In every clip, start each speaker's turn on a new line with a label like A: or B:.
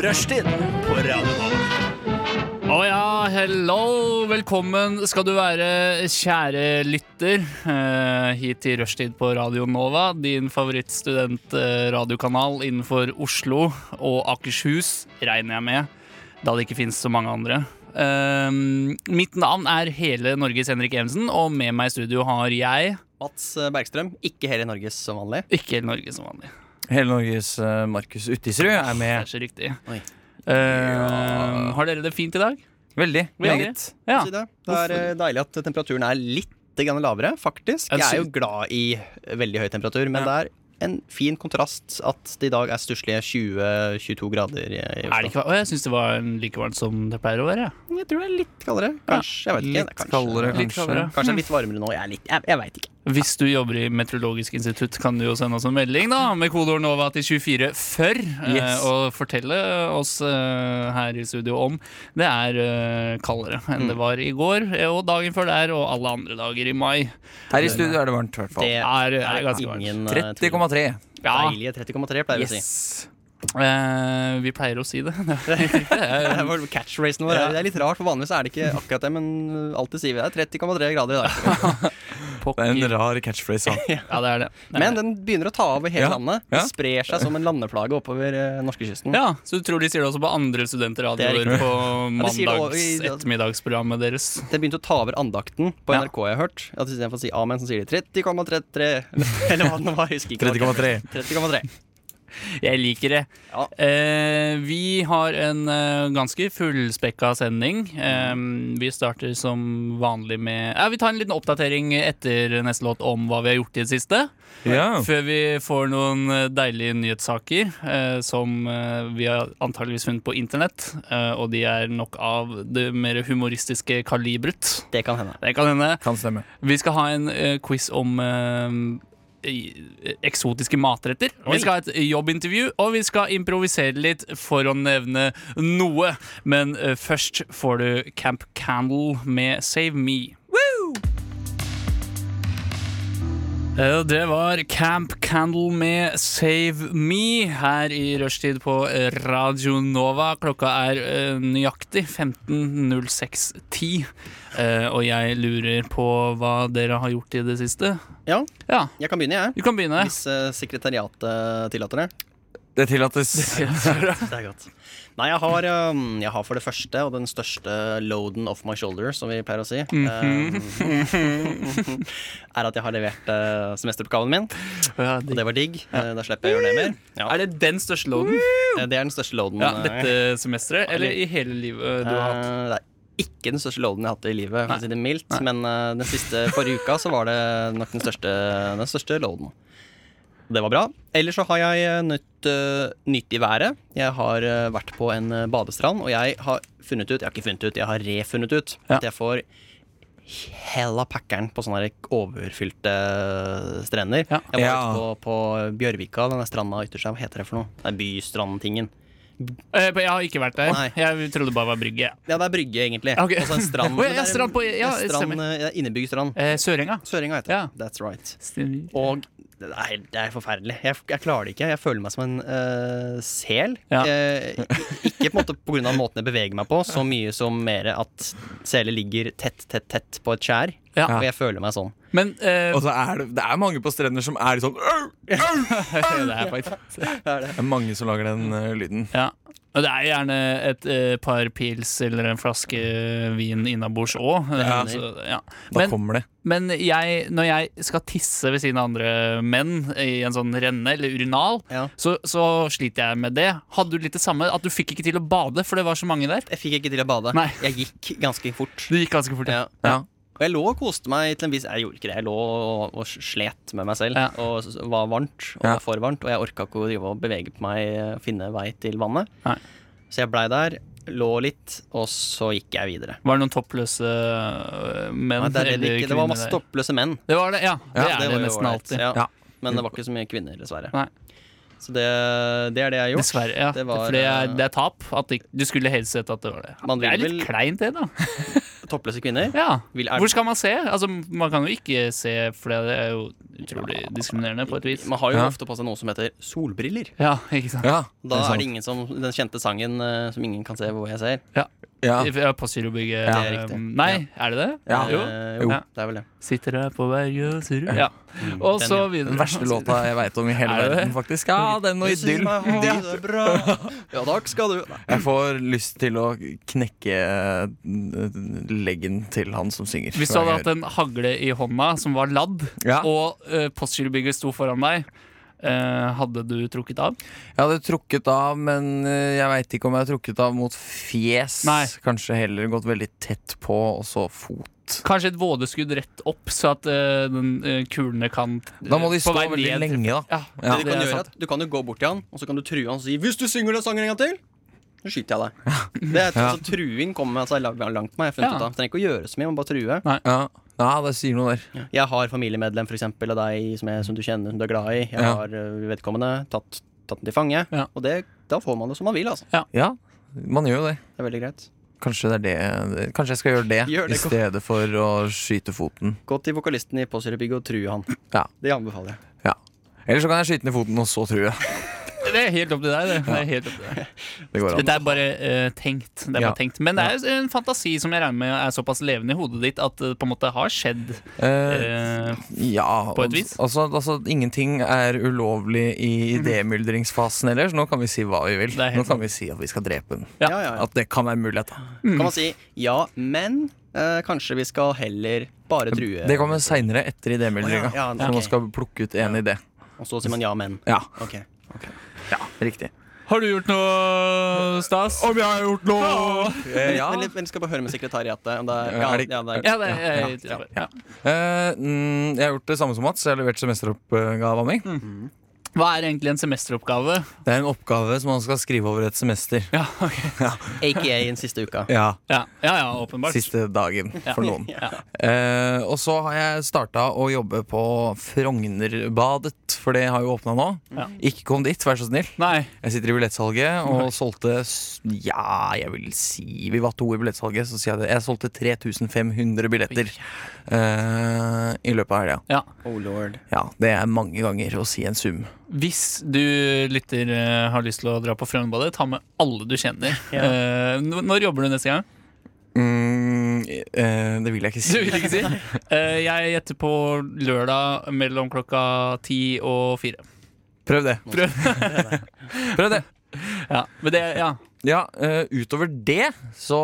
A: Rushtid på Radio Nova.
B: Å ja, hello! Velkommen skal du være, kjære lytter, eh, hit til rushtid på Radio Nova. Din favorittstudentradiokanal innenfor Oslo og Akershus, regner jeg med, da det ikke finnes så mange andre. Eh, mitt navn er hele Norges Henrik Evensen, og med meg i studio har jeg
C: Mats Bergstrøm, ikke hele Norges som vanlig.
B: ikke hele Norge som vanlig.
D: Hele Norges eh, Markus Uttisrud er
B: Det er
D: med.
B: så riktig.
C: Oi.
B: Eh, har dere det fint i dag?
D: Veldig.
B: Ja.
D: Meget.
B: Ja.
C: Det er eh, deilig at temperaturen er litt grann lavere, faktisk.
B: Ja,
C: Jeg er
B: så-
C: jo glad i veldig høy temperatur, men det er en fin kontrast at det i dag er stusslige 20-22 grader i i Oslo.
B: Er det ikke, å, jeg syns det var like varmt som det pleier å være. jeg.
C: Jeg tror det er litt kaldere. Kanskje. Jeg vet ikke. Det er
D: Litt
C: kanskje-
D: kaldere,
B: Litt
D: kanskje.
B: kaldere.
C: Kanskje det er litt varmere nå. Jeg, er litt, jeg, jeg veit ikke.
B: Hvis du jobber i Meteorologisk institutt, kan du jo sende oss en melding da med kodeord NOVA til 2440
D: Yes.
B: eh, og fortelle oss eh, her i studio om det er eh, kaldere enn
C: Mm.
B: det var i går eh, og dagen før der og alle andre dager i mai.
D: Her i studio er det varmt, i hvert fall.
C: Det
B: Er, er ganske varmt.
C: ingen eh, tvil om.
D: 30,3.
B: Ja,
C: Deilige 30,3 pleier vi å si.
D: Yes.
B: eh, vi pleier å si det.
C: Det er vår catchphrase vår. Det er litt rart, for vanligvis er det ikke akkurat det, men eh, alltid sier vi det. Det er 30,3 grader i dag.
D: Det er en rar catchphrase. da.
B: Ja, det er det. det, er
C: Men
B: det.
C: den begynner å ta over hele
D: Ja,
C: landet.
D: ja.
C: Det Sprer seg som en landeplage oppover eh, norskekysten.
B: Ja, Så du tror de sier det også på andre
C: Det
B: studentradioer
C: er
B: på
C: de sier det også i-
B: mandags ettermiddagsprogrammet deres?
C: Det begynte å ta over andakten på
B: Ja.
C: NRK, jeg har hørt. At Istedenfor å si amen, så sier de 30,33 Eller hva det nå var. jeg husker ikke.
D: 30,3.
C: 30,3.
B: Jeg liker det.
C: Ja.
B: Eh, vi har en eh, ganske fullspekka sending. Eh, vi starter som vanlig med ja, Vi tar en liten oppdatering etter neste låt om hva vi har gjort i det siste.
D: Ja.
B: Før vi får noen eh, deilige nyhetssaker eh, som eh, vi har antageligvis funnet på internett. Eh, og de er nok av det mer humoristiske kalibret.
C: Det kan hende.
B: Det kan hende.
D: Kan stemme.
B: Vi skal ha en eh, quiz om eh, i- eksotiske matretter.
C: Oi.
B: Vi skal ha et jobbintervju, og vi skal improvisere litt for å nevne noe. Men eh, først får du Camp Candle med Save Me. Eh, Det var Camp Candle med Save Me her i rushtid på eh, Radio Nova. Klokka er eh, nøyaktig 15.06.10, eh, og jeg lurer på hva dere har gjort i det siste.
C: Ja,
B: Ja,
C: jeg kan begynne, jeg.
B: du kan begynne.
C: Hvis eh, sekretariatet tillater det.
D: Det tillates.
C: Det er godt. Nei, jeg har, um, jeg har for det første og den største loaden off my shoulder, som vi pleier å si,
B: Mhm.
C: um, er at jeg har levert eh, semesteroppgaven min.
B: Ja,
C: Og
B: det-
C: det var digg. Eh, da slipper jeg å gjøre det mer. Ja,
B: Er det den største loaden?
C: eh, det er den største loaden.
B: Ja,
C: eh,
B: dette semesteret, eller i hele livet øh, du har hatt?
C: Eh, Det er ikke den største loaden jeg har hatt i livet, for
B: Nei.
C: å si det mildt. Men eh, den siste forrige uka så var det nok den største, den største loaden. Det var bra. Ellers så har jeg eh, nytt, eh, nytt i været. Jeg har eh, vært på en eh, badestrand, og jeg har funnet ut Jeg har ikke funnet ut, jeg har refunnet ut
B: Ja.
C: at jeg får hella packeren på sånne her overfylte eh, strender.
B: Ja.
C: Jeg var
D: Ja.
C: ute på, på Bjørvika, denne stranda ytterst her. Hva heter det for noe? Det er bystrandtingen.
B: Eh, Jeg har ikke vært der.
C: Nei.
B: Jeg trodde det bare var Brygge.
C: Ja, det er brygge, egentlig.
B: Ok.
C: Og så en strand.
B: Å, ja,
C: men det er en-
B: strand på- ja,
C: en strand, eh, ja, innebygd strand.
B: Eh, Sørenga.
C: Søringa heter
B: Ja.
C: det. That's right.
B: Stemmer.
C: Og det er, helt- det er forferdelig. Jeg, jeg klarer det ikke. Jeg føler meg som en eh, sel.
B: Ja.
C: Eh, ikke på en måte på grunn av måten jeg beveger meg på, så mye som mer at seler ligger tett, tett, tett på et skjær.
B: Ja.
C: Og jeg føler meg sånn.
B: Men eh,
D: Og så er det, det er mange på strender som er litt sånn au, au.
B: det er faktisk
D: Det er mange som lager den eh, lyden.
B: Ja. Og det er gjerne et eh, par pils eller en flaske vin innabords òg.
D: Ja.
B: ja.
D: Da
B: Men,
D: kommer det.
B: men jeg, når jeg skal tisse ved siden av andre menn i en sånn renne eller urinal,
C: Ja.
B: så, så sliter jeg med det. Hadde du litt det samme? At du fikk ikke til å bade, for det var så mange der?
C: Jeg fikk ikke til å bade.
B: Nei.
C: Jeg gikk ganske fort.
B: Det gikk ganske fort.
C: Ja.
D: Ja.
C: Og jeg lå og koste meg til en viss Jeg gjorde ikke det. Jeg lå og, og slet med meg selv.
B: Ja.
C: Og s- var varmt, og
D: Ja.
C: var for varmt. Og jeg orka ikke å drive og bevege på meg og finne vei til vannet.
B: Nei.
C: Så jeg blei der, lå litt, og så gikk jeg videre.
B: Var det noen toppløse øh, menn?
C: Nei, det, er det
B: eller
C: ikke, det var
B: kvinner
C: masse
B: der?
C: toppløse menn.
B: Det var det, ja. Det er det,
C: var jo
B: nesten
C: ålreit.
B: alltid.
C: Ja.
D: Ja.
C: Men det var ikke så mye kvinner, dessverre.
B: Nei.
C: Så det, det er det jeg har gjort.
B: Dessverre. ja
C: Det var,
B: For det er,
C: eh,
B: det er tap. At det, du skulle helst sett at det var det.
C: Man
B: det er
C: vil
B: litt
C: vel-
B: kleint, det, da.
C: toppløse kvinner.
B: Ja.
C: Vil- er-
B: Hvor skal man se? Altså, Man kan jo ikke se, for det er jo utrolig diskriminerende på et vis.
C: Man har jo
D: Ja.
C: ofte på seg noe som heter solbriller.
B: Ja, ikke sant?
D: Ja,
C: Da
D: sant.
C: er det ingen som Den kjente sangen eh, som ingen kan se hvor jeg ser.
B: Ja.
D: ja.
B: Ja, på Syrobygget.
C: Ja, det er riktig.
B: um, Nei, er det det?
D: Ja.
C: Eh,
B: Jo.
C: jo.
B: Ja.
C: Det er vel det.
B: Sitter der på berget og surrer. Ja. Og
C: Mm. Den,
B: så
C: ja.
B: videre.
D: Den verste låta jeg veit om i hele
B: Er det det?
D: verden, faktisk. Ja, den og Idyll. Idyll.
C: Ja, takk skal du
D: Jeg får lyst til å knekke eh, leggen til han som synger.
B: Hvis du hadde hatt en hagle i hånda som var ladd,
D: Ja.
B: og uh, postgirobygget sto foran deg, eh, hadde du trukket av?
D: Jeg hadde trukket av, men eh, jeg veit ikke om jeg hadde trukket av mot fjes.
B: Nei.
D: Kanskje heller gått veldig tett på, og så fot.
B: Kanskje et vådeskudd rett opp, så at eh, den, eh, kulene kan eh,
D: Da må de
B: på
D: stå
B: vei
D: veldig
B: ned-
D: lenge, da.
B: Ja,
D: Ja.
C: Det du,
B: det
C: kan
B: er
C: gjøre, er
B: sant.
C: at du kan jo gå bort til han, og så kan du true han og si 'Hvis du synger den sangen en gang til, så skyter jeg deg'. Det er altså, Truing kommer altså, langt, langt med. Jeg har funnet
B: Ja.
C: ut av. Trenger ikke å gjøre så mye, man bare truer.
D: Ja. ja, det sier noe der.
C: Jeg har familiemedlem for eksempel, av deg som, jeg, som du kjenner, som du er glad i. Jeg
D: Ja.
C: har øh, vedkommende tatt, tatt den til fange.
B: Ja.
C: Og det, da får man det som man vil, altså.
D: Ja, man gjør jo det.
C: Det er veldig greit.
D: Kanskje, det er det. Kanskje jeg skal gjøre det,
C: Gjør det,
D: i stedet for å skyte foten.
C: Gå til vokalisten i Påsyrebygget og true han.
D: Ja.
C: Det anbefaler jeg.
D: Ja. Eller så kan jeg skyte den i foten, og så true. jeg.
B: Det er helt opp til deg. Det. Det er helt opp til deg.
D: Det går an.
B: Dette er bare eh, tenkt. Det er
D: Ja.
B: bare tenkt. Men det er jo en fantasi som jeg regner med er såpass levende i hodet ditt at det på en måte har skjedd.
D: Eh,
B: Eh,
D: ja.
B: på et vis? Mhm.
D: Altså, altså, ingenting er ulovlig i idémyldringsfasen heller, så nå kan vi si hva vi vil.
B: Det er
D: Nå
B: helt
D: kan vi si at vi skal drepe den.
C: Ja,
B: Ja.
C: ja, Mm. ja.
D: At det kan være en mulighet. da.
C: Kan man si 'ja, men eh, kanskje vi skal heller bare true'? eh,
D: Det kommer seinere, etter idémyldringa.
C: Å ja, ja,
D: Så man
C: ok.
D: skal plukke ut én idé.
C: Og så sier man 'ja, men'.
D: Ja,
C: Ok. ok.
D: riktig.
B: har du gjort noe stas?
D: Om jeg har gjort noe eh, Ja.
C: Men, litt- men skal bare høre med sekretariatet. Om det er, ja,
D: Er det-
C: ja, det er,
B: Ja, det er jeg,
D: Ja,
B: jeg,
D: Eh, mm, jeg har gjort det samme som Mats. Jeg har levert semesteroppgava mi.
C: Mm.
B: Hva er egentlig en semesteroppgave?
D: Det er en oppgave som man skal skrive over et semester.
B: Ja, ok.
C: AKA den siste uka.
D: Ja,
B: ja, ja, ja åpenbart.
D: Siste dagen for noen.
C: Ja.
D: Eh, og så har jeg starta å jobbe på Frognerbadet, for det har jo åpna nå.
B: Ja.
D: Ikke kom dit, vær så snill.
B: Nei.
D: Jeg sitter i billettsalget og solgte s- Ja, jeg vil si Vi var to i billettsalget, så sier jeg det. Jeg solgte 3500 billetter eh, i løpet av helga.
B: Ja.
C: Oh lord.
D: Ja, det er mange ganger å si en sum.
B: Hvis du lytter eh, har lyst til å dra på Frognerbadet, ta med alle du kjenner.
C: Ja.
B: Eh, n- når jobber du neste gang?
D: Mm, eh, det vil jeg ikke
B: Du
D: si.
B: vil ikke si? Eh, jeg gjetter på lørdag mellom klokka ti og fire.
D: Prøv det.
B: Prøv.
D: Prøv det.
B: Ja, men det, ja.
D: Ja, eh, utover det så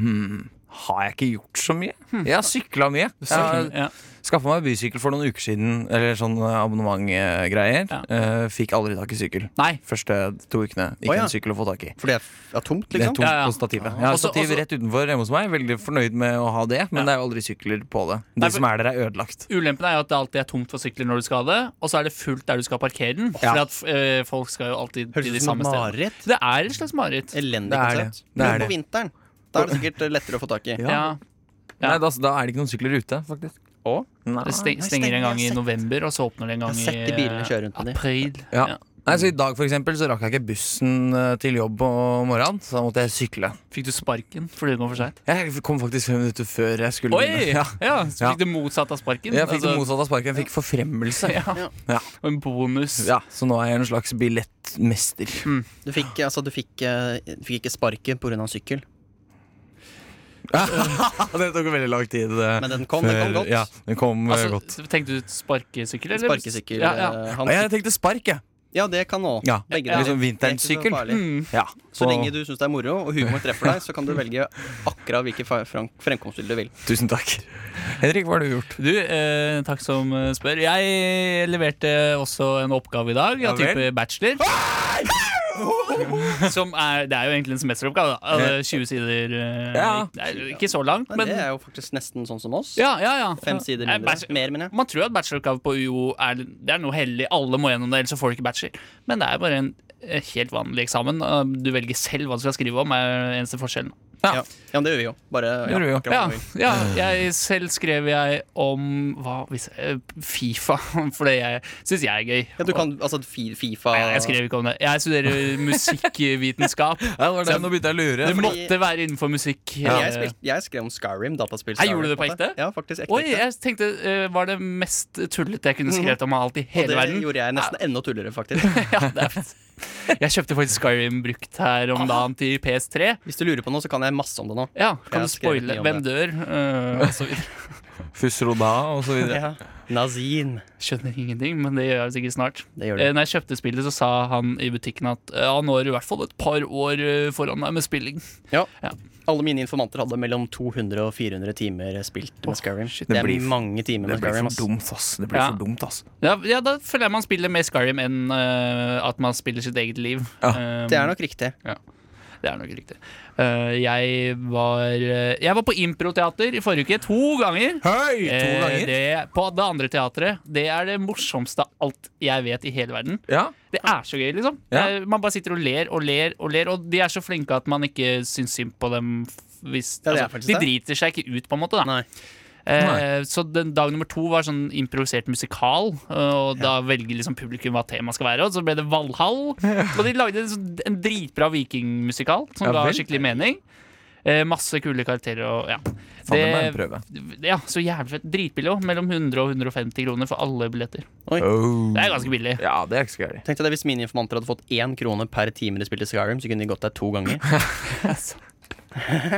D: hmm, har jeg ikke gjort så mye.
B: Hmm.
D: Jeg har sykla mye. Jeg har
B: ja.
D: skaffa meg bysykkel for noen uker siden, eller sånn eh, abonnementgreier.
B: Ja.
D: Eh, fikk aldri tak i sykkel.
B: Nei.
D: Første to ukene. Ikke
C: Å, ja.
D: en sykkel å få tak i.
C: For det er f- ja, tomt,
D: Det er
C: liksom?
D: tomt
B: Ja, ja.
D: på stativet. Jeg har
B: Også-
D: stativ
B: også-
D: rett utenfor hjemme hos meg. Veldig fornøyd med å ha det, men
B: Ja.
D: det er jo aldri sykler på det. De
B: Nei, for-
D: som er der, er ødelagt.
B: Ulempen er jo at det alltid er tomt for sykler når du skal ha det, og så er det fullt der du skal parkere den.
D: Ja.
B: For at eh, folk skal jo alltid
C: Høres
B: til
C: ut
B: de
C: som et
B: samme stedene.
C: mareritt.
B: Det er et slags mareritt.
C: Elendig
D: Det er det.
C: konsept.
D: Det er
C: Men
D: det.
C: på vinteren Da er det sikkert eh, lettere å få tak i.
B: Ja.
D: Ja.
B: Ja.
D: Nei, da, altså, da er det ikke noen sykler ute, faktisk.
C: Og
D: Nei.
B: Det steng,
C: Ah, nei,
B: stenger en
C: stenger,
B: gang
C: jeg
B: i
C: har sett.
B: november, og så åpner det en gang
C: Jeg
B: i
C: har sett de bilene kjøre rundt med de.
B: eh, april.
D: Ja. Nei, så I dag for eksempel, så rakk jeg ikke bussen eh, til jobb om morgenen, så da måtte jeg sykle.
B: Fikk du sparken fordi du kom for seint?
D: Jeg kom faktisk fem minutter før jeg skulle
B: Oi!
D: begynne.
B: Ja,
D: Ja.
B: så fikk du motsatt av sparken.
D: Jeg fikk det
B: Altså,
D: motsatte av sparken. Jeg fikk forfremmelse. Ja.
B: og en bonus.
D: Så nå er jeg en slags billettmester.
C: Du fikk, altså, du fikk, eh, du fikk ikke sparket pga. sykkel,
D: det tok veldig lang tid. eh,
C: men den kom. Den kom
D: før-
C: godt.
D: Ja, den kom eh,
B: Altså,
D: godt.
B: tenkte du sparkesykkel, eller?
C: Sparkesykkel.
B: Ja, ja.
C: eh,
D: Ja,
C: Han,
D: jeg tenkte spark, jeg.
C: ja, det kan nå.
D: Ja.
C: Begge
B: Ja.
C: deler.
D: Liksom
C: Det er ikke så
D: vintersykkel.
C: farlig.
B: Mm.
D: Ja.
C: Så lenge du syns det er moro, og humor treffer deg, så kan du velge akkurat hvilke fa- frank- fremkomstbilder du vil.
D: Tusen takk. Henrik, hva har du gjort?
B: Du, eh, takk som eh, spør. Jeg leverte også en oppgave i dag, av
D: Ja vel.
B: type bachelor. Som er, det er jo egentlig en semesteroppgave. Da. Altså, 20 sider. eh,
D: Ja.
B: det er jo Ikke så langt,
C: Men
B: men
C: det er jo faktisk nesten sånn som oss.
B: ja, ja, ja.
C: Fem sider
B: Nei,
C: mindre.
B: bachelor-
C: Mer, mener jeg.
B: Man tror at bacheloroppgave på UiO er, det er noe hellig. Alle må gjennom det, ellers så får du ikke bachelor. Men det er bare en eh, helt vanlig eksamen. og Du velger selv hva du skal skrive om. er den eneste forskjellen
D: Ja.
C: Ja. ja, men det gjør vi jo. Bare ja,
D: Gjør vi jo.
C: akkurat
B: Ja,
C: hva vi vil.
B: ja, jeg selv skrev jeg om hva, hvis, eh, Fifa, for det syns jeg er gøy.
C: Ja, du kan, altså fi- Fifa
B: Nei, jeg skrev ikke om det. Jeg studerer musikkvitenskap.
D: Ja, det var det. Nå begynte jeg å lure.
B: Det måtte være innenfor musikk.
C: Men
B: Eh,
C: jeg, spilte, jeg skrev om Skyrim, dataspill.
B: Nei, gjorde du det på
C: en måte.
B: ekte?
C: Ja, faktisk. Ekte,
B: Oi,
C: ekte. Mhm.
B: jeg tenkte eh, var det mest tullete jeg kunne skrevet om av alt i
C: Og
B: hele
C: det
B: verden.
C: gjorde jeg nesten enda tullere, faktisk.
B: Ja, det er fint. Jeg kjøpte faktisk Skyrim brukt her om dagen til PS3.
C: Hvis du lurer på noe, så kan jeg masse om det nå.
B: Ja,
C: Jeg har
B: kan du spoile
C: skrevet mye om
B: hvem dør? eh, og så videre.
D: Fusroda og så videre.
C: Ja. Nazin.
B: Skjønner ingenting, men det gjør jeg sikkert snart.
C: Det gjør du.
B: Eh, Når jeg kjøpte spillet, så sa han i butikken at eh, han var i hvert fall et par år eh, foran meg med spilling.
C: Ja.
B: Ja.
C: Alle mine informanter hadde mellom 200 og 400 timer spilt med Skyrim. det,
D: Det
C: er
D: blir-
C: mange timer
D: Det
C: med
D: blir
C: Skyrim.
D: for
C: ass.
D: dumt, ass. Det blir
B: Ja.
D: for dumt, ass.
B: Ja, ja, da føler jeg man spiller mer Skyrim enn eh, at man spiller sitt eget liv.
D: Ja,
B: Eh,
C: Det er nok riktig.
B: det er nok riktig. Eh, jeg var eh, Jeg var på improteater i forrige uke to ganger.
D: Hei! To
B: Eh,
D: ganger.
B: Det, på det andre teatret. Det er det morsomste av alt jeg vet i hele verden.
D: Ja.
B: Det er så gøy, liksom.
D: Ja.
B: Eh, Man bare sitter og ler og ler og ler, og de er så flinke at man ikke syns synd på dem. f- Hvis,
C: Ja, det er
B: altså,
C: faktisk
B: de
C: det.
B: driter seg ikke ut, på en måte. Da.
C: Nei.
B: Eh, så den, dag nummer to var sånn improvisert musikal, eh, og da velger liksom publikum hva temaet skal være. Og så ble det Valhall. Og de lagde en, sånn- en dritbra vikingmusikal som
D: Ja,
B: ga
D: vel.
B: skikkelig mening. Eh, masse kule karakterer og ja.
D: Faen, det må jeg prøve.
B: Ja, så jævlig fett. Dritbillig òg. Mellom 100 og 150 kroner for alle billetter.
D: Oh.
B: Det er ganske billig.
D: Ja, det er ikke så gærent.
C: Tenkte jeg det Hvis mine informanter hadde fått én krone per time de spilte Skyrim, så kunne de gått der to ganger.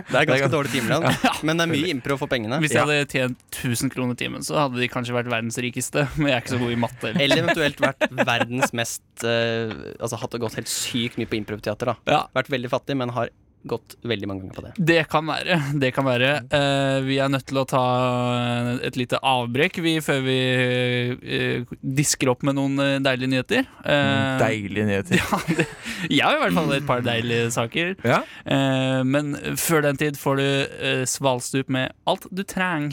C: Det er ganske dårlig timelønn, men det er mye impro for pengene.
B: Hvis jeg hadde tjent 1000 kroner timen, så hadde de kanskje vært verdens rikeste. Men jeg er ikke så god i matte. eller-
C: Eller eventuelt vært verdens mest eh, Altså hatt det gått helt sykt mye på improteater. da
B: Ja.
C: Vært veldig fattig, men har gått veldig mange ganger på det.
B: Det kan være. Det kan være. Eh, vi er nødt til å ta eh, et lite avbrekk vi, før vi eh, disker opp med noen eh, deilige nyheter. Eh,
D: Deilige nyheter.
B: Ja, det, jeg har i hvert fall et par deilige saker.
D: Ja.
B: Eh, men før den tid får du eh, Svalstup med alt du trenger.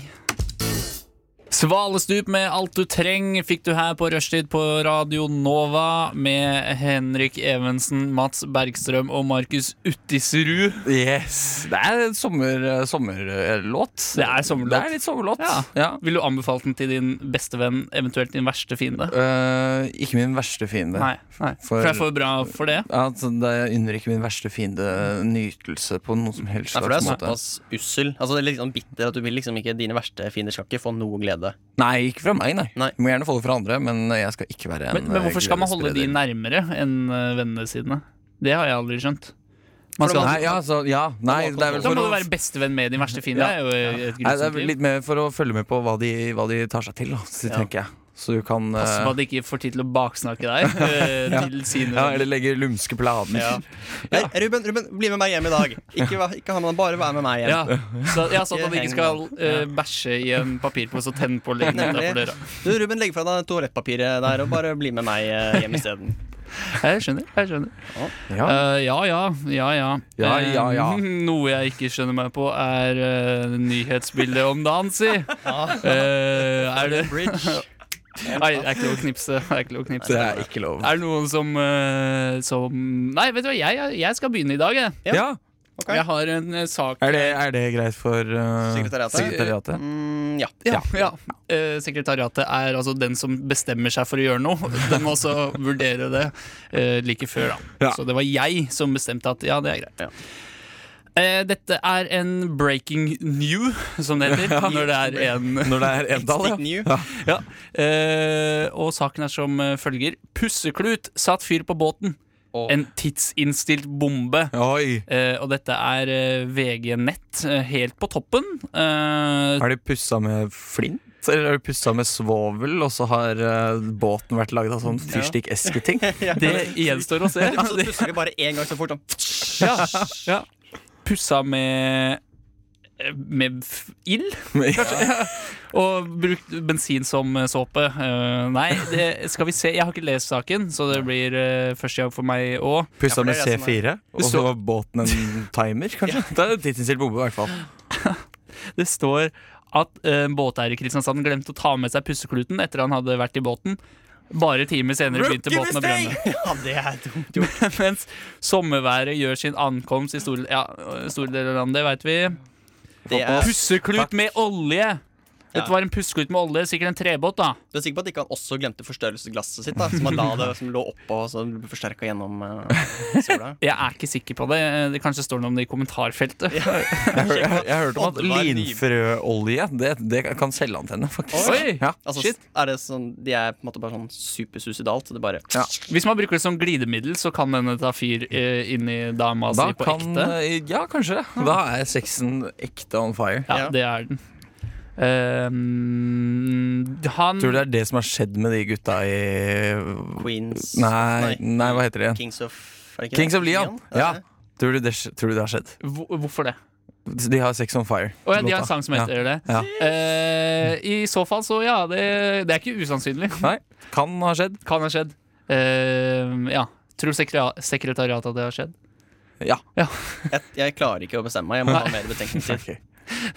B: Svalestup med alt du trenger fikk du her på rushtid på Radio Nova med Henrik Evensen, Mats Bergstrøm og Markus Uttisrud.
D: Yes. Det er en sommer, eh, sommerlåt.
B: Det er sommerlåt.
D: Det er litt sommerlåt.
B: Ja.
D: ja.
B: Vil du anbefale den til din beste venn, eventuelt din verste fiende?
D: Eh, ikke min verste fiende.
B: Nei. nei.
D: For-
B: For jeg får bra for det.
D: Ja, altså, det unner ikke min verste fiende nytelse på noen som helst
C: Ja, for du er
D: slags måte.
C: såpass ussel. Altså det er litt sånn bitter at du vil liksom ikke Dine verste fiender skal ikke få noe glede.
D: Nei, ikke fra meg, nei.
C: Nei.
D: Må gjerne få det fra andre, men jeg skal ikke være en eh,
B: Men, men hvorfor skal man holde de
D: gledesspreder.
B: nærmere enn eh, vennene sine? Det har jeg aldri skjønt. Man skal,
D: Nei, ja, så, ja, nei, det er vel
B: da
D: for
B: må
D: å
B: du være bestevenn med din verste fiende. Det er jo et
D: Nei, det er
B: grusomt
D: vel
B: liv.
D: litt mer for å følge med på hva de, hva de tar seg til, da, så, tenker jeg. Så du kan
B: Pass
D: eh,
B: på at de ikke får tid til å baksnakke deg. eh, til sine
D: ja,
B: venner.
D: Eller legge lumske planer.
C: Nei, Ruben, Ruben, bli med meg hjem i dag! Ikke, va- ikke ha med deg, bare vær med meg hjem.
B: ja. Så, ja, sånn at de ikke
C: Ikke
B: skal eh, bæsje i en papirpose og tenne på og legge den
C: Nemlig.
B: utenfor døra.
C: Du, Ruben, legg fra deg toalettpapiret der, og bare bli med meg eh, hjem isteden.
B: Jeg skjønner. jeg skjønner
D: Ja.
B: Eh, Ja ja, ja ja.
D: Ja, ja, ja.
B: Eh, Noe jeg ikke skjønner meg på, er eh, nyhetsbildet om dagen, si. Eh, er det
C: Bridge.
B: Nei, det er ikke lov å knipse. Det er ikke lov å knipse.
D: Det er ikke lov.
B: Er det noen som, eh, som Nei, vet du hva, jeg, jeg skal begynne i dag. Jeg,
C: Ja.
D: Ja,
C: Ok.
B: jeg har en eh, sak
D: er det, er det greit for eh,
C: Sekretariatet?
D: sekretariatet?
C: Mm, ja.
B: Ja, ja. Eh, sekretariatet er altså den som bestemmer seg for å gjøre noe. Den må også vurdere det eh, like før, da.
D: Ja.
B: Så det var jeg som bestemte at ja, det er greit.
C: Ja.
B: Eh, dette er en breaking new, som det heter. Når det er en
D: Når det er Endal,
C: Stick
D: ja.
C: new.
B: Ja. Eh, og saken er som eh, følger. Pusseklut satt fyr på båten.
C: Åh.
B: En tidsinnstilt bombe.
D: Oi!
B: Eh, og dette er eh, VG Nett eh, helt på toppen. Eh,
D: Har de pussa med flint? Eller har de pussa med svovel, og så har eh, båten vært lagd av sånn fyrstikkesketing?
C: Ja.
B: det gjenstår å se. Altså,
C: Så pusser vi Altså, bare én gang så fort. Sånn.
B: ja, ja. Pussa med eh, med f- ild og brukt bensin som eh, såpe. Eh, nei, det skal vi se. Jeg har ikke lest saken, så det blir eh, første gang for meg òg.
C: Ja,
D: Pussa
C: for
D: med
C: det er det som
D: C4, og så
B: Så-
D: var båten en timer, kanskje? Det er en tidsinnstilt bombe, i hvert fall.
B: Det står at eh, en båteier i Kristiansand glemte å ta med seg pussekluten etter han hadde vært i båten. Bare timer senere begynte båten å brenne.
C: Ja, det er dumt gjort.
B: Mens sommerværet gjør sin ankomst i store, ja, store deler av landet, veit vi.
C: Det er,
B: Pusseklut med olje! Dette var en pusseklut med olje, sikkert en trebåt, da.
C: du er sikker på at ikke han også glemte forstørrelsesglasset sitt? da Som han la det som lå oppå og så ble forsterka gjennom eh, sola?
B: Jeg er ikke sikker på det. Det kanskje står noe om det i kommentarfeltet.
D: Jeg, hør, jeg, jeg hørte om at
C: Oddvar Lim.
D: linfrøolje det, det kan selvantenne, faktisk.
B: Oi!
D: Ja.
C: Altså,
B: Shit.
C: er det sånn, De er på en måte bare sånn supersuicidalt. så Det bare
D: Ja.
B: Hvis man bruker det som glidemiddel, så kan denne ta fyr eh, inni dama
D: Da
B: si på
D: kan eh,
B: ekte.
D: Ja, kanskje. Da er sexen ekte on fire.
B: Ja,
C: Ja.
B: det er den. Ehm, han
D: Tror du det er det som har skjedd med de gutta i
C: Queens
D: Nei, nei hva heter det igjen?
C: Kings of er det ikke
D: Kings
C: det?
D: of Leon.
C: Er det
D: Ja.
C: det?
D: Tror du det, sk- tror du det har skjedd?
B: Hvor- Hvorfor det?
D: De har Sex on Fire.
B: Å ja, de har
D: låta.
B: en sang som heter det.
D: Ja.
B: Eh, I så fall, så ja. Det, det er ikke usannsynlig.
D: Nei, kan ha skjedd.
B: Kan ha skjedd. Eh, ja. Tror sekre- sekretariatet at det har skjedd?
D: Ja.
C: Jeg, jeg klarer ikke å bestemme meg. Jeg må ha mer betenkningstid.
D: Ok.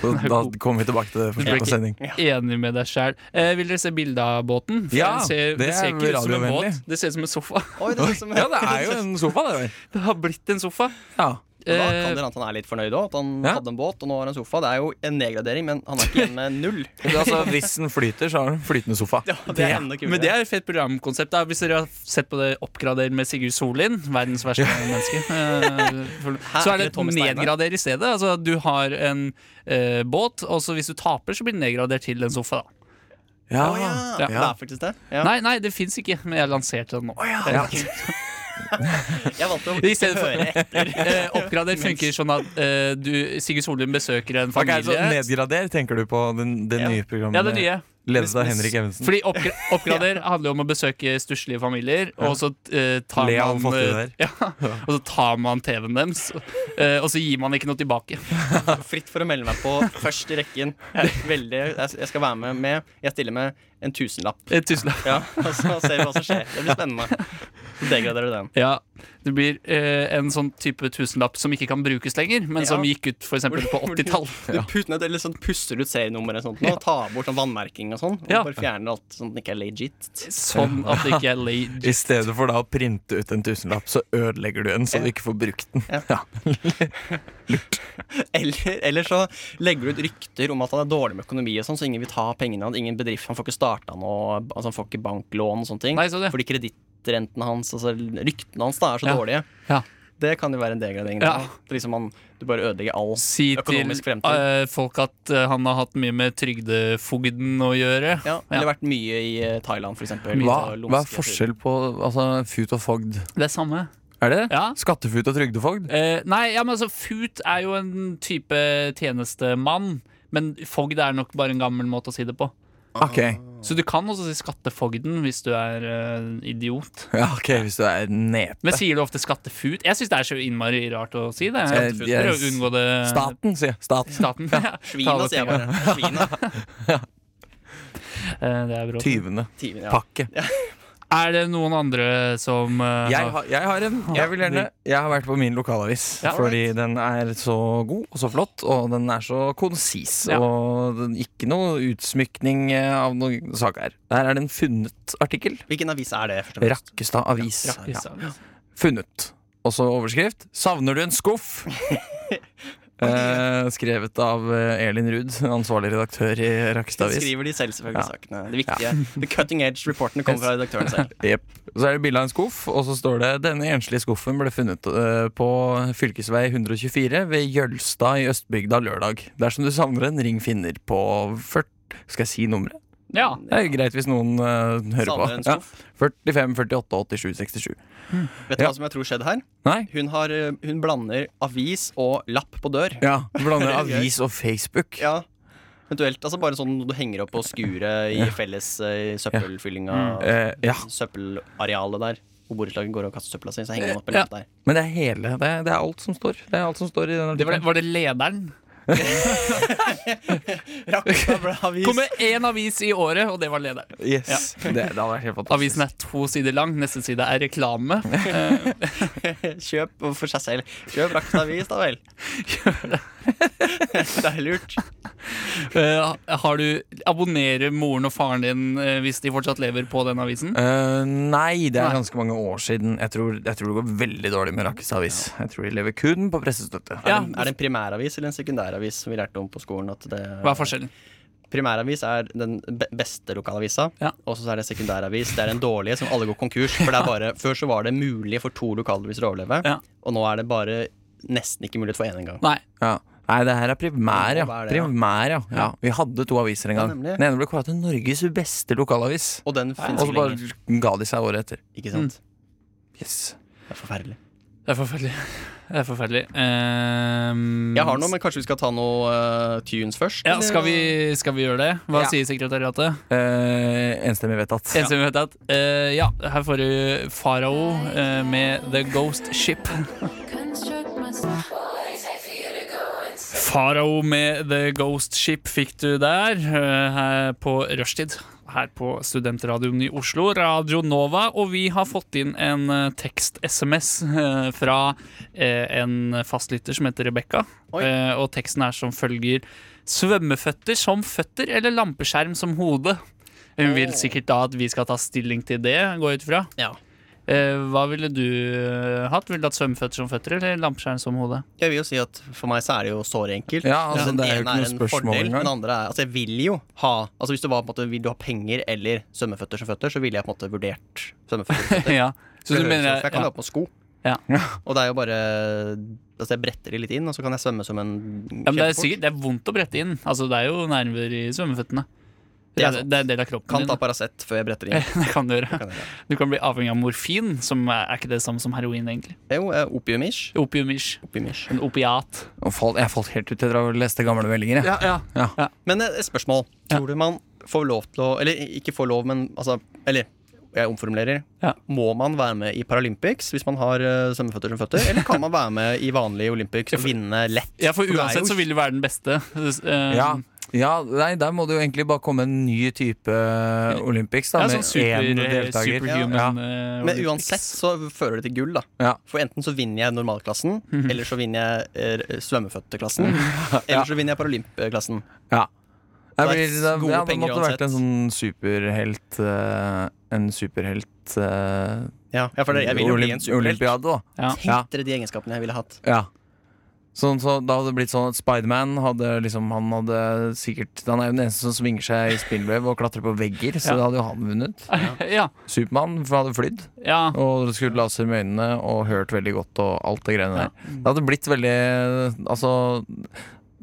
D: Så Da kommer vi tilbake til det for slutt av sending.
B: Enig med deg sjæl. Eh, vil dere se bilde av båten? For
D: Ja,
B: den ser,
D: det
B: det ser
D: er
B: ikke ut som en
D: radiovennlig.
B: båt. Det ser ut som en sofa.
C: Oi, det ser ut som
D: Ja, det er jo en sofa, det der.
B: Det har blitt en sofa.
D: Ja.
C: Og Da
B: Eh,
C: kan det hende at han er litt fornøyd òg. At han
D: Ja.
C: hadde en båt, og nå har han en sofa. Det er jo en nedgradering, men han er ikke igjen med null.
D: Altså, hvis den flyter, så har den flytende sofa.
C: Ja, det er enda kulere.
B: Men det er et fett programkonsept. Da. Hvis dere har sett på det Oppgrader med Sigurd Solin, verdens verste menneske, eh, for- så er det
C: Eller Tom Steine.
B: nedgrader i stedet. Altså, du har en eh, båt, og så hvis du taper, så blir den nedgradert til en sofa. Da.
D: Ja.
C: Å, ja.
B: Ja.
C: Det er faktisk det. Ja.
B: Nei, nei, det fins ikke, men jeg lanserte den nå.
D: Ja.
C: Jeg valgte å
B: I stedet for-
C: høre etter.
B: Eh, oppgrader funker sånn at eh, du, Sigurd Solin besøker en
D: Ok, så
B: familie.
D: Nedgrader, tenker du på den, det
C: Ja.
D: nye programmet?
B: Ja, det nye.
D: Ledet av Henrik Evensen.
B: Fordi oppgra Oppgrader handler jo om å besøke stusslige familier, og så eh, tar
D: Le av
B: man
D: fattige
B: eh, ja, Og så tar man TV-en deres, eh, og så gir man ikke noe tilbake.
C: Fritt for å melde meg på først i rekken. Jeg, er veldig, jeg jeg skal være med med Jeg stiller med en tusenlapp.
B: Eh, Tusen takk.
C: Ja, og så ser vi hva som skjer. Det blir spennende. Så degraderer du den.
B: Ja, det blir eh, en sånn type tusenlapp som ikke kan brukes lenger, men som
C: Ja.
B: gikk ut for eksempel på
C: Hvor du-
B: 80-tall.
C: Du put, nei, det er litt sånn pusser ut serienummeret og sånt nå, tar bort sånn vannmerking og sånn. Og
B: Ja.
C: Bare fjerner alt sånn at det ikke er legit.
B: Sånn at det ikke er legit.
D: I stedet for da å printe ut en tusenlapp, så ødelegger du den så du ikke får brukt den. Ja.
C: Eller, eller så legger du ut rykter om at han er dårlig med økonomi og sånn, så ingen vil ta pengene hans. Ingen bedrift. Han får ikke starta noe, altså han får ikke banklån og sånne ting.
B: Nei, så det.
C: Fordi kredittrentene hans, altså ryktene hans, da er så
B: Ja.
C: dårlige.
B: Ja.
C: Det kan jo være en degradering.
B: Ja.
C: da. At liksom han, du bare ødelegger all
B: Si til
C: økonomisk fremtid.
B: eh, folk at eh, han har hatt mye med trygdefogden å gjøre.
C: Ja, eller vært mye i eh, Thailand, for eksempel.
D: Hva,
C: Ute og
D: hva er
C: lumske etter-
D: forskjell på altså, fut og fogd?
B: Det er samme.
D: Er det det?
B: Ja.
D: Skattefut og trygdefogd?
B: Eh, nei, ja, men altså, fut er jo en type tjenestemann, men fogd er nok bare en gammel måte å si det på.
D: Ok,
B: Så du kan også si skattefogden hvis du er eh, idiot.
D: ja, ok, hvis du er nepe.
B: Men sier du ofte skattefut? Jeg syns det er så innmari rart å si det. Jeg
D: Jeg- jeg-
B: prøver å unngå det.
D: Staten, sier jeg. Staten.
B: Staten. Eh, Ja.
C: Svina, sier jeg bare. Svina.
B: Eh, Det er bra.
D: Tyvende
C: Timen, ja.
D: pakke.
B: Er det noen andre som eh,
D: Jeg,
B: har
D: har- jeg har en. Jeg vil gjerne Jeg har vært på min lokalavis,
B: Ja.
D: fordi den er så god og så flott, og den er så konsis.
B: Ja.
D: Og den, ikke noe utsmykning eh, av noen sak her. Der er det en funnet artikkel.
C: Hvilken avis er det? først og fremst?
D: Rakkestad Avis.
B: Ja,
D: Ja. Funnet. Og så overskrift 'Savner du en skuff?' eh, skrevet av eh, Elin Ruud, ansvarlig redaktør i
C: Det
D: Rakkestad Avis.
C: skriver de selv, selvfølgelig,
D: Ja.
C: sakene. Det viktige. The cutting edge reportene kommer fra redaktøren selv.
D: Jep. Så er det bilde av en skuff, og så står det denne enslige skuffen ble funnet eh, på fv. 124 ved Jølstad i Østbygda lørdag. Dersom du savner en, ring finner på 40 Skal jeg si nummeret?
B: ja.
D: Det er jo greit hvis noen eh, hører
C: Savner en
D: på. Ja.
C: skuff.
D: 45 48 87 67.
C: Vet du
D: Ja.
C: hva som jeg tror skjedde her?
D: Nei?
C: Hun, har, eh, hun blander avis og lapp på dør.
D: Ja. Du blander avis og Facebook.
C: Ja. Eventuelt altså bare sånn noe du henger opp på skuret i felles eh, i søppelfyllinga.
B: Mm.
D: Eh, ja.
C: Søppelarealet der. Hvor borettslaget går og kaster søpla si. Så henger den opp en
B: Ja.
C: lapp der.
D: Men det er hele. Det er, det er alt som står. Det er alt som står i den
B: Det var, det,
D: artikkelen.
B: var det lederen?
C: Rakkestad-avis.
B: Kommer én avis i året, og det var lederen.
D: Yes. Det, det hadde vært helt fantastisk.
B: Avisen er to sider lang, neste side er reklame.
C: Kjøp for seg selv. Kjøp Rakkestad-avis, da vel. det er lurt.
B: Eh, har du, Abonnerer moren og faren din, eh, hvis de fortsatt lever, på den avisen?
D: Eh, nei, det er
B: Nei.
D: ganske mange år siden. Jeg tror, jeg tror det går veldig dårlig med Rakkes avis. Jeg tror de lever kun på pressestøtte.
B: Ja,
C: Er det en primæravis eller en sekundæravis som vi lærte om på skolen? At det,
B: Hva er forskjellen?
C: primæravis er den be- beste lokalavisa,
B: Ja.
C: og så er det sekundæravis. Det er den dårlige som alle går konkurs. For det er bare, Før så var det mulig for to lokalaviser å overleve,
B: Ja.
C: og nå er det bare nesten ikke mulighet for én engang.
B: Nei.
D: Ja. Nei, det her er primær, ja.
C: Hva er det, ja?
D: Primær, ja. ja. Vi hadde to aviser en
C: Ja,
D: gang.
C: nemlig.
D: Den ene ble kåra til Norges beste lokalavis.
C: Og den fins
D: Og så
C: ikke lenger.
D: bare Mm. ga de seg året etter.
C: Ikke sant?
D: Yes.
C: Det er forferdelig.
B: Det er forferdelig. Det er forferdelig. Ehm,
C: Jeg har noe, men kanskje vi skal ta noe eh, tunes først? Eh,
B: ja,
C: eller?
B: skal, vi, skal vi gjøre det? Hva
D: Ja.
B: sier sekretariatet?
D: Eh, enstemmig vedtatt.
B: Enstemmig vedtatt. Eh, ja, her får du Farao eh, med The Ghost Ship.
E: Construct myself.
B: Farao med The Ghost Ship fikk du der eh, her på rushtid. Her på Studentradioen i Oslo, Radio Nova. Og vi har fått inn en eh, tekst-SMS eh, fra eh, en fastlytter som heter Rebekka.
C: Oi.
B: Eh, Og teksten er som følger Svømmeføtter som føtter eller lampeskjerm som hode? Hun vil
C: Åh.
B: sikkert da at vi skal ta stilling til det, gå ut fra.
C: Ja.
B: Eh, Hva ville du eh, hatt? Ville du hatt svømmeføtter som føtter eller lampeskjerm som hode?
C: Jeg vil jo si at For meg så er det jo såre enkelt.
D: Ja, altså,
C: Den
D: det er jo
C: ene
D: ikke noe spørsmål
C: fordel,
D: engang.
C: Den andre er, altså, jeg vil jo ha Altså Hvis du var på en måte Vil du ha penger eller svømmeføtter som føtter, så ville jeg på en måte vurdert svømmeføtter. som føtter.
B: ja. Så du
C: For
B: mener
C: jeg kan
B: ja.
C: ha på sko.
B: Ja.
C: Og det er jo bare Altså Jeg bretter de litt inn, og så kan jeg svømme som en
B: Ja, men det er
C: kjempefort.
B: sikkert det er vondt å brette inn. Altså, det er jo nerver i svømmeføttene. Det
C: Det er
B: er,
C: sant.
B: det er en del av kroppen
C: Kan ta
B: din.
C: Paracet før jeg bretter inn.
B: Det kan du gjøre.
C: Kan jeg gjøre.
B: Du kan bli avhengig av morfin, som er er ikke det samme som heroin, egentlig.
C: Jo, eh, opium-ish.
B: Opiumish.
C: Opium-ish.
B: En opiat.
D: Og fall, jeg falt helt ut etter å ha lest de gamle meldinger. jeg.
C: Men eh, et spørsmål.
B: Ja.
C: Tror du man får lov til å Eller ikke får lov, men altså Eller jeg omformulerer.
B: Ja.
C: Må man være med i Paralympics hvis man har eh, svømmeføtter som føtter? Eller kan man være med i vanlige Olympics og vinne lett?
B: Ja, for
C: det er jo
B: uansett så vil du være den beste. Eh,
D: Ja. ja, nei, der må det jo egentlig bare komme en ny type eh, Olympics, da.
B: Ja, sånn super,
D: med én deltaker.
B: superhuman eh,
C: Men
B: Olympics.
C: uansett så fører det til gull, da.
D: Ja. Mhm.
C: For enten så vinner jeg normalklassen, eller så vinner jeg eh, svømmeføtteklassen. Eller så vinner jeg paralympklassen.
D: Ja. Det,
C: Det er
D: blir, det,
C: gode
D: ja, det
C: penger
D: måtte vært en
C: uansett.
D: sånn superhelt eh, En superhelt eh,
C: Ja, ja, for det- jeg vil jo bli en
D: olymp-
C: superhelt.
D: Olympiade, da.
B: Ja.
D: Ja.
C: Tenk dere de egenskapene jeg ville hatt.
D: Ja. Sånn, så da hadde det blitt sånn at Spiderman hadde liksom, han hadde sikkert Han er jo den eneste som svinger seg i spillvev og klatrer på vegger, så
B: Ja.
D: da hadde jo han vunnet.
B: ja.
D: Supermann hadde flydd
B: ja.
D: og skulle laser med øynene og hørt veldig godt og alt det greiene der. Det hadde blitt veldig Altså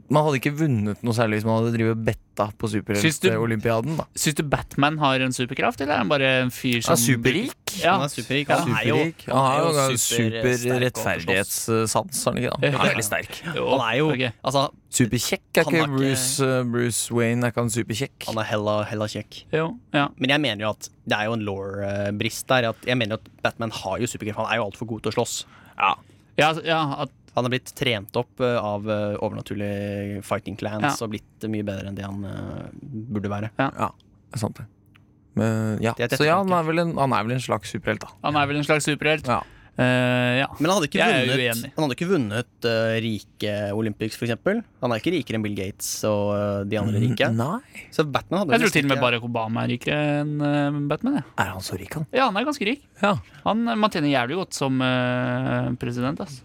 D: man hadde ikke vunnet noe særlig hvis man hadde drevet og betta på
B: Syns du-
D: Superheltolympiaden. da.
B: Syns du Batman har en superkraft, eller er han bare en fyr som
D: Han er superrik.
B: Ja.
C: Han er superrik.
B: Ja.
C: Han er jo,
D: Superrik. Han har jo
C: han er jo supersterk og
D: superrettferdighetssans, har han ikke det?
B: Ja.
D: Han er veldig sterk.
B: Jo,
C: Han er jo
B: ok.
C: Altså,
D: Superkjekk er
C: Han er
D: ikke
C: ikke-
D: Bruce, eh, Bruce Wayne, er ikke han superkjekk?
C: han er hella, hella kjekk.
B: jo, ja.
C: Men jeg mener jo at det er jo en law-brist der. At jeg mener at Batman har jo superkraft. Han er jo altfor god til å slåss.
B: Ja, ja, at,
C: Han er blitt trent opp eh, av eh, overnaturlige fighting clans
B: Ja.
C: og blitt eh, mye bedre enn det han eh, burde være.
D: Ja, det er sant det. Men, ja.
C: Det er et
D: Så ja, han er, vel en, han er vel en slags superhelt, da.
B: han er vel en slags superhelt.
D: Ja.
B: Eh, ja.
C: Men han hadde ikke
B: Jeg er
C: vunnet,
B: uenig.
C: han hadde ikke vunnet eh, rike Olympics, for eksempel. Han er ikke rikere enn Bill Gates og eh, de andre rike.
D: Mm, Nei.
C: Så Batman hadde
B: Jeg tror
C: nesten
B: til og med
C: ikke-
B: Barack Obama er rikere enn eh, Batman. Ja.
D: Er han så rik, han?
B: ja, han er ganske rik.
D: Ja.
B: Han, eh, man tjener jævlig godt som eh, president. Ass.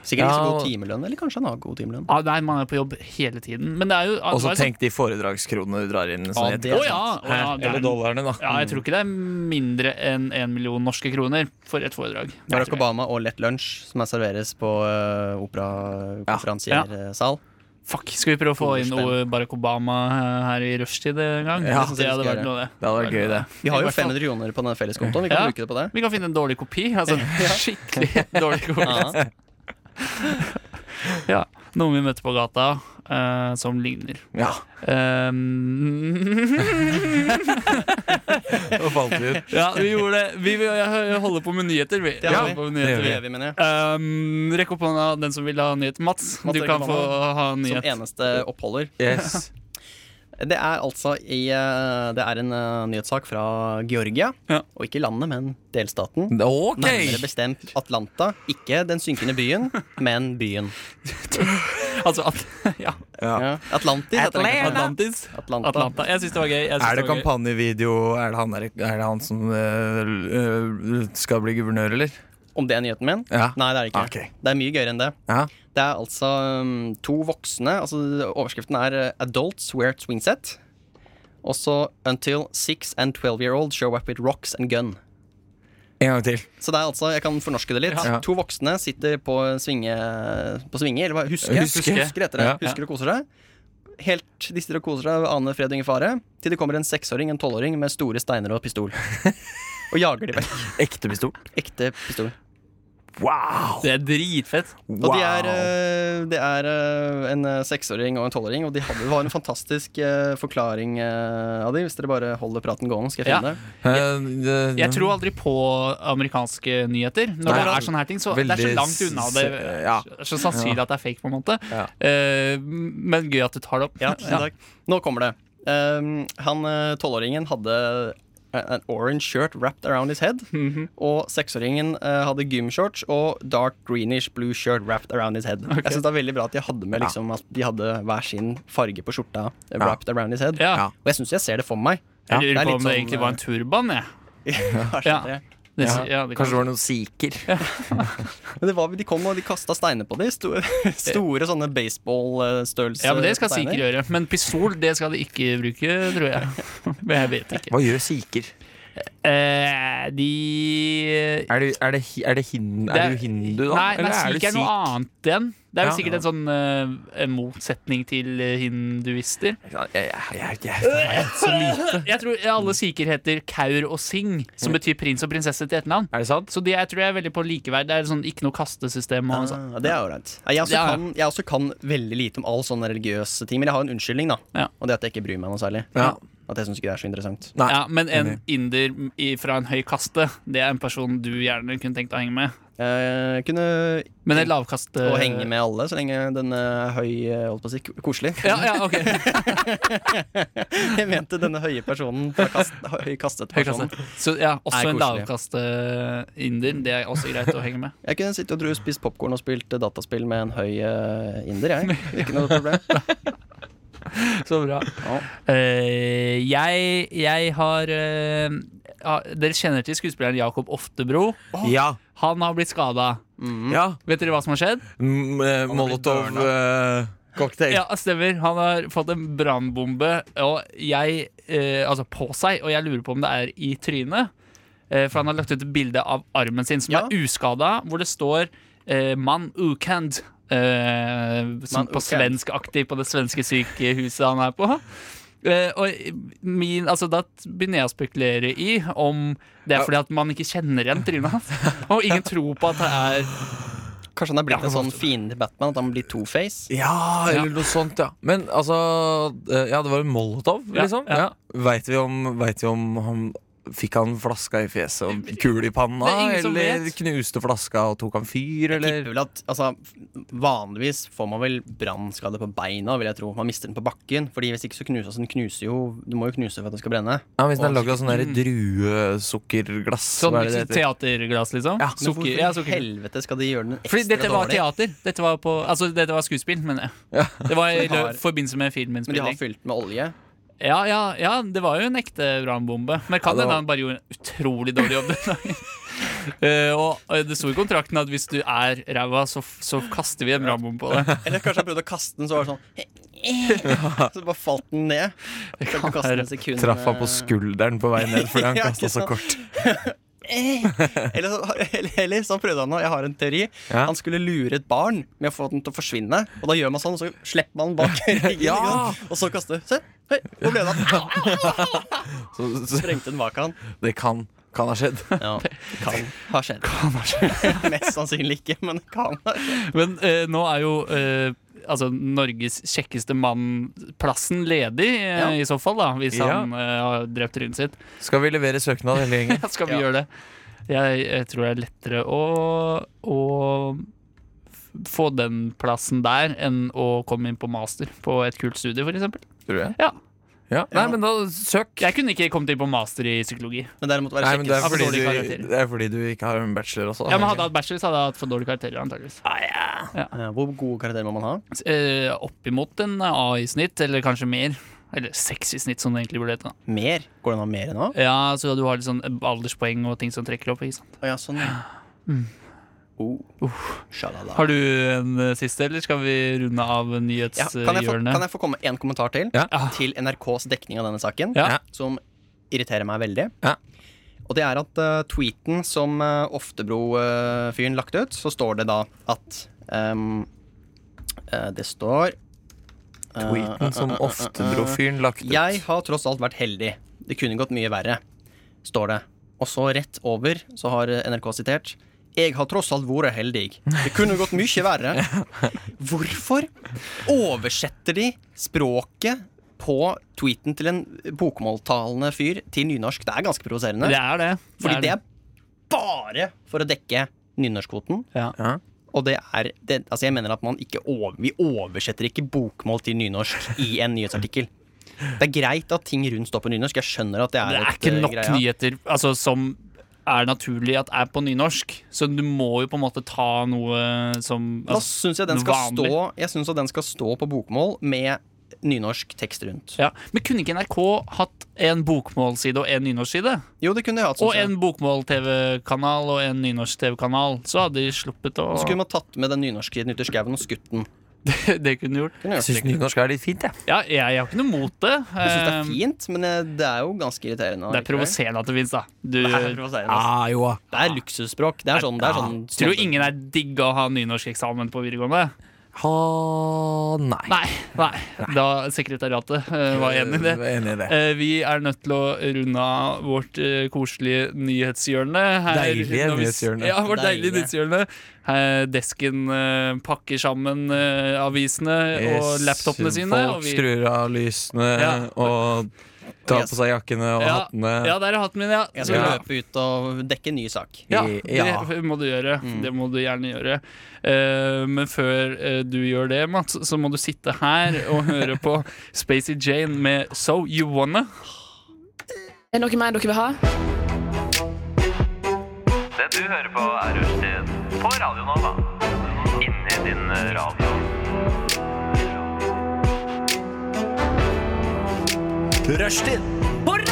C: Sikkert ikke så
D: Ja, og-
C: god timelønn, eller kanskje han har god timelønn.
B: Ah, nei, man er på jobb hele tiden. Men det er jo det
D: Og så
B: var jo
D: tenk de foredragskronene du drar inn.
C: Ja,
D: Sånn,
C: det er
B: sånn- Å ja, å ja, det
D: Eller
B: er,
D: dollarene, da.
B: ja, jeg tror ikke det er mindre enn én million norske kroner for et foredrag.
C: Barack Obama og Lett Lunsj, som er serveres på uh, operakonferansiersal.
B: Fuck, Skal vi prøve å få inn noe Barack Obama eh, her i rushtid en gang?
D: Ja,
B: det hadde vært noe, det.
D: Det hadde vært gøy, det.
C: Vi har jo
B: I hvert fall.
C: 500 kroner på den felleskontoen. Vi kan
B: Ja.
C: bruke det på det.
B: Vi kan finne en dårlig kopi. Altså en skikkelig dårlig kopi.
C: Ja.
B: Ja. Noen vi møter på gata eh, som ligner.
D: Ja.
B: Um,
D: Og falt vi ut.
B: Ja, vi gjorde det. Vi vil jeg holder på med nyheter, vi.
C: Det har
B: Jeg holder
C: vi.
B: på med
D: Det
B: nyheter.
D: gjør
C: Det gjør vi, mener jeg.
B: Um, rekk opp hånda, den som vil ha nyhet. Mats,
C: Mats
B: du
C: rekker
B: kan
C: opp
B: få ha en nyhet.
C: Som eneste oppholder.
D: Yes.
C: Det er altså i eh, Det er en eh, nyhetssak fra Georgia.
B: Ja.
C: Og ikke landet, men delstaten.
D: Ok!
C: Nærmere bestemt Atlanta. Ikke den synkende byen, men byen.
B: Altså, at, ja.
C: Ja. Atlantis. heter den kanskje.
D: Atlantis.
C: Atlanta.
B: Atlanta. Jeg syns det var gøy. Jeg synes
D: Er det
B: var gøy.
D: kampanjevideo? Er det han, der, er det han som øh, øh, skal bli guvernør, eller?
C: Om det er nyheten min?
D: Ja.
C: Nei, det er det ikke.
D: Ok.
C: Det er mye gøyere enn det.
D: Ja.
C: Det er altså um, to voksne altså Overskriften er uh, 'Adults wear swingset'. Og så 'Until six and twelve year old show up with rocks and gun'.
D: En gang til.
C: Så det er altså, jeg kan fornorske det litt.
D: Ja.
C: To voksne sitter på svinge, på svinge eller hva, huske,
D: Huske.
C: husker etter det.
D: Ja.
C: Husker og koser seg. Helt, de sitter og koser seg, aner fred og ingen fare, til det kommer en seksåring, en tolvåring med store steiner og pistol. Og jager de vekk.
D: Ekte pistol.
C: Ekte pistol.
D: Wow!
B: Det er dritfett.
C: Og de er, eh, det er eh, en eh, seksåring og en tolvåring, og de hadde, det var en fantastisk eh, forklaring eh, av de, hvis dere bare holder praten gående, skal jeg
B: Ja.
C: finne det.
D: Eh,
B: Jeg tror aldri på amerikanske nyheter. Når
D: Nei,
B: det er sånne her ting, så det er
D: veldig
B: så langt unna det.
D: s- ja.
B: Så sannsynlig at det er fake, på en måte.
D: Ja.
B: Eh, men gøy at du tar det opp.
C: Ja, tusen takk. Nå kommer det. Um, han eh, tolvåringen hadde an orange shirt wrapped around his head.
B: Mhm.
C: Og seksåringen eh, hadde gymshorts og dark greenish blue shirt wrapped around his head. Jeg synes det er veldig bra at de hadde med liksom, at de hadde hver sin farge på skjorta eh, wrapped around his head.
B: Ja.
D: Ja.
C: Og jeg syns jeg ser det for meg.
B: Jeg
C: Det er
B: lurer på
C: litt
B: om det
C: sånn,
B: egentlig var en turban. Jeg.
C: Kanskje
B: Ja.
C: det.
B: Det,
D: eh, Ja.
B: ja, det
D: Kanskje det
B: kan.
D: var noen sikher.
C: Men det var, de kom og de kasta steiner på de Store, store sånne baseballstørrelse.
B: ja, men det skal sikkert gjøre. Men pistol det skal de ikke bruke, tror jeg. Men jeg vet ikke.
D: Hva gjør sikher?
B: Eh, de
D: Er det, er det, hi- er det hin,
B: Det
D: er du hindu, da?
B: Nei, nei
D: Eller er du
B: sikh er noe annet igjen. Det er jo
D: Ja.
B: sikkert en sånn eh, en motsetning til eh, hinduister.
D: Jeg, jeg, jeg, jeg, så lite.
B: Jeg tror alle sikher heter Kaur og Singh,
D: Mm.
B: som betyr prins og prinsesse til etternavn.
D: Er det sant?
B: Så de jeg tror jeg er veldig på likeverd. Det er sånn ikke noe kastesystem. Og sånn.
C: Ah, det er ålreit. Jeg, også
B: Ja, ja.
C: kan- jeg også kan veldig lite om alle sånne religiøse ting, men jeg har en unnskyldning, da.
B: Ja.
C: Og det er at jeg ikke bryr meg noe særlig.
D: Ja.
C: At jeg syns ikke det er så interessant.
D: Nei.
B: Ja, men en inder i- fra en høy kaste, det er en person du gjerne kunne tenkt å henge med.
C: Eh, Jeg kunne
B: Men en lavkaste
C: å henge med alle, så lenge den er høy eh, holdt på å si, k- koselig.
B: Ja, ja, ok
C: Jeg mente denne høye personen. fra Kast, høy kastet
B: Høy kaste.
C: personen.
B: Så ja, også
C: Er
B: en
C: koselig.
B: lavkaste-inder. Det er også greit å henge med.
C: Jeg kunne sitte og dro, spist popkorn og spilt eh, dataspill med en høy eh, inder, jeg. Ikke noe problem.
B: Så bra.
C: Ja.
B: Eh, jeg, jeg har eh, ja, Dere kjenner til skuespilleren Jakob Oftebro.
D: Ja.
B: Han har blitt skada. Mm.
D: ja.
B: Vet dere hva som har skjedd?
D: M eh, Molotov eh, cocktail.
B: Ja, stemmer. Han har fått en brannbombe og jeg, eh, altså på seg, og jeg lurer på om det er i trynet. Eh, for han har lagt ut et bilde av armen sin som
C: Ja.
B: er uskada, hvor det står eh, 'man ukend'. Eh, som
C: Man
B: på
C: ukend.
B: svenskaktig på det svenske sykehuset han er på. Eh, og min, altså Da begynner jeg å spekulere i om det er fordi at man ikke kjenner igjen trynet hans. Og ingen tror på at det er
C: Kanskje han er blitt
B: Ja,
C: en sånn fiende til Batman, at han blir two-face?
D: Ja, eller
B: Ja.
D: noe sånt, ja. Men altså eh, Ja, det var en Molotov,
B: Ja,
D: liksom.
B: ja.
D: Ja. Veit vi om, vet vi om han Fikk han flaska i fjeset og kul i panna?
B: Det er ingen som
D: Eller
B: vet.
D: knuste flaska og tok han fyr,
C: Tipper
D: eller?
C: vel at, altså, vanligvis får man vel brannskade på beina, vil jeg tro. Man mister den på bakken. Fordi hvis ikke så knuses den. knuser jo Du må jo knuse for at den skal brenne.
D: Ja, hvis den er lagd av sånn der druesukkerglass
B: sånn
D: hva er det det heter?
B: teaterglass, liksom.
D: Ja,
B: Ja,
D: men
C: Men
B: Sukker,
C: hvorfor
B: ja,
C: i
B: sukkerglass.
C: helvete skal de gjøre den ekstra
B: Fordi dette var
C: dårlig?
B: teater. Dette var, på, altså, dette var skuespill, mener jeg.
D: Ja.
B: Det var
C: de
B: i
C: har-
B: lø- forbindelse med
C: Men de har
B: filminnspilling.
C: fylt med olje.
B: Ja, ja, ja, det var jo en ekte brannbombe. Men
D: Ja,
B: kan
D: det
B: hende han
D: var-
B: bare gjorde en utrolig dårlig jobb den dagen. Eh, og eh, det sto i kontrakten at hvis du er ræva, så, f- så kaster vi en brannbombe på deg.
C: Eller kanskje jeg prøvde å kaste den, så var det sånn Så bare falt den ned. Prøvde å kaste den et sekund,
D: Traff han
C: eh,
D: på skulderen på vei ned fordi han
C: Ja,
D: kasta
C: ikke
D: så
C: sant?
D: kort.
C: eller, så, eller, eller så prøvde han å Jeg har en teori.
D: Ja.
C: Han skulle lure et barn med å få den til å forsvinne. Og da gjør man sånn, og så slipper man den bak ryggen.
D: Ja.
C: ikke sant? Og så kaster du. Se, hei, hvor ble det av?
D: Så, så
C: Sprengte den bak han.
D: det kan, kan ha skjedd.
C: Ja, det kan ha skjedd. Mest sannsynlig ikke, men det kan ha skjedd.
B: Men eh, nå er jo eh, altså, Norges kjekkeste mann-plassen ledig, eh,
C: Ja.
B: i så fall, da, hvis
D: Ja.
B: han eh, har drept trynet sitt.
D: Skal vi levere søknad, hele gjengen?
B: Ja, skal vi
C: Ja.
B: gjøre det? Jeg, jeg tror det er lettere å, å f- få den plassen der enn å komme inn på master på et kult studie, f.eks.
D: Tror jeg.
B: Ja.
D: Ja. Nei, men da søk.
B: Jeg kunne ikke kommet inn på master i psykologi.
C: Men det måtte være
D: Nei, men det er,
B: for
D: fordi
B: dårlig
D: du,
B: karakter.
D: det er fordi du ikke har en bachelor også.
B: Ja, men Hadde jeg hatt bachelor, så hadde jeg hatt for dårlige karakterer. antageligvis
C: Eh, Hvor gode karakterer må man ha?
B: eh, Oppimot en A i snitt, eller kanskje mer. Eller seks i snitt, som det egentlig burde hete. da.
C: Mer? Går det an å ha mer enn A?
B: Ja, så du har litt sånn alderspoeng og ting som trekker opp. ikke sant?
C: Å ja, sånn.
D: Mm.
C: Oh. Shalala.
B: Har du en eh, siste, eller skal vi runde av
C: Ja, kan, jeg få, kan
B: nyhetshjørnet?
C: jeg få komme med en kommentar til?
D: Ja.
C: Til NRKs dekning av denne saken,
B: Ja.
C: som irriterer meg veldig.
D: Ja.
C: Og det er at eh, tweeten som eh, Oftebro-fyren lagte ut, så står det da at ehm, eh, Det står eh,
D: Tweeten som Oftebro-fyren lagt ut.
C: Jeg har tross alt vært heldig. Det kunne gått mye verre, står det. Og så rett over så har NRK sitert. Jeg har tross alt vært heldig. Det kunne gått mye verre. Hvorfor oversetter de språket på tweeten til en bokmåltalende fyr til nynorsk? Det er ganske provoserende.
B: Det er det.
C: Fordi det er bare for å dekke nynorskkvoten.
B: Ja.
D: Ja.
C: Og det er det, Altså, jeg mener at man ikke over, Vi oversetter ikke bokmål til nynorsk i en nyhetsartikkel. Det er greit at ting rundt står på nynorsk. Jeg skjønner at det er,
B: Det er
C: et,
B: ikke
C: eh,
B: nok
C: greia.
B: nyheter altså, som er naturlig at er på nynorsk. Så du må jo på en måte ta noe som
C: Da
B: altså,
C: syns jeg den
B: noe
C: skal
B: vanlig.
C: stå Jeg synes at den skal stå på bokmål med nynorsk tekst rundt.
B: ja. Men kunne ikke NRK hatt en bokmålside og en nynorskside?
C: Jo, det kunne jeg hatt.
B: Og
C: synes jeg.
B: en bokmål-TV-kanal og en nynorsk-TV-kanal? Så hadde de sluppet å
C: Så kunne man tatt med den nynorsksiden ut i skauen og skutt den.
B: Det kunne de gjort.
C: Kunne
D: Jeg
C: jeg
D: syns
C: gjort det.
D: nynorsk er litt fint, jeg.
B: Ja, jeg, jeg har ikke noe mot det.
C: Jeg syns det
B: Eh,
C: er fint, men eh, det er jo ganske irriterende.
B: Det er
C: allikevel.
B: provoserende at det fins, da. Du
C: Det er provoserende. ass.
D: jo.
C: Det er luksusspråk. Det er sånn, det er sånn
B: tror jo ingen er digga å ha nynorskeksamen på videregående.
D: Ha nei.
B: Nei, nei. Da sekretariatet eh, var enig i det.
D: Jeg er Enig i det.
B: Eh, Vi er nødt til å runde av vårt eh, koselige nyhetshjørne. her.
D: Deilige
B: Når vi s-
D: nyhetshjørne.
B: Ja, vårt deilige
C: Deilige.
B: nyhetshjørne. Her Desken eh, pakker sammen eh, avisene og laptopene sine.
D: Folk
B: Og vi,
D: skrur av lysene
B: Ja.
D: og tar på seg jakkene og
B: Ja,
D: hattene.
B: ja, der er hatten min, ja.
C: Jeg skal
B: Ja.
C: løpe ut og dekke en ny sak.
B: Ja,
D: I-
B: det
D: ja. Mm.
B: må du gjøre. Det må du gjerne gjøre. Eh, men før eh, du gjør det, Mats, så må du sitte her og høre på Spacey Jane med So You Wanna.
F: Er det noe mer dere vil ha?
G: Det du hører på er Rushtid på Radio Nova. Inni din eh, radio.
A: Rushtid
G: Kult.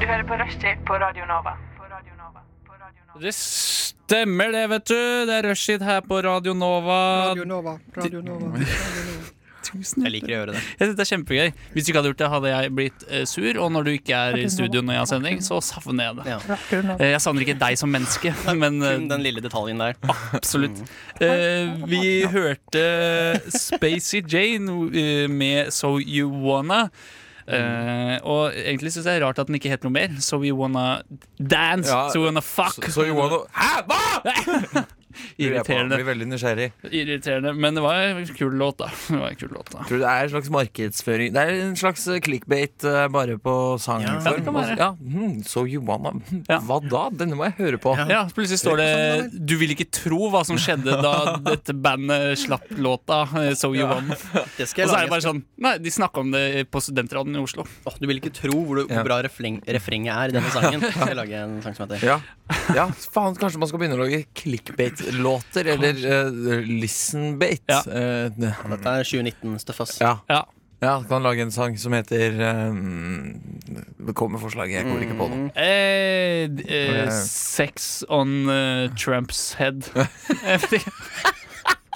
H: Du hører på Rushtid på Radio Nova. På Radio Nova. På Radio Nova.
B: Det stemmer det, vet du. Det er rushtid her på Radio Nova. Tusen
C: Jeg liker å gjøre det.
B: Jeg synes det er kjempegøy. Hvis du ikke hadde gjort det, hadde jeg blitt eh, sur. Og når du ikke er i studio når jeg har sending, så savner jeg det.
C: Ja.
B: Eh, jeg savner ikke deg som menneske, men eh,
C: Kun den lille detaljen der.
B: Absolutt. Eh, vi hørte Spacey Jane eh, med So You Wanna. Eh, og egentlig syns jeg det er rart at den ikke heter noe mer. So You Wanna Dance,
D: Ja,
B: So You Wanna Fuck.
D: Så you wanna Hæ, hva?! Lurer jeg på.
B: irriterende,
D: Blir veldig nysgjerrig.
B: irriterende. Men det var en kul låt, da. Det var en kul låt, da.
D: Tror du det er en slags markedsføring Det er en slags clickbait eh, bare på sangform.
C: Ja,
B: det kan være.
D: Ja, mhm, so you wanna
B: Ja.
D: Hva da? Denne må jeg høre på.
B: Ja, Plutselig står
D: Sånn
B: det 'Du vil ikke tro hva som skjedde da dette bandet slapp låta', eh, So You Wanna.
C: Det skal
B: Og
C: jeg
B: så er
C: lage.
B: det bare sånn Nei, de snakka om det på studentradioen i Oslo.
C: Åh, du vil ikke tro hvor, du, hvor
D: Ja.
C: bra refleng, refrenget er i denne sangen. Jeg skal lage en sang som heter
D: Ja. ja, faen, kanskje man skal begynne å lage clickbait-låter, eller eh, listenbait.
B: Ja.
D: Eh, ne-
C: Dette er 2019-stuff, ass.
D: ja.
B: Ja
D: ja, kan lage en sang som heter eh, Kom med forslaget, jeg kommer ikke på
B: Mm.
D: noe.
B: Eh, d- eh,
D: Ok.
B: sex on eh, Trumps head.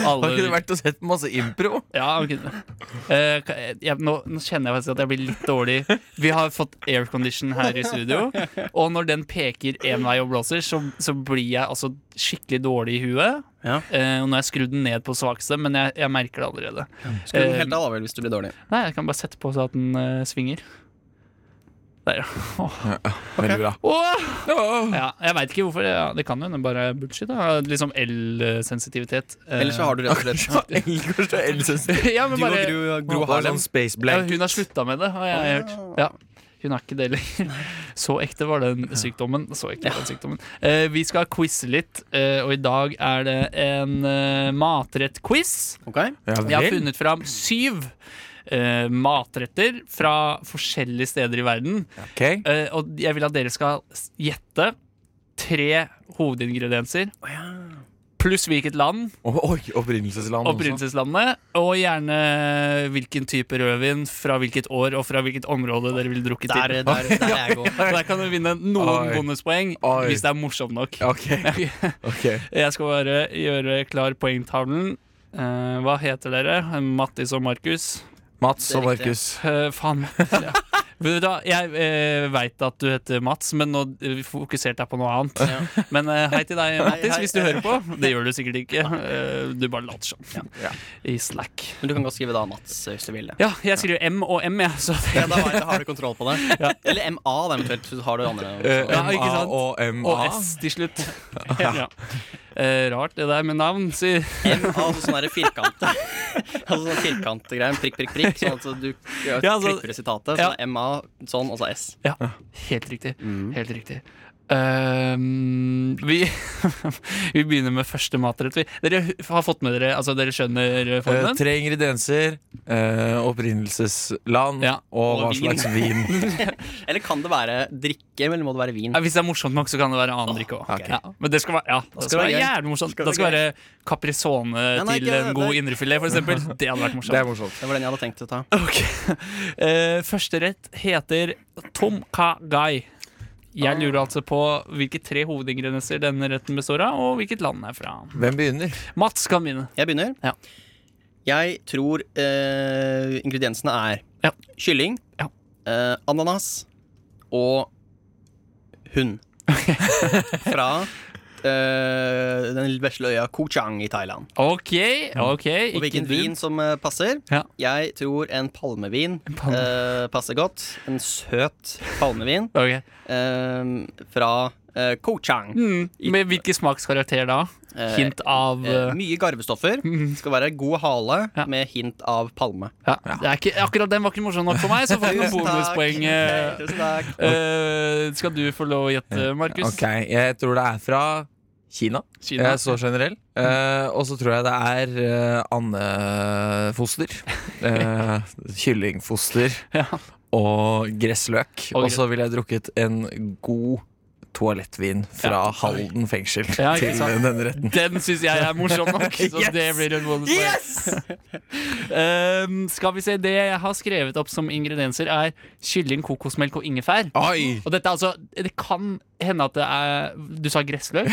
D: Har ikke
B: Alle
D: det vært å sett masse impro?
B: Ja, han kunne det. Eh, ka- jeg, nå, nå kjenner jeg faktisk at jeg blir litt dårlig. Vi har fått aircondition her i studio, og når den peker én vei og blåser, så, så blir jeg altså skikkelig dårlig i huet.
C: Ja.
B: Eh, og nå har jeg skrudd den ned på svakeste, men jeg, jeg merker det allerede. Eh,
C: Skru den helt av vel hvis du blir dårlig.
B: Nei, jeg kan bare sette på så at den eh, svinger. eh, Der, ja. Åh.
D: Veldig bra.
B: Åh!
D: Åh.
B: ja jeg veit ikke hvorfor. Ja, det kan jo hende bare bullshit. Da. Liksom elsensitivitet. Eh,
C: Ellers så har du rett og slett
D: Kanskje elsensitiv.
B: ja, men
C: Du og
B: bare,
C: Gro, Gro
D: Hun har
C: Harlem.
D: sånn space
B: ja,
D: blanket.
B: Hun har slutta med det, har jeg hørt. Ja, hun er ikke det lenger. Så ekte var den sykdommen. Så ekte var den sykdommen Eh, Vi skal quize litt, eh, og i dag er det en eh, matrettquiz.
C: Ok.
B: Jeg har funnet fram syv eh, matretter fra forskjellige steder i verden.
D: Ok.
B: Eh, og jeg vil at dere skal s- gjette tre hovedingredienser. Pluss hvilket land.
D: Å, Oi, opprinnelsesland også.
B: Opprinnelseslandet. Og gjerne hvilken type rødvin, fra hvilket år og fra hvilket område dere ville drukket
C: Der,
B: til.
C: der, der er jeg god.
B: Så der kan du vinne noen
D: Oi.
B: bonuspoeng
D: Oi.
B: hvis det er morsomt nok.
D: Ok, ok.
B: Jeg skal bare gjøre klar poengtavlen. Eh, hva heter dere? Mattis og Markus?
D: Mats
C: Det er
D: og
C: riktig.
D: Markus.
B: Eh, faen. Mattis, Ja. Vet du hva, Jeg eh, veit at du heter Mats, men nå eh, fokuserte jeg på noe annet.
C: Ja.
B: Men eh, hei til deg, Mattis,
C: hei.
B: hvis du hører på. Det gjør du sikkert ikke. Eh, du bare later som.
D: Ja.
B: I slack.
C: Men du kan godt skrive da Mats hvis du vil det.
B: Ja, jeg skriver M og M, jeg. Så det,
C: Ja, da har- da har du kontroll på det. Eller MA, da eventuelt. Så har du andre.
D: Eh,
C: også.
B: Ja, ikke
D: MA
B: sant?
D: og MA.
B: og S til slutt. Ja. Eh, rart det der med navn, sier
C: MA, altså sånn derre firkant. altså sånn firkantgreier. Prikk, prikk, prikk. Sånn at du ja,
B: Ja, altså-
C: klipper i sitatet.
B: ja.
C: Sånn MA, sånn, og så S.
B: Ja, helt riktig. Helt riktig. Ehm, vi, vi begynner med første matrett. Vi- Dere har fått med dere Altså, dere skjønner
D: Eh,
B: formen?
D: tre ingredienser, eh, opprinnelsesland
B: Ja,
D: og hva
C: og vin.
D: slags vin.
C: Eller kan det være drikke, eller må det være vin?
B: Ja, hvis det er morsomt nok, så kan det være annen drikke òg.
D: ok.
B: Ja, men det skal være, ja, det skal
C: det
B: være
C: være gøy.
B: jævlig morsomt.
C: Skal
B: Det
C: det
B: skal
C: være
B: være caprisone
C: nei,
B: til
C: ikke det,
B: en god
C: det-
B: indrefilet, for eksempel. Det hadde vært
D: Det er
B: morsomt.
D: morsomt.
C: Det var den jeg hadde tenkt å ta.
B: Ok. Eh, første rett heter tom ka gai.
D: Ah.
B: Jeg lurer altså på hvilke tre hovedingredienser denne retten består av, og hvilket land den er fra.
D: Hvem begynner?
B: Mats kan vinne.
C: Jeg begynner.
B: Ja.
C: Jeg tror eh, ingrediensene er
B: Ja.
C: kylling,
B: Ja.
C: eh, ananas og hund. Fra eh, den vesle øya Koh Chang i Thailand.
B: Ok, ok.
C: Og hvilken
B: du.
C: vin som eh, passer?
B: Ja.
C: Jeg tror en palmevin
B: palme-
C: eh, passer godt. En søt palmevin
B: Ok.
C: eh, fra eh, Koh Chang.
B: Mm. Med hvilken smakskarakter da?
C: Eh,
B: Hint av
C: Eh,
B: eh, Mhm.
C: mye garvestoffer. Skal være god hale
B: Ja.
C: med hint av palme.
B: ja. det er ikke, Akkurat den var ikke morsom nok for meg, så får du noen bonuspoeng. eh.
C: Tusen takk.
B: Eh, skal du få lov å gjette, Markus?
D: Eh, Ok, Jeg tror det er fra Kina.
B: Kina.
D: Jeg er så generell. Eh, og så tror jeg det er eh, andefoster. Eh, kyllingfoster.
B: Ja.
D: Og gressløk.
B: Og
D: Og så ville jeg drukket en god toalettvin fra
B: Ja.
D: Halden fengsel
B: Ja, ikke
D: til
B: sant?
D: eh, denne retten.
B: Den syns jeg er morsom nok, så
D: Yes!
B: det blir en bonuspoeng. Eh, skal vi se, Det jeg har skrevet opp som ingredienser, er kylling, kokosmelk og ingefær.
D: Oi!
B: Og dette er altså, Det kan hende at det er Du sa gressløk?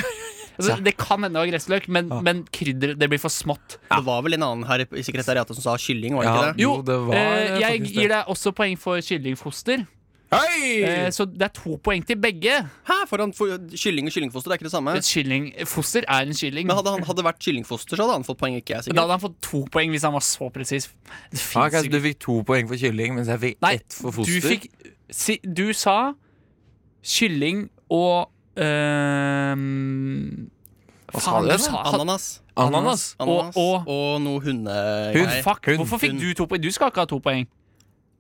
B: Altså, det kan hende det var gressløk, men, men krydder, det blir for smått.
C: Det var vel en annen her i sekretariatet som sa kylling, var det
D: Ja.
C: ikke det?
D: Jo, det var,
B: eh, jeg
D: faktisk det.
B: gir deg også poeng for kyllingfoster. Eh,
D: Hei!
B: så det er to poeng til begge.
C: Hæ, foran for, Kylling og kyllingfoster det er ikke det samme.
B: Et Kyllingfoster er en kylling.
C: Men hadde han hadde det vært kyllingfoster, så hadde han fått poeng, ikke jeg.
B: Da hadde
C: sikkert
B: han fått to poeng hvis han var så presis. Det finnes
D: Ah, ok, så
B: ikke.
D: du fikk to poeng for kylling, mens jeg fikk
B: Nei,
D: ett for
B: Du
D: foster.
B: fikk si, Du sa kylling og øhm,
D: Hva sa
B: Faen, du
D: du igjen,
B: sa
C: Ananas.
D: Ananas.
C: Ananas.
B: Og- og-
C: noe hunde...
D: Hund.
C: Nei.
B: Fuck,
D: Hun-
B: hvorfor fikk
C: hun-
B: du to poeng? Du skal ikke ha to poeng.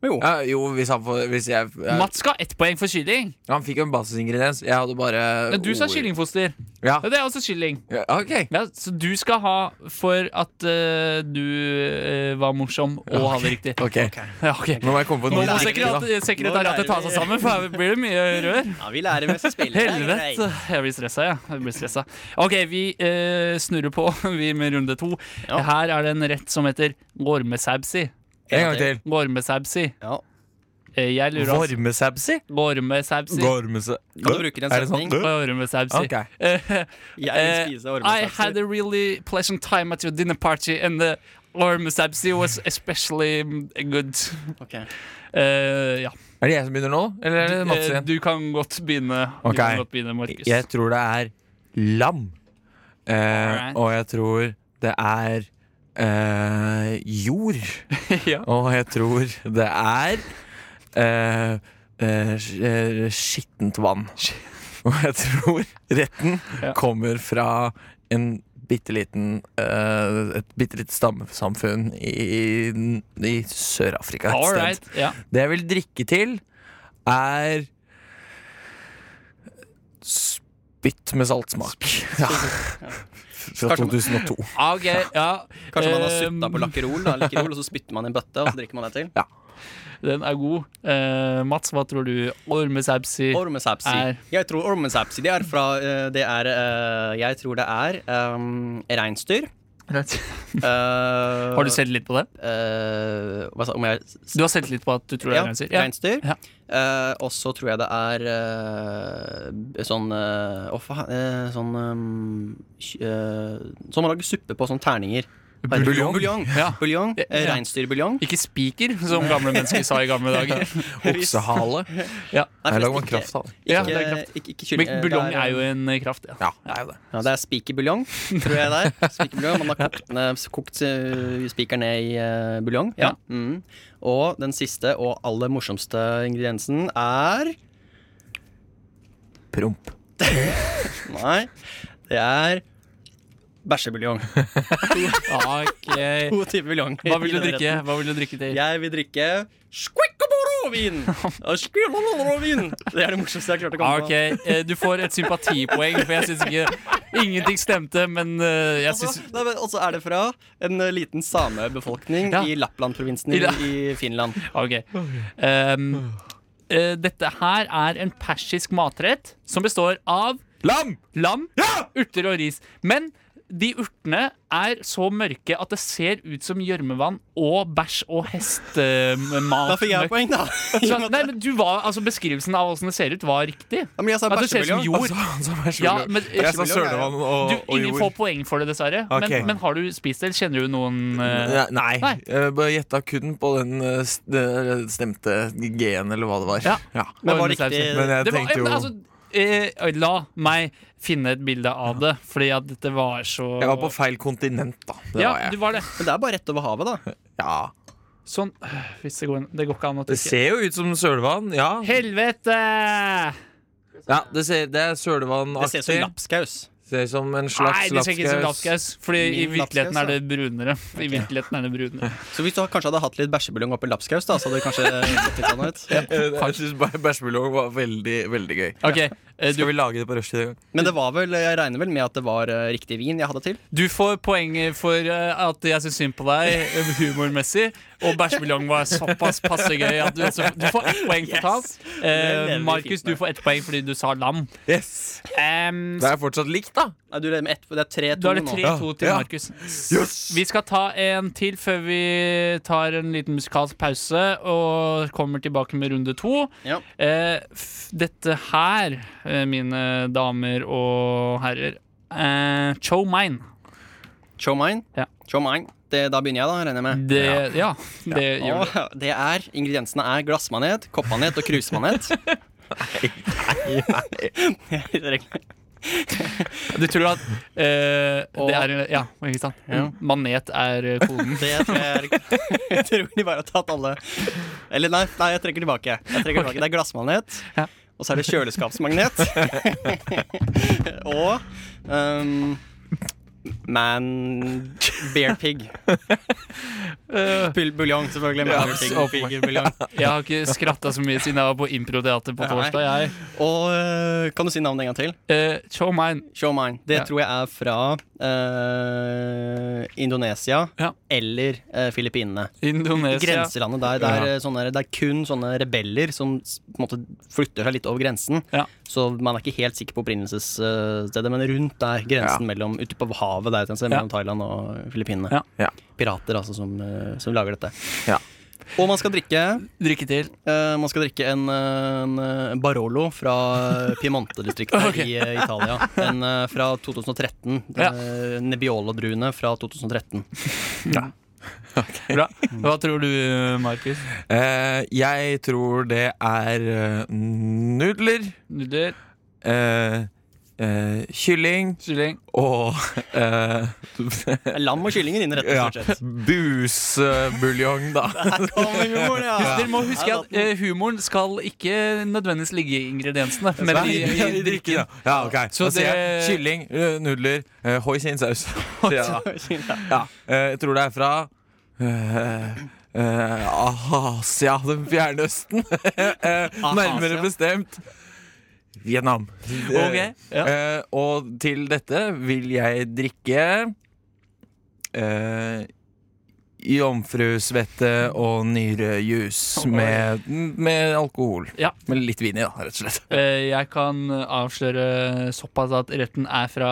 C: Jo.
D: Ja, jo, hvis han får hvis jeg, jeg,
B: Mats skal ha ett poeng for kylling.
D: Han fikk jo en basisingrediens. Jeg hadde bare
B: Men du sa
D: ord. Ah.
B: kyllingfoster.
D: Ja.
B: Ja, det er også kylling.
D: Ja, ok.
B: Ja, så du skal ha for at øh, du øh, var morsom og hadde riktig.
D: Ok.
B: Ja, ok.
D: Nå må jeg komme på
B: Nå må
D: noe.
B: sekretariat- sekretariatet ta seg sammen, for her blir det mye rør.
C: Ja, vi lærer mens vi spiller.
B: Helvete! Jeg blir stressa, jeg. jeg blir stressa. OK, vi eh, snurrer på Vi med runde to.
C: Ja.
B: Her er det en rett som heter gormesabsi.
D: En gang til.
B: Gormesabsi.
C: Ja.
B: Eh, Jeg lurer altså
D: Vormesabsi?
B: Gormesabsi.
D: Gormese...
C: Kan du bruke den
D: Er det
C: setning?
D: sant?
B: Gormesabsi.
D: Ok.
B: Eh,
C: Jeg vil
B: eh,
C: spise
B: I had
C: ormesakser.
B: a really pleasant time at your dinner party, and the gormesabsi was especially good.
C: Ok.
B: Eh, ja.
D: Er det jeg som begynner nå, eller er det Mats
B: Eh,
D: igjen?
B: du kan godt begynne, Du
D: Ok.
B: kan godt begynne Markus.
D: Jeg tror det er lam. Eh,
B: Alright.
D: og jeg tror det er eh, jord.
B: Ja.
D: Og jeg tror det er eh, eh, sk- eh, skittent vann. Og jeg tror retten
B: Ja.
D: kommer fra en bitte liten eh, Et bitte lite stammesamfunn i, i, i Sør-Afrika et
B: All
D: sted.
B: right. Ja.
D: Det jeg vil drikke til, er Spytt med saltsmak. Ja. Fra
C: Kanskje-
D: 2002.
B: Ah, Ok, ja.
C: Kanskje man har
B: Ehm,
C: sutta på lakkerol, da, lakkerol, og så spytter man i en bøtte, og så drikker man det til.
B: Den er god. Eh, Mats, hva tror du ormesabsi
C: Ormesapsi.
B: Er-
C: Jeg tror ormesapsi det er fra eh, Det er eh, Jeg tror det er um, reinsdyr. Eh,
B: Har du sett litt på det?
C: eh, hva sa om jeg
B: Du har sett litt på at du tror det
C: ja,
B: er reinsdyr? Ja.
C: reinsdyr.
B: Ja.
C: Eh, og så tror jeg det er eh, b- sånn eh, Å, faen. eh, sånn um, kj- eh, Sånn man lager suppe på, sånn terninger.
D: Buljong.
C: Buljong.
B: Ja.
C: Buljong.
B: Ja.
C: eh, Reinsdyrbuljong.
B: Ikke spiker, som gamle mennesker sa i gamle dager.
D: Oksehale.
C: Nei,
D: Her
C: forresten,
D: lager man
C: ikke-
D: kraft av det.
B: Ja,
C: Ikke,
B: det er kraft.
C: ikke, ikke kylling.
B: Men
C: eh,
B: buljong
C: det
B: er jo en kraft, ja.
D: Ja, det er jo det.
C: Ja, det er spikerbuljong, tror jeg det er. Spikerbuljong, Man har kokt, ned, kokt eh, spiker ned i eh, buljong. Ja. Mm. Og den siste og aller morsomste ingrediensen er
D: Promp.
C: Nei, det er bæsjebuljong.
B: Ok.
C: To typer buljong.
B: Hva vil du drikke? Hva vil du drikke til?
C: Jeg vil drikke squikkaboro-vin! Og squilolololo-vin. Det er det morsomste jeg har klart å komme
B: Ok, eh, Du får et sympatipoeng, for jeg syns ikke Ingenting stemte, men eh, jeg
C: på.
B: syns
C: Altså, Nei, men også er det fra en eh, liten samebefolkning
B: Ja.
C: i Lappland-provinsen
B: I
C: i,
B: La-
C: i Finland.
B: Ok. Ehm, eh, dette her er en persisk matrett som består av
D: Lam!
B: lam, urter og ris. Men de urtene er så mørke at det ser ut som gjørmevann og bæsj og hestemat.
C: Da fikk jeg poeng, da. I og med at-
B: Nei, men du var, altså Beskrivelsen av åssen det ser ut, var riktig.
C: Ja, men jeg sa
B: At det ser ut som
C: bæsjebuljong.
B: jord.
D: Altså, han som er så
B: Ja,
D: glad.
B: men-
D: jeg sa
C: Bæsjebuljong er jo-
D: sølevann og,
B: Du,
D: og
B: ingen får
D: jord.
B: poeng for det, dessverre.
D: Ok.
B: Men, men har du spist det? eller Kjenner du noen eh,
D: Nei. Nei.
B: Nei.
D: Jeg bare gjetta kun på den eh, s- det stemte G-en, eller hva det var.
B: Ja.
C: Men var
B: ormesausen?
C: riktig
D: Men jeg
B: Det var,
D: tenkte jo
B: men altså, eh, la meg finne et bilde av det, fordi at dette var så
D: Jeg var på feil kontinent, da. Det
B: ja,
D: var
B: du
D: jeg.
B: var det.
C: Men det er bare rett over havet, da.
D: Ja.
B: Sånn. øh, Hvis det går inn. Det går ikke an å
D: Det
B: trykke.
D: ser jo ut som sølevann. Ja,
B: Helvete!
D: ja det, ser, det er
C: Det ser ut som
D: sølevannaktig.
C: lapskaus.
D: Ser ut som en
B: Nei,
D: slags
B: det ser ikke ut som lapskaus, Fordi i
C: Min
B: virkeligheten
C: lapskaus,
B: er det brunere. I virkeligheten er det brunere
C: Så hvis du kanskje hadde hatt litt bæsjebuljong oppi lapskaus, da, så hadde det kanskje sett litt sånn ut.
D: Jeg syns bæsjbulong var veldig, veldig gøy.
B: Ok, eh,
D: Skal
B: du,
D: vi lage det på rushtid en gang?
C: Men det var vel, jeg regner vel med at det var eh, riktig vin jeg hadde til.
B: du får poeng for eh, at jeg syns synd på deg eh, humormessig. Og bæsjbuljong var såpass passe gøy at du, altså, du får ett poeng totalt.
C: Det
B: Eh,
C: lever vi
B: Markus,
C: fint
B: du
C: med.
B: får ett poeng fordi du sa lam.
D: Yes
B: Em,
D: Det er fortsatt likt, da.
C: Nei, du leder med ett, det er
B: da er
C: tre-to
B: det
C: nå.
B: 3-2 til
D: Ja.
B: Markus. Vi skal ta en til før vi tar en liten musikalsk pause og kommer tilbake med runde to.
C: Ja.
B: Eh, f- dette her, eh, mine damer og herrer eh, Show mine.
C: Show mine.
B: Ja.
C: Show mine. Det, da begynner jeg, da, regner jeg med.
B: Det, ja. det gjør det.
C: Og det er, Ingrediensene er glassmanet, koppmanet og krusmanet.
B: Du tror at eh,
C: Og-
B: det er Ja, ikke sant?
C: Ja.
B: Manet er eh, koden.
C: Det tror jeg er Jeg tror de bare har tatt alle Eller nei, nei jeg trekker tilbake. Jeg trekker tilbake. Det er glassmanet,
B: Ja.
C: og så er det kjøleskapsmagnet. og um, Man Bear pig.
B: Eh.
C: Bul- Buljong, selvfølgelig. Man, bear pig, pig, buljong.
B: Jeg har ikke skratta så mye siden jeg var på improteater på
C: Nei.
B: torsdag. Jeg.
C: Og øh, kan du si navnet en gang til?
B: Eh, show mine.
C: Show mine. Det
B: Ja.
C: tror jeg er fra øh, Indonesia
B: Ja.
C: eller øh, Filippinene.
B: Indonesia.
C: Grenselandet der, det er, sånne, det er kun sånne rebeller som s- på en måte flytter seg litt over grensen.
B: Ja.
C: Så man er ikke helt sikker på opprinnelsesstedet, men rundt der, grensen mellom ute på havet der, et sted, mellom Thailand og Filippinene.
B: Ja.
D: Ja.
C: Pirater, altså, som, eh, som lager dette.
D: Ja.
C: Og man skal drikke
B: Drikke til.
C: eh, Man skal drikke en, eh, en eh, Barolo fra eh, Piemonte-distriktet
B: Ok.
C: i eh, Italia. En eh, fra 2013.
B: Ja.
C: eh, Nebbiolo-druene fra 2013.
B: Bra. Hva tror du, Markus?
D: Eh, jeg tror det er eh, nudler,
B: Nudler.
D: eh, eh, kylling
B: Kylling.
D: og eh,
C: Lam og kyllingen inn i retten,
D: ja,
C: stort sett.
D: busbuljong, da.
B: Dere må huske at eh, humoren skal ikke nødvendigvis ligge i ingrediensene, men i, i, i drikken.
D: Ja, ok.
B: Så
D: da sier jeg
B: det-
D: kylling, eh, nudler, eh, hoi sin saus. Sier jeg da. ja. eh, jeg tror det er fra eh, eh, Asia, den fjerne østen. Eh, Nærmere
C: Asia.
D: bestemt Vietnam.
B: Ok, ja.
D: Eh, og til dette vil jeg drikke eh, Jomfrusvette og nyrejus med, med alkohol.
B: Ja.
D: Med litt vin i, da, rett og slett.
B: Eh, Jeg kan avsløre såpass at retten er fra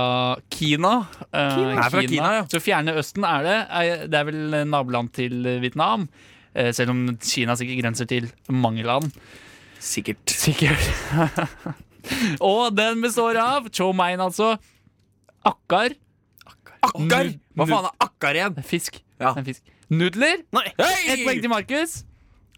B: Kina. Eh,
D: Er fra Kina, ja.
B: Så Fjerne Østen er det. Eh, Det er vel naboland til Vietnam. Eh, Selv om Kina sikkert grenser til mange land.
D: Sikkert.
B: Sikkert. Og den består av chow mein, altså. Akkar.
D: Akkar!
B: Nu-
D: Hva faen er akkar igjen?
B: Fisk.
D: Ja.
B: En fisk. Nudler.
C: Nei!
B: Ett poeng til Markus.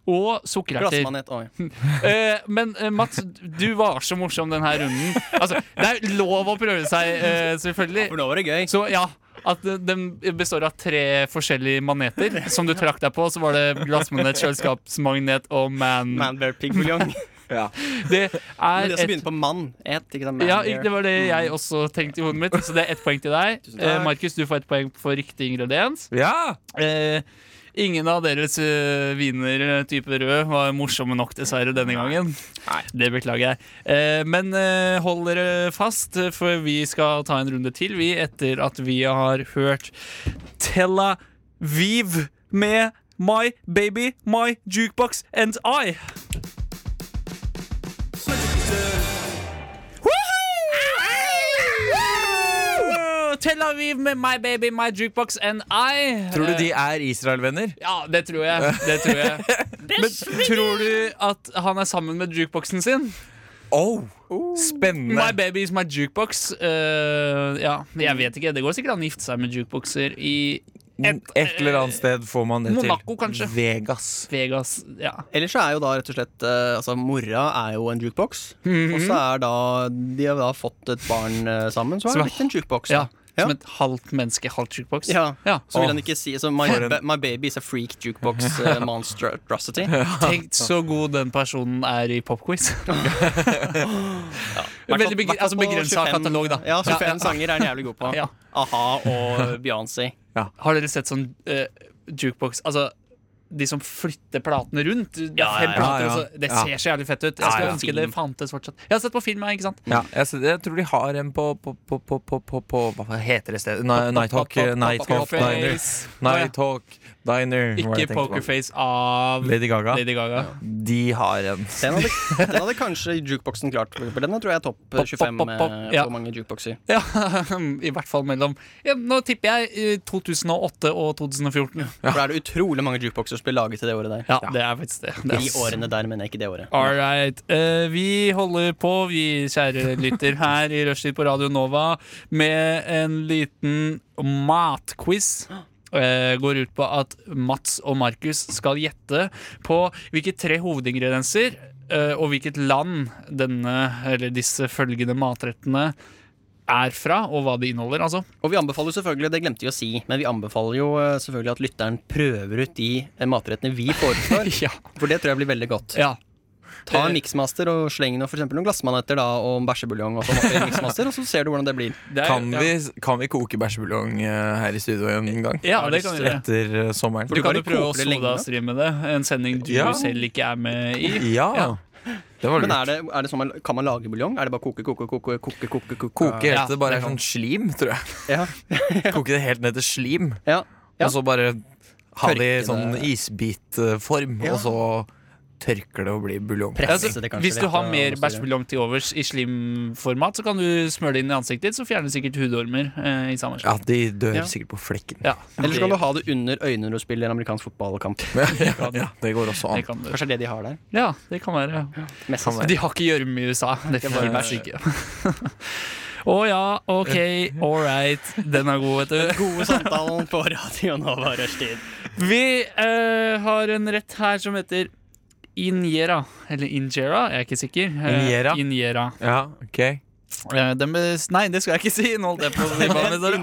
B: Og sukkererter.
C: Glassmanet. Oi.
B: Eh, men eh, Mats, du var så morsom denne runden. Altså, det er lov å prøve seg, eh,
C: For
B: selvfølgelig.
C: nå var det gøy.
B: Så ja, at eh, den består av tre forskjellige maneter som du trakk deg på. Så var det glassmanet, kjøleskapsmagnet og man.
C: Manbear pigbuljong.
B: Det
C: Men
B: er
C: det som
B: et
C: begynner på mann. Et, ikke sant?
B: Ja,
C: Man bear.
B: det var det jeg også tenkte i hodet mitt. Så det er ett poeng til deg.
C: Tusen takk.
B: Eh, Markus, du får ett poeng for riktig ingrediens.
D: Ja!
B: Eh, ingen av deres eh, viner eh, type rød var morsomme nok, dessverre, denne gangen. Det beklager jeg. Eh, men eh, hold dere fast, eh, for vi skal ta en runde til, vi, etter at vi har hørt Tel Aviv med My Baby, My Jukebox and I. Tel Aviv med My Baby, My Jukebox and I. Eh,
D: Tror du de er Israel-venner?
B: Ja, det tror jeg. Det tror jeg. Men tror du at han er sammen med jukeboxen sin?
D: Oh,
B: My
D: spennende.
B: baby is my jukebox. Eh, ja, jeg vet ikke. Det går sikkert an å gifte seg med jukeboxer i
D: Et eller annet sted får man det til.
B: Monaco, kanskje?
D: Vegas.
B: Vegas. Ja.
C: Ellers så er jo da rett og slett eh, Altså, mora er jo en jukebox.
B: Mhm.
C: Og så er da De har da fått et barn eh, sammen, så
B: Som
C: har
B: er-
C: det blitt en jukebox.
B: ja.
C: da.
B: sånn, Som et halvt menneske, halvt jukebox.
C: Ja.
B: Ja.
C: Så vil han ikke si så my,
D: For en-
C: ba- my baby is a freak jukebox eh, monstrosity.
B: Tenk så god den personen er i popquiz. Veldig begre-
C: Hvertfall-
B: altså
C: hvertfall på
B: begrensa
C: 25
B: katalog, da.
C: Ja, 25 sanger er den jævlig god på.
B: Ja.
C: A-ha og Beyoncé.
B: Har dere sett sånn eh, jukebox Altså de som flytter platene rundt. Det, er
C: Ja,
B: fem
C: ja,
B: plater,
D: ja.
B: og så- det
D: Ja.
B: ser så jævlig fett ut. Jeg
D: Ja,
B: skulle
D: ja.
B: ønske det fantes fortsatt. Jeg har sett på film, ja, ikke sant?
D: Ja, jeg, ser- jeg tror de har en på, på, på, på, på, på, på Hva heter det stedet? Ni- Nighthawk eh, Nighthawk Diner.
B: Pokerface.
D: Nighthawk Diner. var det jeg
B: Ikke
D: tenkte på.
B: Pokerface av Lady
D: Lady Gaga.
B: Gaga.
D: De har en.
C: Den hadde, den hadde kanskje jukeboksen klart. For den tror jeg er topp eh, 25
B: pop, pop.
C: eh,
B: Ja.
C: på mange jukebokser.
B: Ja, I hvert fall mellom ja, Nå tipper jeg eh, 2008 og 2014.
C: For det er det utrolig mange jukebokser som blir laget til det året der.
B: Ja, det er faktisk det. det er
C: De årene der, men ikke det året.
B: All right. Eh, vi holder på, vi kjære lytter, her i Rushtid på Radio Nova med en liten matquiz. Eh, går ut på at Mats og Markus skal gjette på hvilke tre hovedingredienser eh, og hvilket land denne, eller disse følgende matrettene er fra, og hva de inneholder, altså.
C: Og vi anbefaler jo selvfølgelig, det glemte vi å si, men vi anbefaler jo eh, selvfølgelig at lytteren prøver ut de eh, matrettene vi foreslår.
B: Ja.
C: For det tror jeg blir veldig godt.
B: ja.
C: Ta en miksmaster og sleng noe, for eksempel noen glassmanetter da, og bæsjebuljong, og, sånn oppi en miksmaster, og så ser du hvordan det blir.
B: Det er-
D: Kan vi, kan vi koke bæsjebuljong eh, her i studio en gang?
B: Ja, det kan vi gjøre.
D: Etter eh, sommeren.
B: Du
C: kan
B: kan jo
C: jo
B: prøve å
C: koke det lenge, da.
B: sodastreame det. En sending du
D: Ja.
B: selv ikke er med i.
D: Ja. Det var
C: Men
D: lurt.
C: er det, er det sånn man, kan man lage buljong? Er det bare koke, koke, koke, koke, koke, koke?
D: Koke
B: Ja,
D: helt til det bare
B: det
D: er
B: kan-
D: sånn slim, tror jeg.
C: Ja.
D: Koke det helt ned til slim.
C: ja.
D: Og så bare ha det i
C: Tørke
D: sånn
C: det.
D: isbitform, og så tørker det og blir buljong.
C: Presse
B: Altså,
C: det kanskje
B: hvis
C: litt,
B: du har
C: og-
B: mer
C: og så videre.
B: bæsjbuljong til overs i slimformat, så kan du smøre det inn i ansiktet ditt, så fjerner sikkert hudormer eh, i samme
D: Ja,
B: slag.
D: de dør
C: Ja.
D: sikkert på flekken.
B: Ja.
C: Eller så kan du ha det under øynene når du spiller amerikansk fotballkamp.
D: Ja, det går også
B: det
D: an.
B: kan du.
C: Kanskje det er det de har der.
B: Ja, det kan være.
C: Mest
D: Kan være.
B: De har ikke gjørme i USA. Det får være syke. Å ja, OK, all right. Den er god, vet du.
C: Gode samtalen på Radio Nova rushtid.
B: Vi eh, har en rett her som heter Injera. Eller Injera, jeg er ikke sikker. Eh,
D: Injera?
B: Injera.
D: Ja, ok
B: Eh, Den bes nei, det skal jeg ikke si! Nå holdt jeg på å si hva med dere.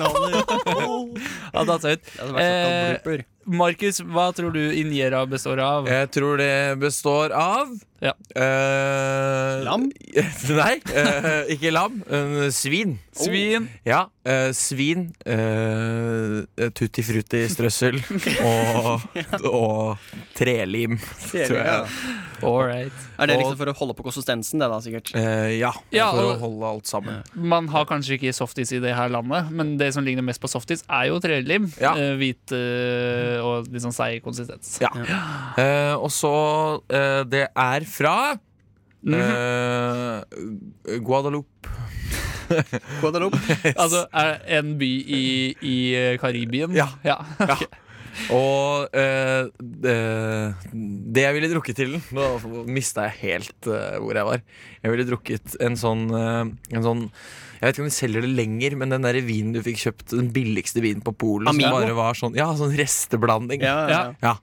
B: Ja, datt jeg ut.
C: Det hadde vært såkalt
B: Eh,
C: blooper.
B: Markus, hva tror du Injera består av?
D: Jeg tror det består av
B: Ja.
D: eh,
C: Lam?
D: Nei, eh, ikke lam. eh, svin.
B: Svin.
D: Ja, eh, svin, eh, tutti frutti strøssel og, og trelim, tror jeg. oh.
B: All right.
C: Er det liksom for å holde på konsistensen, det da, sikkert?
D: Eh, ja,
B: Ja,
D: for å
B: og-
D: holde alt sammen.
B: Man har kanskje ikke softis i det her landet, men det som ligner mest på softis, er jo trelim.
D: Ja.
B: Eh, Hvit eh, og litt sånn seig konsistens.
D: Ja. Eh, og så eh, Det er fra
B: Mhm.
D: eh, Guadeloupe.
C: Guadeloupe.
B: Altså er det en by i, i eh, Karibien.
D: Ja.
B: ja.
D: Og eh, det, det jeg ville drukket til den Nå mista jeg helt eh, hvor jeg var. Jeg ville drukket en sånn, eh, en sånn Jeg vet ikke om de selger det lenger, men den der vinen du fikk kjøpt, den billigste vinen på polet, som
C: Amigo?
D: bare var sånn Ja, sånn resteblanding.
C: Ja, ja. ja.
D: Ja.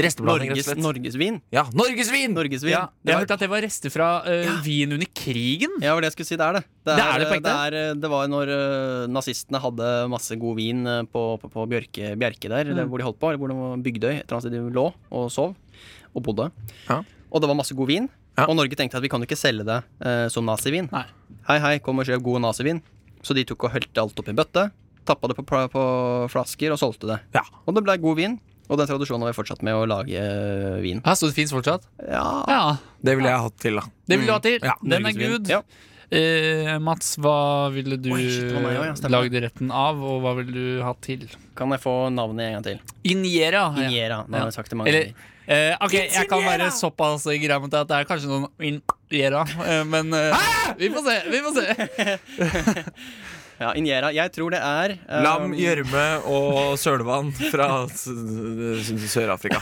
D: Resteblanding,
C: Norges,
D: rett og slett.
C: Norgesvin.
D: ja, Norgesvin!
C: Norgesvin.
B: Ja,
C: Det
B: jeg
C: var-
B: hørte at det var rester fra eh, Wien under krigen.
C: Ja, det var det jeg skulle si. Det er det.
B: Det er det på ekte?
C: er, eh, det var når eh, nazistene hadde masse god vin eh, på, på, på Bjørke, Bjerke der,
B: Mm.
C: eller hvor de holdt på, eller hvor det var Bygdøy, et eller annet sted de lå og sov og bodde.
D: Ja.
C: Og det var masse god vin.
D: Ja.
C: Og Norge tenkte at vi kan jo ikke selge det eh, som nazivin.
B: Nei.
C: Hei, hei, kom og kjøp god nazivin. Så de tok og hølte alt opp i en bøtte, tappa det på, pla- på flasker og solgte det.
D: Ja.
C: Og det ble god vin. Og den tradisjonen har vi fortsatt med å lage eh, vin.
B: Ja, så det fins fortsatt?
C: Ja,
B: Ja.
D: Det ville jeg hatt til, da.
B: Det vil du ha til.
D: Mm. Ja,
B: Den er
C: Norgesvin.
B: good.
C: Ja.
B: Eh, Mats, hva ville du
C: Oi, shit, det var meg også, ja, stemmer.
B: lagd retten av, og hva ville du ha til?
C: Kan jeg få navnet en gang til?
B: Injera. har jeg.
C: Injera. Nå
B: Ja.
C: har jeg sagt det mange
B: Eller
C: ganger.
B: eh, OK, jeg kan være såpass grei med at det er kanskje noen injera, eh, men eh, vi får se. Vi får se.
C: Ja, Injera. Jeg tror det er eh,
D: Lam, gjørme og sølvann fra s- s- Sør-Afrika.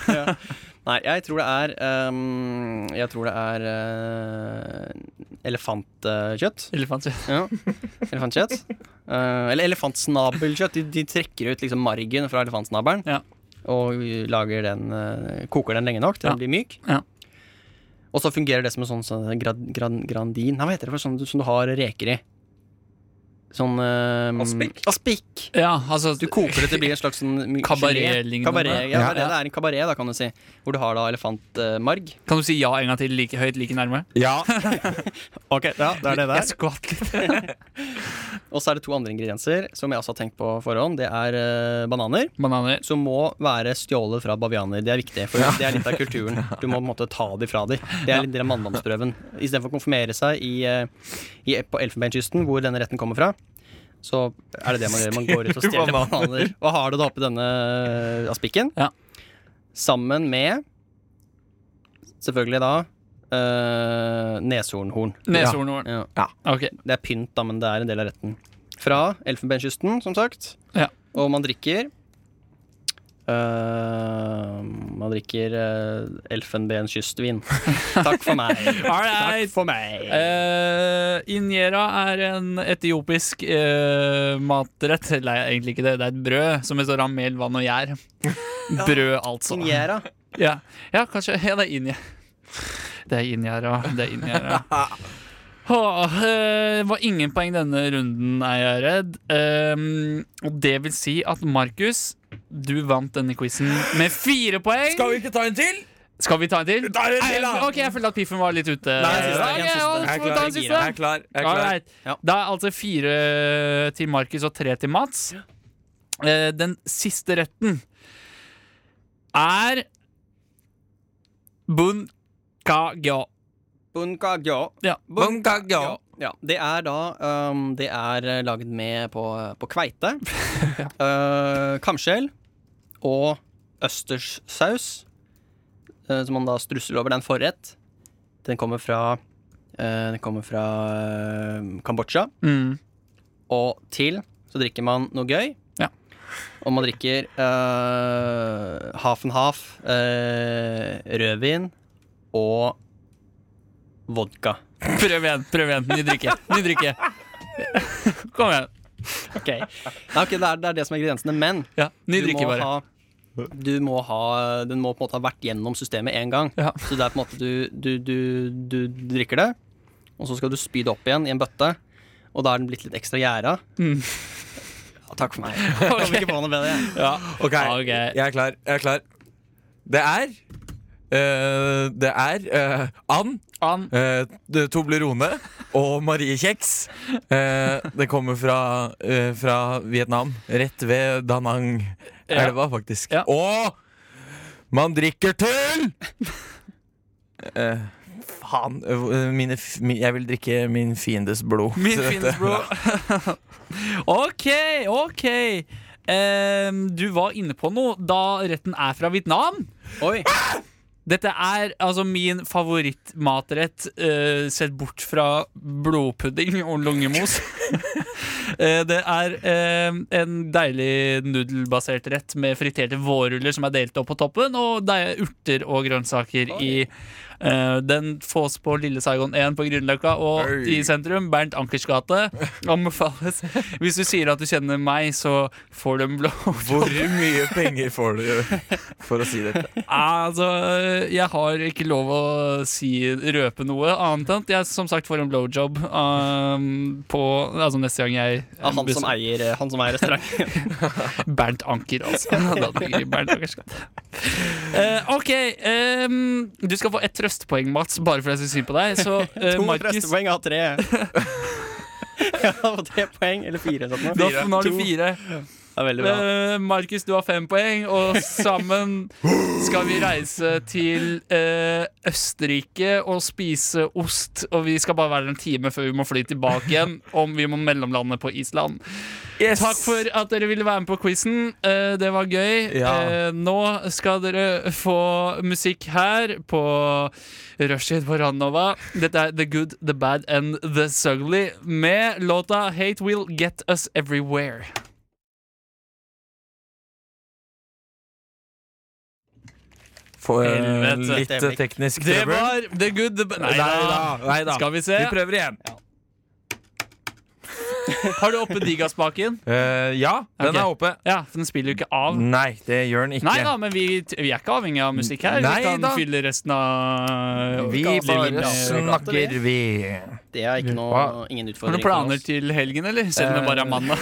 C: Nei, jeg tror det er ehm, Jeg tror det er eh, elefantkjøtt.
B: Elefant.
C: Ja. Elefantkjøtt. Eh, eller elefantsnabelkjøtt. De, de trekker ut liksom margen fra elefantsnabelen
B: Ja.
C: og lager den, eh, koker den lenge nok til
B: Ja.
C: den blir myk.
B: Ja.
C: Og så fungerer det som en sånn, sånn grad, grad, grandin Nei, hva heter det for sånn du- som du har reker i? Sånn eh,
D: Aspik?
C: Aspik.
B: Ja, altså
C: Du koker det til å bli en slags sånn my- gelé.
B: Kabaret-lignende.
C: Kabaret, ja,
B: Ja.
C: det er en kabaret, da, kan du si. Hvor du har da elefantmarg.
B: Kan du si ja en gang til like høyt, like nærme?
D: Ja.
C: Ok, ja, det er det
B: Jeg skvatt litt.
C: Og så er det to andre ingredienser som jeg også har tenkt på forhånd. Det er eh, bananer.
B: Bananer.
C: Som må være stjålet fra bavianer. Det er viktig, for det er litt av kulturen. Du må på en måte ta de fra de. Det er litt del av manndomsprøven. Istedenfor å konfirmere seg i, eh, i, på Elfenbenskysten, hvor denne retten kommer fra, så er det det man gjør. Man går ut og stjeler bananer. Og har du da oppi denne eh, aspikken?
B: Ja.
C: Sammen med selvfølgelig da eh, neshornhorn.
B: Neshornhorn.
C: Ja.
B: Ok.
C: Det er pynt, da, men det er en del av retten. Fra Elfenbenskysten, som sagt.
B: Ja.
C: Og man drikker øh, Man drikker øh, elfenbenskystvin. Takk for meg.
B: All right.
C: Takk for meg.
B: Eh, injera er en etiopisk eh, matrett. Eller nei, egentlig ikke det. Det er et brød som består av mel, vann og gjær. Brød, altså.
C: Injera.
B: Ja, ja kanskje. Ja, det er injera. Det er injera. Det er injera. Åh, eh, var ingen poeng denne runden, er jeg redd. Ehm, og det vil si at Markus, du vant denne quizen med fire poeng.
D: Skal vi ikke ta en til?
B: Skal vi ta en til?
D: tar en til,
B: Nei,
D: da.
B: Ok, Jeg følte at piffen var litt ute.
C: en siste, en
B: Ok,
C: siste.
B: ja,
D: Jeg
B: får
D: er
B: vi ta en
D: klar.
B: siste?
D: Jeg er klar. Jeg er klar.
B: Alright.
C: Ja.
B: Da er altså fire til Markus og tre til Mats. Eh, Den siste retten er bun ka gyo.
C: Bunkagyo.
B: Ja.
D: Bunkagyo.
C: Ja, det er da øhm, Det er øh, laget med på, på kveite. øh, kamskjell og østerssaus, øh, som man da strusser over. Det er en forrett. Den kommer fra øh, Den kommer fra øh, Kambodsja.
B: Mm.
C: Og til så drikker man noe gøy.
B: Ja.
C: Og man drikker øh, half and half, øh, rødvin og vodka.
B: Prøv igjen. prøv igjen Ny drikke. Ny drikke. Kom igjen.
C: Ok. Nei, ok, det, er, det er det som er ingrediensene, men
B: Ja, ny
C: du
B: drikke,
C: må
B: bare.
C: ha du må ha, Den må på en måte ha vært gjennom systemet én gang.
B: Ja.
C: Så det er på en måte du, du, du, du drikker det, og så skal du spy det opp igjen i en bøtte. Og da er den blitt litt ekstra gjæra.
B: Mm.
C: Ja, takk for meg. Kom ikke på noe bedre.
D: Ok,
B: Ah, ok.
D: jeg er klar. Jeg er klar. Det er eh, Det er eh, and,
B: An.
D: eh, det- Toblerone og Marie Kjeks. Eh, det kommer fra, eh, fra Vietnam. Rett ved Da Nang-elva, faktisk.
B: Ja.
D: Og man drikker til Eh, Faen. eh, Mine, f- mi- jeg vil drikke min fiendes blod.
B: Min
D: til dette.
B: fins, bro. ok, ok. Ehm, du var inne på noe da retten er fra Vietnam.
C: Oi.
B: Dette er altså min favorittmatrett, eh, sett bort fra blodpudding og lungemos. Eh, det er eh, en deilig nudelbasert rett med friterte vårruller som er delt opp på toppen, og deig- urter og grønnsaker i. Eh, den fås på Lille Saigon 1 på Grünerløkka og
D: Oi.
B: i sentrum. Bernt Ankers gate. Anbefales. Hvis du sier at du kjenner meg, så får du en blå
D: Hvor mye penger får du for å si dette?
B: Altså, jeg har ikke lov å si røpe noe annet enn at jeg som sagt får en blowjob um, på altså neste gang jeg
C: Av han som eier, han som eier restauranten.
B: Bernt Anker, altså. Da blir det Bernt Ankers skatt. Eh, OK. em, du skal få ett trøstepoeng, Mats, bare fordi jeg syns synd på deg. Så eh,
C: To
B: Markus,
C: trøstepoeng av tre. Ja, og tre poeng, eller fire. eller noe sånt.
B: da, nå har du
C: To.
B: fire.
C: Det er veldig bra.
B: Eh, Markus, du har fem poeng, og sammen skal vi reise til eh, Østerrike og spise ost. Og vi skal bare være der en time før vi må fly tilbake igjen, om vi må mellomlande på Island. Takk for at dere ville være med på quizen. Eh, det var gøy.
D: Ja.
B: Eh, nå skal dere få musikk her på Rushtid på Ranova. Dette er The Good, The Bad and The Sugly med låta Hate Will Get Us Everywhere.
D: Få, eh,
B: Helvete.
D: litt eh, teknisk
B: Det
D: trøbbel.
B: var the good the bad
D: Neida, neida.
B: Skal vi se.
D: Vi prøver igjen.
B: Har du oppe digaspaken?
D: Eh, ja, den
B: Ok.
D: er oppe.
B: Ja, for den spiller jo ikke av.
D: Nei, det gjør den ikke.
B: Nei da, men vi, vi er ikke avhengig av musikk her.
D: Nei
B: vi kan
D: da.
B: fylle resten av
D: Vi
B: Kan fylle
D: bare
B: den av-
D: snakker, vi.
C: Det er ikke noe, ingen
B: Har du
C: utfordring. for
B: planer
C: oss.
B: til helgen, eller? Selv om det bare er mandag.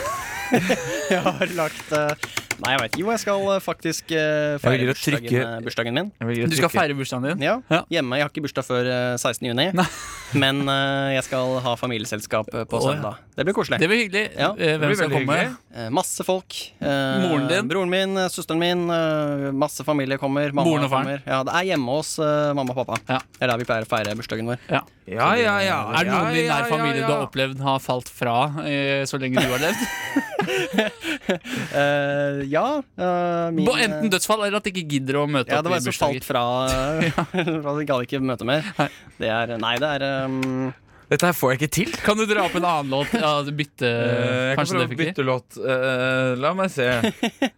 C: Jeg har lagt eh, Nei, jeg veit Jo, jeg skal eh, faktisk eh,
D: Jeg
C: feire
D: vil trykke-
C: bursdagen, eh, bursdagen min.
B: Du skal feire bursdagen din.
C: Ja,
B: Ja.
C: hjemme. Jeg har ikke bursdag før eh, 16. juni.
B: Nei.
C: Men eh, jeg skal ha familieselskap eh, på
B: Å, ja.
C: søndag. Det blir koselig.
B: Det blir hyggelig.
C: Ja,
B: Eh, Hvem
D: blir
B: skal
D: veldig
B: komme?
D: hyggelig.
C: Eh, masse folk. Eh,
B: Moren din?
C: Broren min, eh, søsteren min. eh, masse familie kommer. Mamma
B: Moren og faren?
C: kommer. Ja, det er hjemme hos eh, mamma og pappa.
B: Ja.
C: Det er der vi pleier å feire bursdagen vår.
B: Ja.
D: Ja, ja, ja.
B: Er det noen i
D: ja,
B: nær
D: ja,
B: familie
D: ja.
B: du har opplevd har falt fra eh, så lenge du har levd?
C: Eh, ja, eh, min,
B: På enten dødsfall eller at de ikke gidder å møte
C: Ja,
B: opp
C: det
B: i
C: var en som falt
B: bursdager.
C: fra Jeg gadd ikke møte mer. Det er Nei, det er um,
D: Dette her får jeg ikke til.
B: Kan du dra opp en annen låt? Ja, bytte
D: Eh, jeg kan
B: Eh, Kanskje det
D: prøve å
B: funker?
D: bytte låt. Eh, la meg se.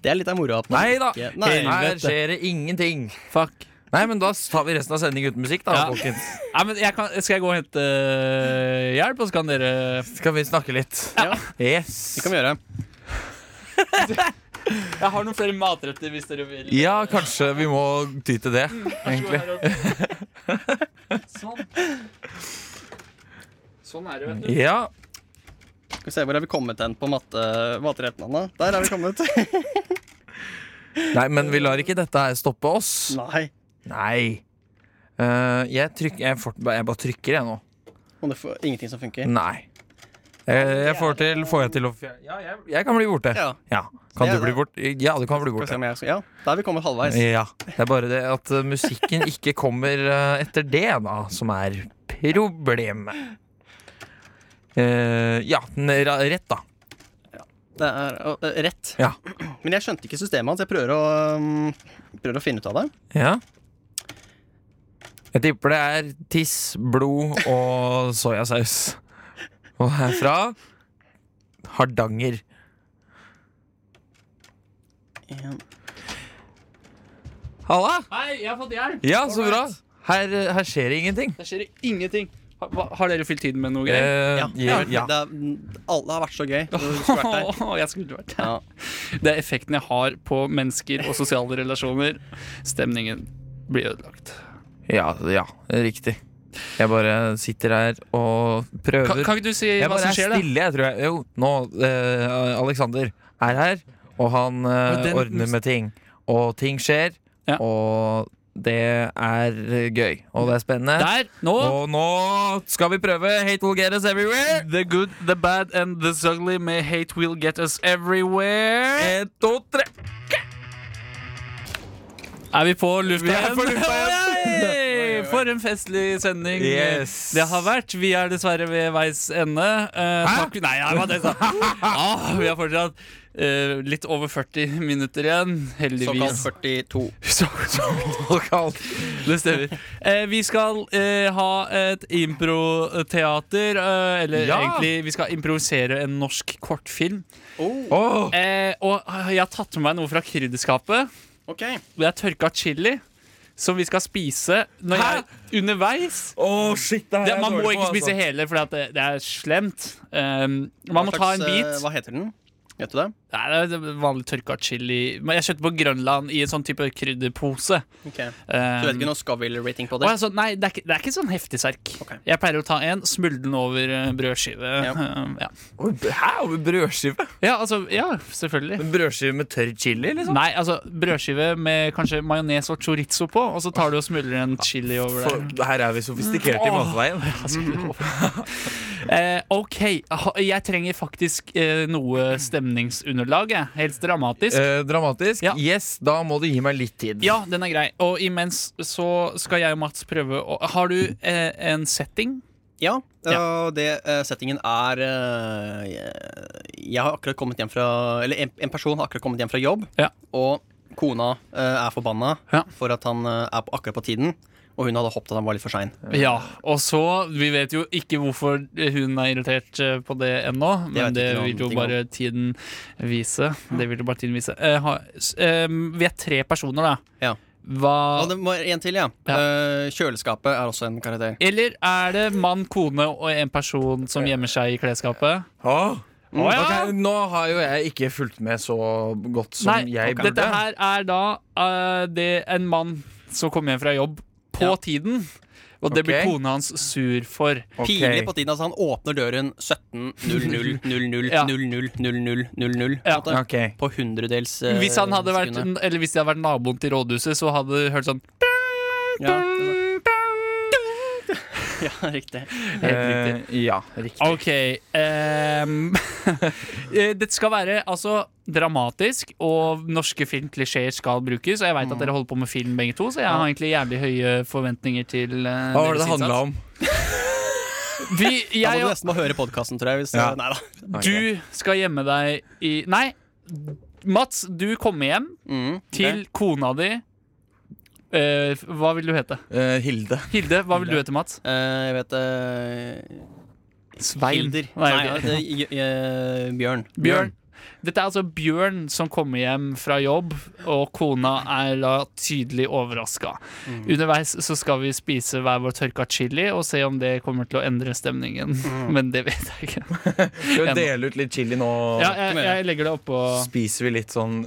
C: Det er litt av moroa. at man
D: Nei da!
C: ikke- Nei.
D: Her skjer det ingenting.
B: Fuck.
D: Nei, men da tar vi resten av sendingen uten musikk, da,
B: Ja.
D: folkens.
B: Nei, men jeg kan, skal jeg gå og hente øh, hjelp, og så kan dere
D: Skal vi snakke litt?
C: Ja.
D: Yes.
C: Det kan vi gjøre.
B: Jeg har noen flere matretter hvis dere vil.
D: Ja, kanskje vi må ty til det, egentlig.
B: sånn. Sånn er det, vet du.
D: Ja.
C: Skal vi se, Hvor er vi kommet hen på matte, matretten, Anna? Der er vi kommet.
D: Nei, men vi lar ikke dette her stoppe oss.
C: Nei.
D: Nei. Eh, jeg, trykker, jeg, får, jeg bare trykker, jeg nå.
C: Og det får ingenting som funker.
D: Nei. Eh, jeg får, til, får jeg til å fjer- Ja, jeg, jeg kan bli borte.
C: Ja.
D: Kan
C: Ja,
D: du bli
C: det-
D: borte? Ja, du kan bli
C: Skal vi se
D: borte.
C: om jeg skal, ja, Da er vi kommet halvveis.
D: Ja. Det er bare det at eh, musikken ikke kommer eh, etter det, da, som er problemet. Eh, ja, den er ra- rett, da.
C: Det er øh, øh, rett.
D: Ja.
C: Men jeg skjønte ikke systemet hans. Jeg prøver å, um, prøver å finne ut av det.
D: Ja. Jeg tipper det er tiss, blod og soyasaus. Og herfra Hardanger.
C: En-
D: Halla!
B: Hei, jeg har fått hjelp!
D: Ja, så bra.
B: Alright.
D: Her, her skjer det ingenting.
B: Der skjer det ingenting. Har, hva- har dere fylt tiden med noe greier?
D: Eh,
C: Ja.
D: ja, ja.
C: Det, er, mm, alle har vært så gøy. så du skulle vært der.
B: jeg skulle vært der.
C: Ja.
B: Det er effekten jeg har på mennesker og sosiale relasjoner. Stemningen blir ødelagt.
D: ja, ja, riktig. Jeg bare sitter her og prøver.
B: Kan, kan ikke du si
D: jeg
B: hva
D: bare
B: som
D: er
B: skjer, da?
D: stille, jeg tror jeg. Jo, nå eh, Alexander er her, og han eh,
B: Og den-
D: ordner med ting. Og ting skjer,
B: Ja.
D: og det er eh, gøy. Og det er spennende.
B: Der! Nå!
D: Og nå skal vi prøve Hate will get us everywhere.
B: The good, the bad and the ugly may hate will get us everywhere.
D: En, to, tre.
B: Er vi på lufta
D: Vi er på
B: igjen?
D: lufta igjen.
B: Hei! For en festlig sending
D: Yes.
B: det har vært. Vi er dessverre ved veis ende. Eh, takk, nei, jeg var det, sa. Ah, vi har fortsatt eh, litt over 40 minutter igjen,
C: Såkalt
B: heldigvis.
C: 42.
B: Så,
D: Såkalt.
B: det stemmer. Eh, vi skal eh, ha et improteater. Eh, eller
D: Ja.
B: egentlig, vi skal improvisere en norsk kortfilm.
D: Åh,
B: Eh, og jeg har tatt med meg noe fra krydderskapet.
C: Ok.
B: Det er tørka chili som vi skal spise når jeg, underveis.
D: åh, shit, det her
B: Det,
D: er
B: man
D: dårlig
B: må
D: på,
B: ikke
D: altså.
B: spise hele, for det, det er slemt. Um, man må
C: Hva
B: ta
C: slags,
B: en
C: eh,
B: bit.
C: Hva heter den? Vet du det?
B: Nei, det er vanlig tørka chili. Men jeg kjøpte på Grønland i en sånn type krydderpose.
C: Ok.
B: Um,
C: Du vet ikke noe Scoville-rating på
B: og
C: det?
B: altså, nei, det er, ikke, det er ikke sånn heftig serk.
C: Ok.
B: Jeg pleier å ta en, smuldre den over eh, brødskive.
C: Ja.
B: Um, ja.
D: Oi, Hæ? Over brødskive?
B: ja, altså, ja, selvfølgelig.
D: En Brødskive med tørr chili, liksom?
B: Nei, altså brødskive med kanskje majones og chorizo på, og så tar du og smuldrer en chili over Altså,
D: For,
B: der.
D: her er vi sofistikerte i
B: Åh.
D: matveien.
B: Eh, OK, ha- jeg trenger faktisk eh, noe stemningsunderlag, jeg. helst dramatisk.
D: Eh, dramatisk?
B: Ja.
D: Yes, da må du gi meg litt tid.
B: Ja, den er grei. Og imens så skal jeg og Mats prøve å Har du eh, en setting?
C: Ja, og det eh, settingen er eh, jeg- Jeg har akkurat kommet hjem fra Eller en, en person har akkurat kommet hjem fra jobb,
B: Ja.
C: og kona eh, er forbanna
B: Ja.
C: for at han eh, er på, akkurat på tiden, og hun hadde håpet at han var litt for sein.
B: Ja. Og så Vi vet jo ikke hvorfor hun er irritert eh, på det ennå,
C: vet
B: men det
C: ikke noen
B: vil jo
C: ting om.
B: bare tiden vise. Det vil jo bare tiden vise. Eh, ha, s- eh, vi er tre personer, da.
C: Ja.
B: Hva
C: Og det var en til, ja.
B: Ja.
C: Eh, kjøleskapet er også en karakter.
B: Eller er det mann, kone og en person som gjemmer seg i klesskapet?
D: Åh.
B: Å, ja.
D: Ok, nå har jo jeg ikke fulgt med så godt som
B: Nei,
D: jeg burde.
B: dette her er da eh, det en mann som kom hjem fra jobb på
C: Ja.
B: tiden. Og det blir
D: Ok.
B: kona hans sur for.
D: Ok.
C: Pinlig på tiden. Altså, han åpner døren 17.00.00.00.00.00.
B: Ja. Ja.
D: Ok.
C: På hundredels eh,
B: Hvis, han hadde vært,
C: sekundet.
B: eller hvis det hadde vært naboen til rådhuset, så hadde det hørt sånn
C: Ja, ja, riktig.
B: Helt
D: Eh, ja, riktig.
B: OK. ehm, eh, det skal være altså dramatisk, og norske filmklisjeer skal brukes. Og jeg
C: Mm.
B: veit at dere holder på med film begge to, så jeg har egentlig jævlig høye forventninger til eh,
D: Hva var det
B: deres
D: det handla om?
B: innsats. Vi,
C: Da må
B: jeg
C: du
B: og
C: nesten må høre podkasten, tror jeg. Hvis,
D: Ja.
C: Nei da.
B: Du skal gjemme deg i Nei, Mats, du kommer hjem
C: Mm, ok.
B: til kona di. Eh, hva vil du hete?
D: Eh, Hilde.
B: Hilde, hva vil du hete, Mats?
C: Eh, jeg vet eh,
B: Svein.
C: Hilder.
B: Nei,
C: Nei,
B: ok.
C: det, er J- eh, Bjørn.
B: Bjørn. Dette er altså Bjørn som kommer hjem fra jobb, og kona er da tydelig overraska. Underveis så skal vi spise hver vår tørka chili og se om det kommer til å endre stemningen. Men det vet jeg ikke.
D: Skal
B: Jeg
D: vi
B: må-
D: dele ut litt chili nå?
B: Ja, jeg, jeg legger det oppå
D: Spiser vi litt sånn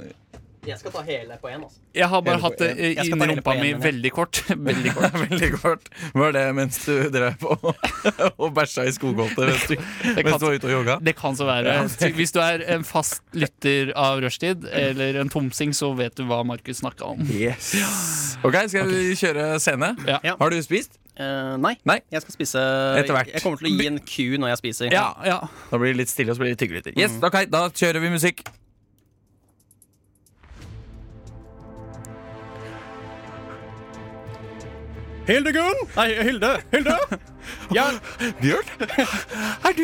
C: Jeg skal ta hele på én. Altså.
B: Jeg har bare
D: Hele på
B: hatt det
D: en.
B: eh,
C: Jeg skal ta
B: inni
C: hele
B: rumpa
C: på en,
B: mi
C: men jeg-
B: veldig kort. Veldig kort.
D: Veldig kort. Var det mens du drev på og bæsja i skogholtet mens du,
B: Det
D: mens
B: kan,
D: du var ute og jogga?
B: det kan så være. Ty- Hvis du er en fast lytter av Rushtid, eller en tomsing, så vet du hva Markus snakka om.
D: Yes. Ok, skal vi kjøre scene?
B: Ja.
C: Ja.
D: Har du spist?
C: nei.
D: Nei.
C: jeg skal spise
D: Etter hvert.
C: Jeg kommer til å gi en Q når jeg spiser.
B: Ja, ja.
D: Da blir det litt stille, og så blir det litt tyggelytter. Yes,
B: Mm.
D: ok, da kjører vi musikk.
C: Hildegunn! Nei, Hilde! Hilde! Ja,
D: Bjørn, er du,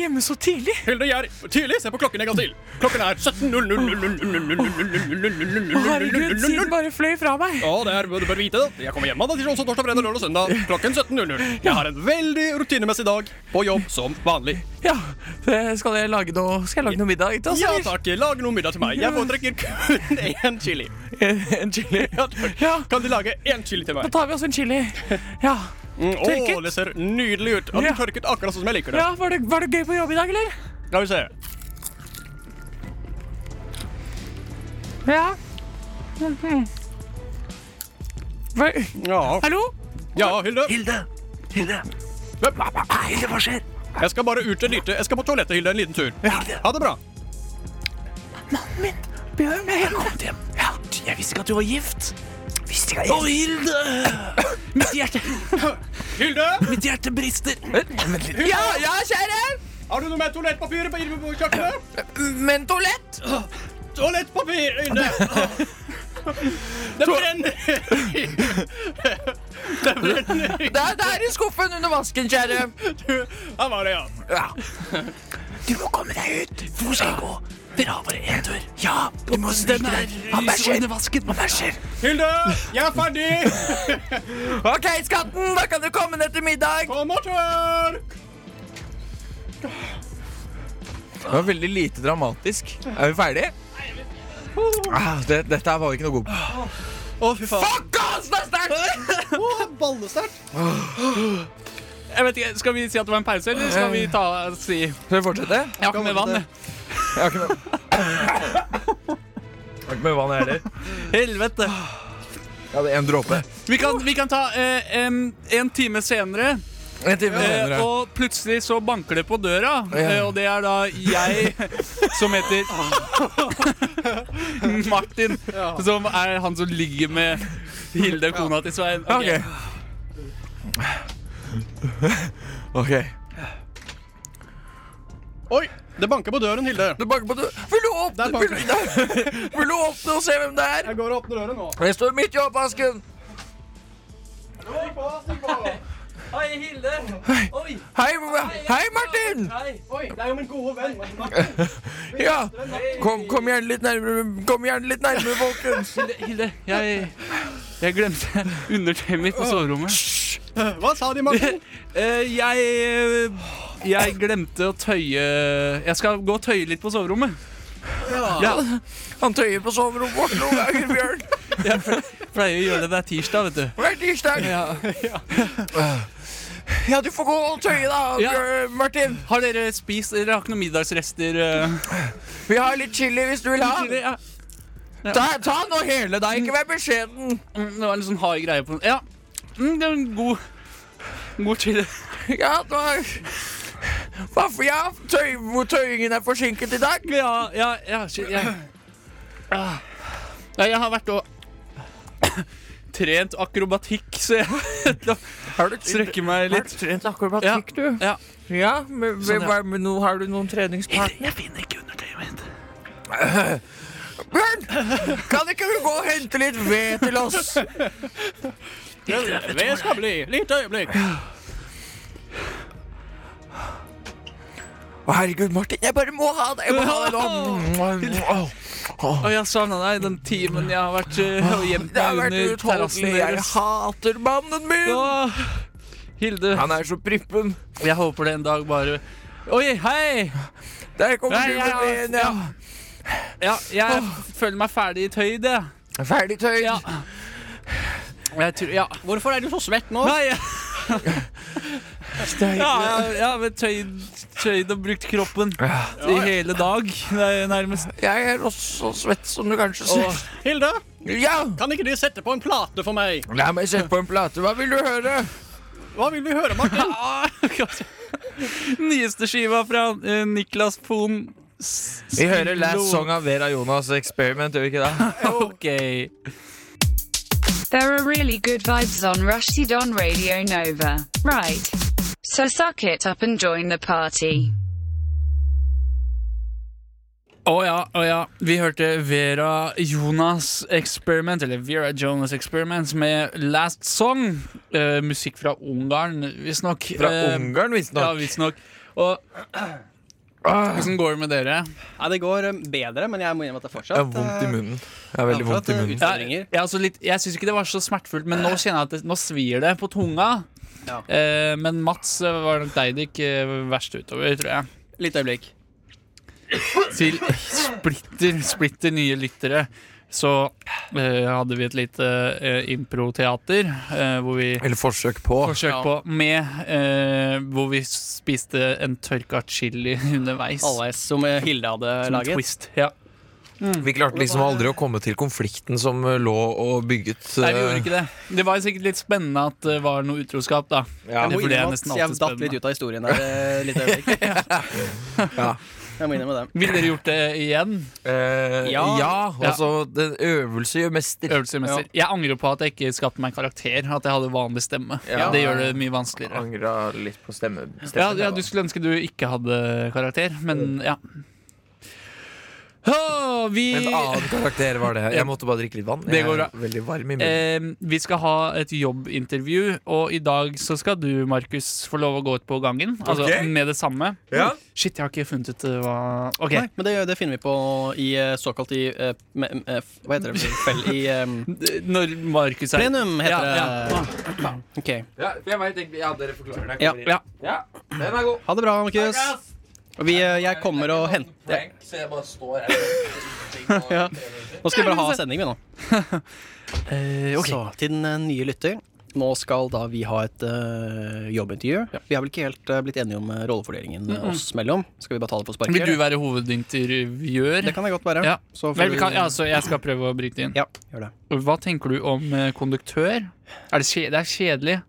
D: hjemme så tidlig?
C: Hilde, jeg er tidlig. Se på klokken en gang til. Klokken er 17.00.
D: bare fløy fra meg.
C: Ja, det er, du bør vite det. Jeg kommer hjem mandag, tirsdag, onsdag, torsdag, fredag, lørdag og søndag klokken 17.00. Jeg har en veldig rutinemessig dag på jobb som vanlig.
D: Ja, skal jeg lage noe, middag til
C: Ja takk, lag noe middag til meg. Jeg foretrekker kun én chili.
D: En chili.
C: Ja, takk.
D: Ja.
C: Kan du lage én chili til meg?
D: tar vi oss en chili. Ja,
C: Mm,
D: tørket.
C: å, det ser nydelig ut. Ja, du
D: Ja.
C: tørket akkurat sånn som jeg liker det.
D: var det, gøy på jobb i dag, eller?
C: Skal vi se.
D: Ja. Hallo?
C: Ja, Hilde.
A: Hilde! Hilde. Hei, Hilde, hva skjer?
C: Jeg skal bare ut en lite Jeg skal på toalettet, Hilde, en liten tur.
A: Ja.
C: Ha det bra.
A: Ah, Bjørn, jeg har kommet hjem. Ja, jeg visste ikke at du var gift. Visste ikke jeg. Å, Hilde! Mitt hjerte,
C: Hilde!
A: mitt hjerte brister.
D: Ja, ja, kjære!
C: Har du noe mer toalettpapir på inne på kjøkkenet?
D: Mentolett!
C: Toalettpapir, Hilde! Det brenner!
D: Det er der i skuffen under vasken, kjære.
C: Her var det, ja.
A: Du må komme deg ut. Hvor skal jeg gå? Dere har bare én tur. Ja, du må snike deg. Han bæsjer. Han bæsjer.
C: Hilde, jeg er ferdig!
D: Ok, skatten, da kan du komme ned til middag.
C: Kom og tørk!
D: Det var veldig lite dramatisk. Er vi ferdige? Ah, det, dette her var vi ikke noe god på.
C: Å, fy faen.
D: Fuck ass, det er sterkt!
C: Å, ballesterkt.
B: Jeg vet ikke, Skal vi si at det var en pause, eller skal vi ta si Jeg
D: Skal vi fortsette?
B: har ikke med vann. jeg.
D: Jeg har ikke med Jeg har ikke med vann, jeg heller.
B: Helvete.
D: Jeg hadde en dråpe.
B: Vi kan, vi kan ta eh, em, en time senere,
D: En time
B: eh,
D: senere.
B: og plutselig så banker det på døra.
D: Ja.
B: Eh, og det er da jeg som heter Martin, som er han som ligger med Hilde, kona til Svein.
D: Ok. Ok.
C: Oi, det banker på døren, Hilde.
D: Det banker på døren. Vil du åpne?
C: Der banker
D: Vil, vil du åpne og se hvem det er?
C: Jeg går og åpner døren nå.
D: Jeg står midt i oppvasken.
C: Stikk på, stikk på.
I: Hei, Hilde! Oi!
D: Hei, hei Martin!
I: Hei!
C: Oi, det er jo min gode venn.
D: Ja, kom, kom gjerne litt nærmere, kom gjerne litt nærmere, folkens.
B: Hilde, Hilde jeg, jeg glemte undertøyet mitt på soverommet.
C: Hva sa de, Martin?
B: Eh, jeg eh, Jeg glemte å tøye Jeg skal gå og tøye litt på soverommet. Ja.
D: Han tøyer på soverommet vårt noen ganger, Bjørn.
B: Pleier å gjøre det der tirsdag, vet du.
D: Hver tirsdag.
B: Ja.
D: Ja, du får gå og tøye da,
B: Ja.
D: Bjør- Martin.
B: Har dere spist Dere har ikke noen middagsrester? eh,
D: Vi har litt chili hvis du vil
B: tidligere?
D: ha.
B: ja.
D: Ta, ta nå hele deg, ikke vær beskjeden.
B: Mm, Det var en sånn hard greie på Ja. Mm, det er en god God chili.
D: Ja, da... Hva for ja, tøy, hvor tøyingen er forsinket i dag?
B: Ja, ja, ja, shit, jeg, Ah. Nei, jeg har vært og trent akrobatikk, så jeg
D: Har du
B: strekker meg
D: Har
B: litt.
D: du trent akrobatikk, du?
B: Ja.
D: Ja, men, men, hva- men nå har du noen treningspartner?
A: Jeg finner ikke undertøyet mitt.
D: Bjørn, kan ikke du gå og hente litt ved til oss?
C: Vi skal bli. Litt øyeblikk.
D: Å, herregud, Martin, jeg bare må ha deg. Jeg må ha deg nå.
B: Og jeg savna deg den timen jeg har vært eh, og gjemt
D: Det har
B: meg
D: vært
B: under terrassen
D: utholdelig. Jeg
B: deres.
D: hater mannen min.
B: Åh, Hilde,
D: Han er så prippen.
B: jeg håper det en dag bare Oi, hei!
D: Der kommer
B: Nei,
D: du
B: jeg
D: med
B: har-
D: veden, ja.
B: Ja, jeg føler meg ferdig i tøyd, jeg.
D: Ferdig tøyd.
B: Ja. Jeg tror, ja.
C: Hvorfor er du så svett nå?
B: Nei, ja,
D: Steik.
B: ja, ja men tøyd, tøyd og brukt kroppen i hele dag, nei, nærmest.
D: Jeg er også svett, som du kanskje
B: Og,
D: ser.
C: Hilde,
D: Ja,
C: kan ikke de sette på en plate for meg?
D: la meg sette på en plate. Hva vil du høre?
C: Hva vil vi høre, Martin?
B: Ah, kanskje. Nyeste skiva fra eh, Niklas Pohn.
D: Vi hører Last Song av Vera Jonas Experiment, gjør vi ikke det?
B: Ok.
J: There are really good vibes on Rushdie on Radio Nova. Right. So suck it up and join the party.
B: Å ja, å ja. Vi hørte Vera Jonas Experiment, eller Vera Jonas Experiment, med Last Song. Eh, musikk fra Ungarn, visstnok.
D: Fra
B: Eh,
D: Ungarn,
B: Ja,
D: visstnok. Ah,
B: visstnok. Og hvordan går det med dere?
C: Ja, det går eh, bedre, men jeg må innrømme at det er
D: Jeg
C: fortsatt
D: har vondt i
C: eh,
D: munnen. Jeg har veldig
C: ja, for at
D: vondt i
C: det
D: munnen.
C: ut-
B: Jeg,
C: Ringer.
B: jeg, altså litt, jeg syns ikke det var så smertefullt, men nå kjenner jeg at det, nå svir det på tunga.
C: Ja.
B: Eh, men Mats eh, var nok deg det gikk eh, verst utover, tror jeg.
C: Litt øyeblikk.
B: Til splitter, splitter nye lyttere så eh, hadde vi et lite eh, improteater eh, hvor vi
D: Eller forsøk på.
B: forsøk
C: Ja.
B: på med eh, Hvor vi spiste en tørka chili underveis.
C: Halvveis som eh, Hilde hadde
B: Som en
C: laget.
B: twist. Ja.
D: Vi klarte liksom aldri å komme til konflikten som eh, lå og bygget
B: Nei, vi gjorde ikke det. Det var sikkert litt spennende at det var noe utroskap, da.
C: Jeg må
B: For det er
C: innrømme
B: nesten
C: at
B: alltid
C: jeg datt
B: spennende.
C: litt ut av historien her eh, litt øyeblikk. Jeg må innrømme det.
B: Ville dere gjort det igjen?
D: eh,
C: ja.
B: altså
K: øvelse gjør mester.
B: Jeg angrer på at jeg ikke skapte meg karakter, at jeg hadde vanlig stemme.
K: Ja.
B: Det gjør det mye vanskeligere.
K: Angra litt på stemme.
B: Ja, ja, du skulle ønske du ikke hadde karakter, men ja. Åh, vi
D: En annen karakter var det. Jeg måtte bare drikke litt vann.
B: Det
D: Jeg
B: går
D: er
B: bra.
D: veldig varm i munnen.
B: Eh, vi skal ha et jobbintervju, og i dag så skal du, Markus, få lov å gå ut på gangen. Altså
C: Ok.
B: med det samme.
C: Ja.
B: Shit, jeg har ikke funnet ut eh, hva Ok.
C: Nei, men det, det finner vi på i eh, såkalt i eh, me- me- eh, Hva heter det? Fell i eh,
B: Når Markus er
C: Plenum, heter
B: Ja, ja.
C: det. Ok.
K: Ja, for jeg vet egentlig Ja, dere forklarer det.
C: Ja.
K: Ja. ja. Den er god.
C: Ha det bra, Markus. Og Vi, eh, jeg kommer og henter
K: Så jeg bare står her.
C: ja. Nå skal vi bare ha sending, vi nå.
B: altså- ok.
C: Så til den eh, nye lytter. Nå skal da vi ha et eh, jobbintervju. Vi har vel ikke helt eh, blitt enige om eh, rollefordelingen eh,
B: Mm-mm.
C: oss mellom. Skal vi bare ta det på sparket?
B: Vil du være hovedintervjuer?
C: Det kan jeg godt være.
B: Ja.
C: Så får
B: Vel,
C: du-
B: vi kan, ja, altså- så jeg skal prøve å bryte inn.
C: Ja, gjør det.
B: Hva tenker du om eh, konduktør? Er det, kje, det er kjedelig.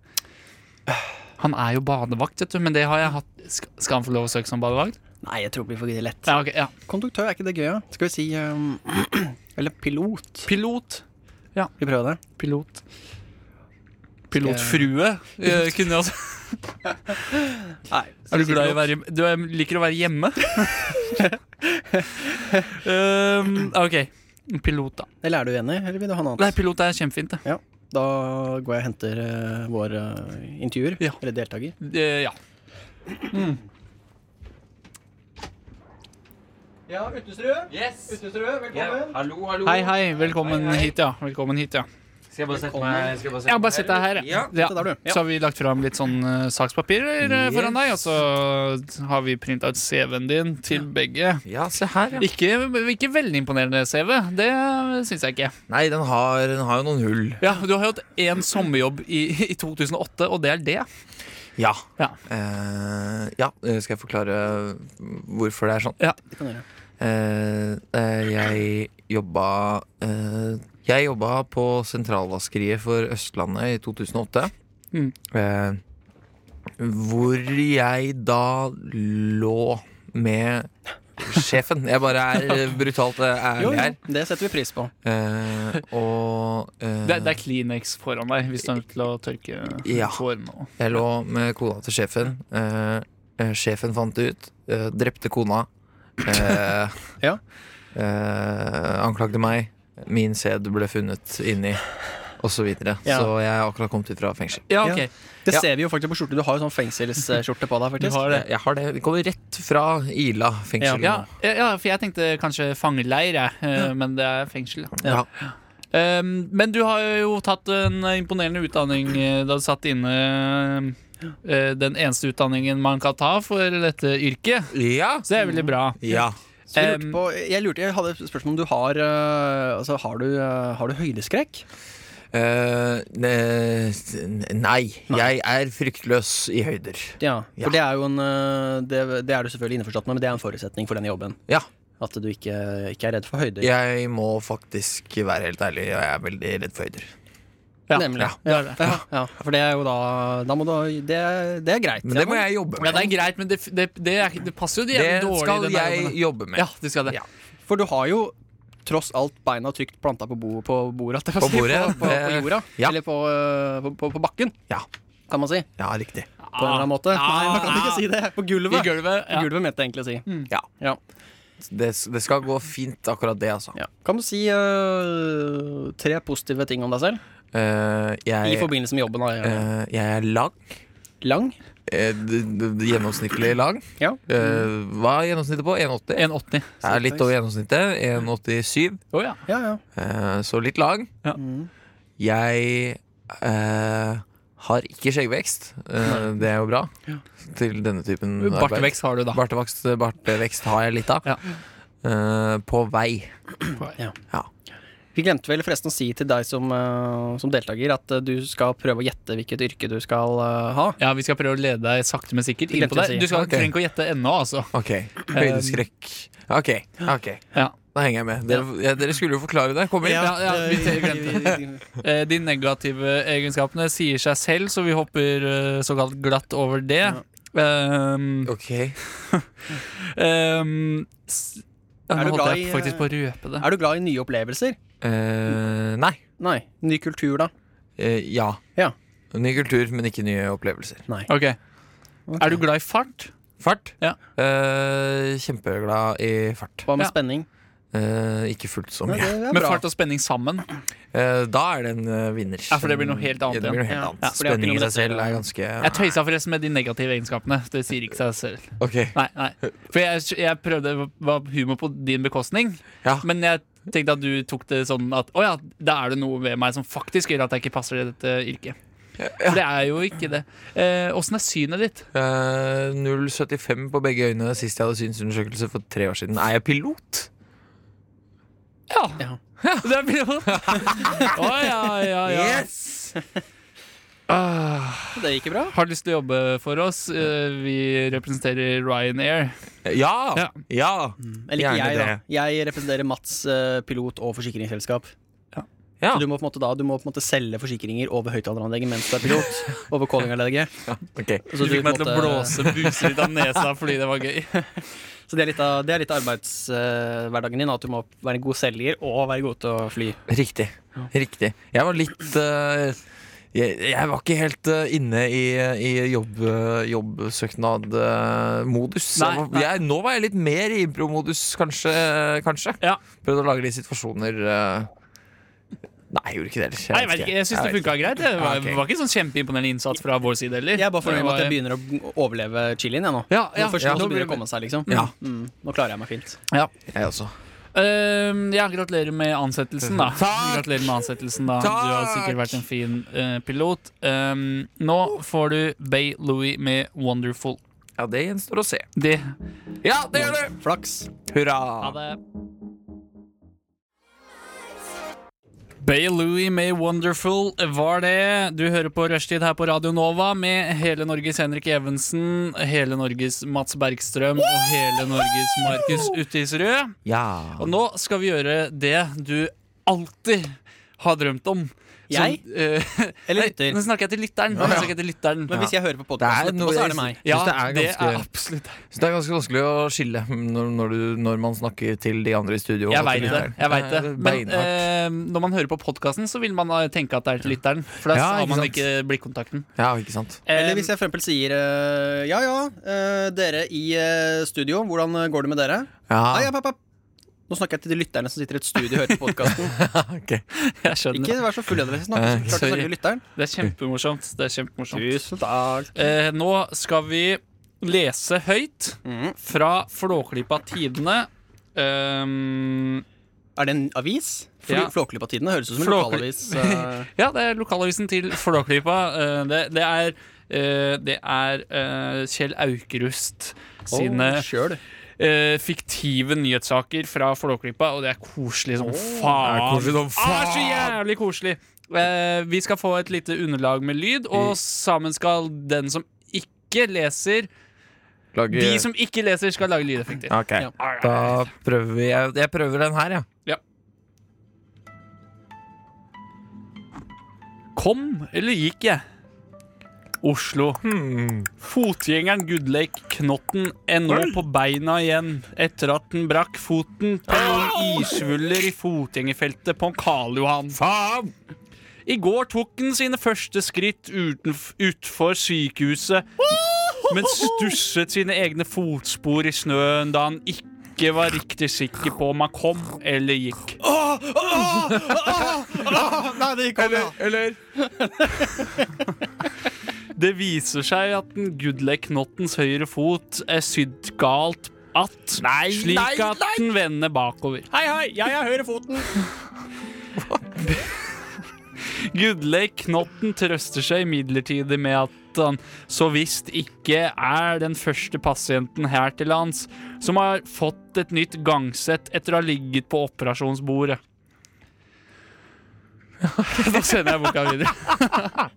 B: Han er jo badevakt, vet du, men det har jeg hatt Sk- Skal han få lov å søke som badevakt?
C: Nei, jeg tror det blir for lett.
B: Ja, ok, ja.
C: Konduktør, er ikke det gøy? da? Skal vi si ehm, Eller pilot.
B: Pilot. Ja.
C: Vi prøver det.
B: Pilot. Pilotfrue eh, kunne jeg også
C: Nei.
B: Er du glad i å være Du er, liker å være hjemme? um, OK. Pilot, da.
C: Eller er du uenig, eller vil du ha noe annet?
B: Nei, pilot er kjempefint, det.
C: Ja. Da går jeg og henter eh, vår eh, intervjuer, eller deltaker.
B: Eh, ja.
L: Ja, Utestrø. Yes. Utestrø, velkommen.
K: Hallo, hallo.
B: Hei, hei. Velkommen hit, ja. Velkommen hit, ja.
K: Skal jeg bare sette meg skal jeg bare
B: Ja, bare sett deg her.
K: Ja.
B: Ja.
K: Sett der, du.
B: Så har vi lagt fram litt sånn eh, sakspapirer eh, foran deg, og så har vi printa ut CV-en din til begge.
D: Ja, se her, ja.
B: Ikke, ikke veldig imponerende CV, det syns jeg ikke.
D: Nei, den har, den har jo noen hull.
B: Ja, Du har jo hatt én sommerjobb i, i 2008, og det er det.
D: Ja.
B: Ja.
D: Eh, ja. eh, Skal jeg forklare hvorfor det er sånn?
B: Ja.
C: Det kan du gjøre.
D: Eh, eh, jeg jobba eh, Jeg jobba på sentralvaskeriet for Østlandet i 2008.
B: Mm.
D: Eh, hvor jeg da lå med sjefen. Jeg bare er brutalt eh,
C: Jo,
D: ærlig
C: jo,
D: her.
C: det setter vi pris på.
D: Eh, og eh,
B: Det, det er Kleenex foran deg, hvis du er nødt til å tørke
D: Ja.
B: tårene. og-
D: Jeg lå med kona til sjefen. Eh, eh, sjefen fant det ut. eh, drepte kona. Eh,
C: Ja.
D: eh, anklagde meg. Min sæd ble funnet inni, og så videre.
C: Ja.
D: Så jeg har akkurat kommet ut fra fengsel.
B: Ja, ok.
C: Det
D: Ja.
C: ser vi jo faktisk på skjorte. Du har jo sånn fengselsskjorte på deg,
D: Du
C: faktisk.
D: har det. Jeg har det. Vi kommer rett fra Ila fengsel.
B: Ja,
D: nå.
B: ja, ja, for jeg tenkte kanskje fangeleir, jeg, eh, men det er fengsel. da.
D: Ja.
B: Um, men du har jo tatt en imponerende utdanning eh, da du satt inne eh, den eneste utdanningen man kan ta for dette yrket.
D: Ja.
B: Så det er veldig bra.
D: Ja.
C: Så jeg, lurte på, jeg, lurte, jeg hadde et spørsmål om du har eh, Altså, har du, eh, har du høydeskrekk?
D: Eh, ne- nei. Jeg er fryktløs i høyder.
C: Ja, for
D: Ja.
C: det er jo en eh, det, det er du selvfølgelig innforstått med, men det er en forutsetning for denne jobben.
D: Ja.
C: At du ikke, ikke er redd for høyder.
D: Jeg må faktisk være helt ærlig, jeg er veldig redd for høyder.
B: Ja,
C: Nemlig.
D: Ja.
B: det er det.
C: Ja, ja, for det er jo da, da må du, ha- det, er- det er greit.
D: Men det må jeg jobbe
B: Ja,
D: med.
B: det er greit, men det, det, det, er, ikke- det passer jo
D: Det
B: jævlig dårlig. i
D: skal
B: den der
D: jeg
B: jobben, da.
D: jobbe med.
B: Ja, du skal det.
D: Ja.
C: For du har jo tross alt beina trygt planta på, bo, på bordet, at jeg får
D: På bordet,
C: si, på, på, på
D: det-
C: jorda.
D: ja.
C: Eller på, eh, på, på, på bakken,
D: Ja.
C: kan man si.
D: Ja, riktig.
C: På en eller annen måte. Nei, man kan ikke si det. På
B: I
C: Ah, gulvet.
B: gulvet.
C: På
B: Ja.
C: gulvet, mente jeg egentlig å si.
B: Mm.
D: Ja.
C: Ja.
D: Det, det skal gå fint, akkurat det, altså.
C: Ja. Kan du si eh, tre positive ting om deg selv?
D: Eh,
C: I
D: jeg,
C: forbindelse med jobben. Da.
D: eh, jeg er lang.
C: Lang?
D: Eh, d- d- d- gjennomsnittlig lang.
C: Ja.
D: Eh,
B: Mm.
D: hva er gjennomsnittet på? 1,80?
B: 1,80.
D: Jeg er litt over gjennomsnittet. 1,87.
B: Å ja.
C: Ja, ja.
D: Eh, så litt lang.
B: Ja.
D: Jeg eh, har ikke skjeggvekst. Eh, det er jo bra. Til denne typen arbeid.
B: Bartevekst har du, da.
D: Bartevekst, eh, bartevekst har jeg litt av.
B: Ja.
D: Eh, på vei.
C: Vi glemte vel forresten å si til deg som, eh, som deltaker at eh, du skal prøve å gjette hvilket yrke du skal eh, ha.
B: Ja, Vi skal prøve å lede deg sakte, men sikkert inn
C: Glemte
B: på
C: jeg å
B: det.
C: si.
B: Du skal
D: Ok.
B: trenger ikke å gjette ennå, altså.
D: Ok. Høydeskrekk. Ok. ok
B: Ja.
D: Da henger jeg med. Dere, ja, dere skulle jo forklare det. Kom inn.
B: Ja, ja, vi glemte det. Eh, De negative egenskapene sier seg selv, så vi hopper eh, såkalt glatt over det. Ehm, ok.
D: Eh,
C: Er
B: ehm,
C: du
B: nå holdt
C: glad
B: jeg
C: i, eh,
B: faktisk på å røpe det.
C: Er du glad i nye opplevelser?
D: nei. Eh,
C: Nei. Ny kultur, da?
D: ja. Ny kultur, men ikke nye opplevelser.
B: Ok. Er du glad i fart?
D: Fart? Eh, kjempeglad i fart. Eh,
C: Hva
B: med Ja.
C: spenning?
D: ikke fullt så
B: Nei,
D: mye.
B: det er Med bra. fart og spenning sammen?
D: da er det en eh, vinner.
B: Ja, for det blir noe helt annet
D: Ja, det blir noe
B: igjen.
D: helt
B: Ja.
D: annet.
B: Ja, for det har ikke
D: Spenning i
B: noe
D: seg
B: med
D: selv
B: dette-
D: er ganske
B: Jeg tøysa forresten med de negative egenskapene. Det sier ikke seg selv.
D: Ok.
B: Nei, nei. For jeg, jeg prøvde var humor på din bekostning, men jeg tenkte at du tok det sånn at å ja, da er det noe ved meg som faktisk gjør at jeg ikke passer i dette yrket. For det er jo ikke det. Eh, Åssen er synet ditt?
D: Eh, 0,75 på begge øynene sist jeg hadde synsundersøkelse for tre år siden. Er jeg pilot?
B: Det er pilot! Å ja, ja, ja.
C: Det gikk bra.
B: Har lyst til å jobbe for oss. Eh, Vi representerer Ryanair.
D: Ja!
B: Ja.
C: Eller ikke
B: Gjerne
C: jeg,
B: det.
C: da. Jeg representerer Mats eh, pilot og forsikringsselskap. Så du må, på en måte da, du må på en måte selge forsikringer over høyttaleranlegget mens du er pilot. Over callinganlegget.
B: Du fikk meg til å blåse buser ut av nesa fordi det var gøy.
C: Så det er litt av, det er litt av arbeidshverdagen din, at du må være en god selger og være god til å fly.
D: Riktig. Riktig. Jeg var litt eh, jeg, jeg var ikke helt eh, inne i, i jobb, eh, jobbsøknad-modus.
B: Nei, nei.
D: Nå var jeg litt mer i impro-modus, kanskje. kanskje. Prøvde å lage litt situasjoner eh. Nei, jeg gjorde ikke det. heller.
B: Nei, jeg vet ikke, jeg syns det
D: vet
B: funka greit. Det var,
D: Ja, ok.
B: var ikke sånn kjempeimponerende innsats fra vår side heller.
C: Jeg er bare fornøyd med at jeg
B: Det
C: begynner å overleve chilien, jeg nå.
B: Ja, ja,
C: nå først
B: ja.
C: nå
B: Nå
C: begynner det å
B: blir
C: komme seg, liksom.
B: Ja.
C: Mm, nå klarer jeg meg fint.
B: var- Ja.
D: Jeg også.
B: Ehm, ja, gratulerer med ansettelsen, da. Gratulerer med ansettelsen da Du har sikkert vært en fin eh, pilot. Ehm, nå får du Bay Louie med 'Wonderful'.
D: Ja, det gjenstår å se.
B: Det.
D: Ja, det gjør det!
C: Flaks.
D: Hurra.
B: Ha det. Bay Louie med 'Wonderful' var det. Du hører på Rushtid her på Radio Nova med hele Norges Henrik Evensen, hele Norges Mats Bergstrøm og hele Norges Markus Uttisrød.
D: Ja.
B: Og nå skal vi gjøre det du alltid har drømt om.
C: Jeg?
B: Eller lytter? Nå snakker jeg til lytteren. Nå snakker jeg til lytteren.
D: Men hvis jeg hører
C: på
D: podcasten etterpå, så er det meg.
B: Ja,
D: Synes det er
B: det er
D: ganske-
B: absolutt deg.
D: Så det er ganske vanskelig å skille når, når, du, når man snakker til de andre i studio.
B: Jeg veit det. jeg vet det Men
D: Beinhardt.
B: eh, når man hører på podkasten, så vil man eh, tenke at det er til lytteren. For da
D: Ja,
B: har
D: ikke
B: man
D: sant.
B: ikke blikkontakten.
D: Ja, ikke sant.
C: Eller hvis jeg for eksempel sier eh, Ja ja, eh, dere i eh, studio, hvordan eh, går det med dere?
D: Ja.
C: «Ai, app, app, app. Nå snakker jeg til de lytterne som sitter i et studio og hører på podkasten.
B: Jeg skjønner.
C: Ikke vær så full av dere. Snakk
B: Eh,
C: så klart
B: sorry.
C: til lytteren.
B: Det er kjempemorsomt. Det er kjempemorsomt.
C: Tusen takk.
B: Eh, nå skal vi lese høyt
D: Mm.
B: fra Flåklypa Tidene. Ehm,
C: er det en avis? Fl- Flåklypa Tidene høres ut som en lokalavis, eh.
B: ja, det er lokalavisen til Flåklypa. Eh, det, det er, eh, det er eh, Kjell Aukrust sine
C: sjøl.
B: eh, fiktive nyhetssaker fra Flåklypa, og det er koselig som faen.
D: Det er koselig som
B: Ah, det er så jævlig koselig! Eh, vi skal få et lite underlag med lyd, og sammen skal den som ikke leser
D: Lage-
B: De som ikke leser, skal lage lydeffekter.
D: Ok, da prøver vi jeg, jeg prøver den her, ja.
B: Ja. Kom eller gikk jeg? Oslo. Fotgjengeren Gudleik Knotten er nå på beina igjen etter at den brakk foten på noen isvuller i fotgjengerfeltet på Karl Johan. Faen! I går tok den sine første skritt utenf- utfor sykehuset, men stusset sine egne fotspor i snøen da han ikke var riktig sikker på om han kom eller gikk.
C: Nei, det gikk over.
D: Eller
B: Det viser seg at den Gudlek-knottens høyre fot er sydd galt att, slik
C: nei,
B: at
C: nei!
B: den vender bakover.
C: Hei, hei, jeg er høyrefoten.
B: Gudleik Knotten trøster seg imidlertid med at han så visst ikke er den første pasienten her til lands som har fått et nytt gangsett etter å ha ligget på operasjonsbordet. da sender jeg boka videre.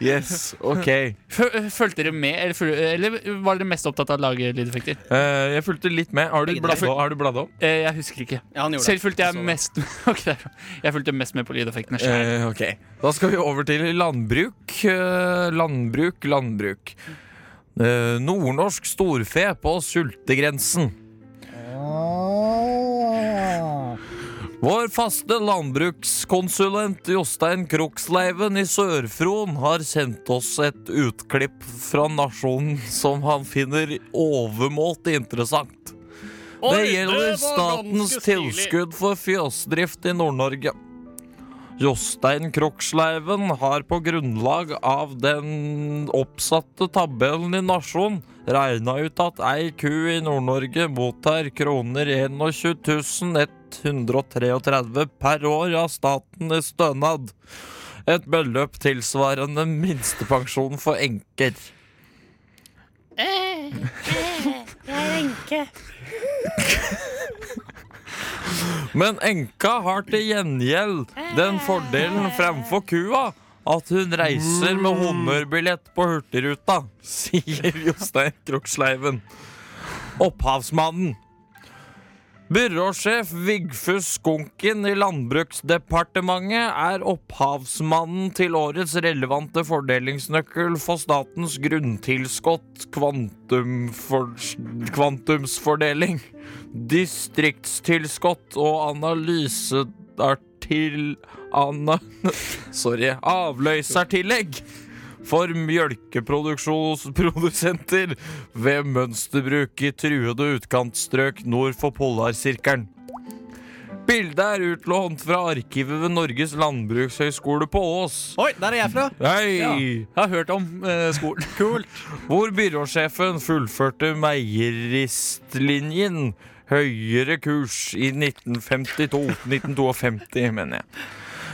D: Yes, ok
B: Føl- eh, Fulgte dere med, eller, føl- eller var dere mest opptatt av å lage lydeffekter?
D: Eh, Jeg fulgte litt med. Har du
B: Begge
D: bladd
B: deler.
D: om? Har du bladd om?
B: Eh, Jeg husker ikke.
D: han gjorde det.
B: Selv fulgte jeg
D: Så-
B: mest Ok, det er bra. Jeg fulgte mest med på lydeffektene selv.
D: Eh, ok. Da skal vi over til landbruk. Eh, landbruk, landbruk. Eh, nordnorsk storfe på sultegrensen.
M: Ah.
D: Vår faste landbrukskonsulent Jostein Kroksleiven i Sør-Fron har sendt oss et utklipp fra Nasjonen som han finner overmåte interessant.
M: Oi,
D: det gjelder
M: det var
D: statens
M: ganske stilig.
D: tilskudd for fjøsdrift i Nord-Norge. Jostein Kroksleiven har på grunnlag av den oppsatte tabellen i Nasjon regna ut at ei ku i Nord-Norge mottar kroner 21 133 per år av staten i stønad. Et beløp tilsvarende minstepensjon for enker.
N: Jeg er enke.
D: Men enka har til gjengjeld den fordelen fremfor kua at hun reiser med hummerbillett på Hurtigruta, sier Jostein Kroksleiven. Opphavsmannen. Byråsjef Vigfus Skunken i Landbruksdepartementet er opphavsmannen til årets relevante fordelingsnøkkel for statens grunntilskudd kvantumfor, kvantumsfordeling, distriktstilskudd og analyseartil... Ana, sorry. Avløsertillegg for mjølkeprodusenter ved mønsterbruk i truede utkantstrøk nord for polarsirkelen. Bildet er utlånt fra arkivet ved Norges landbrukshøgskole på Ås.
C: Oi, der er jeg fra!
D: Hei!
C: Ja.
D: Jeg har hørt om
B: eh,
D: skolen. Kult. Hvor byråsjefen fullførte meieristlinjen høyere kurs i 1952. 1952, mener jeg.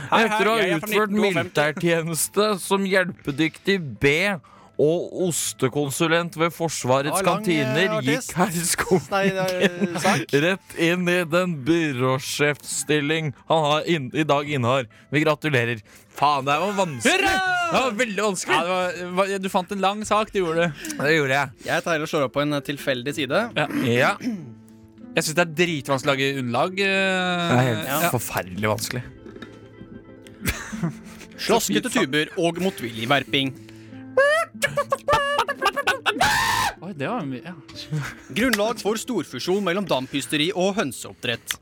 M: Hei, hei,
D: Etter å
M: jeg
D: ha
M: er fra
D: utført
M: 1952.
D: militærtjeneste som hjelpedyktig B og ostekonsulent ved Forsvarets
M: Det var lang, eh,
D: kantiner
M: artist.
D: gikk herr
M: Nei,
D: Skunken rett inn i den byråsjefstilling han har inn, i dag innehar. Vi gratulerer. Faen, det her var vanskelig! Det var veldig vanskelig.
B: du fant en lang sak, du gjorde
D: det. Det gjorde jeg.
C: Jeg tar og slår opp på en eh, tilfeldig side.
B: Ja. Jeg syns det er dritvanskelig å lage underlag. eh.
D: Det er helt forferdelig vanskelig.
C: Slaskete tuber og motvillig verping.
B: Oi, det var mye. Ja.
C: Grunnlag for storfusjon mellom damphysteri og hønseoppdrett.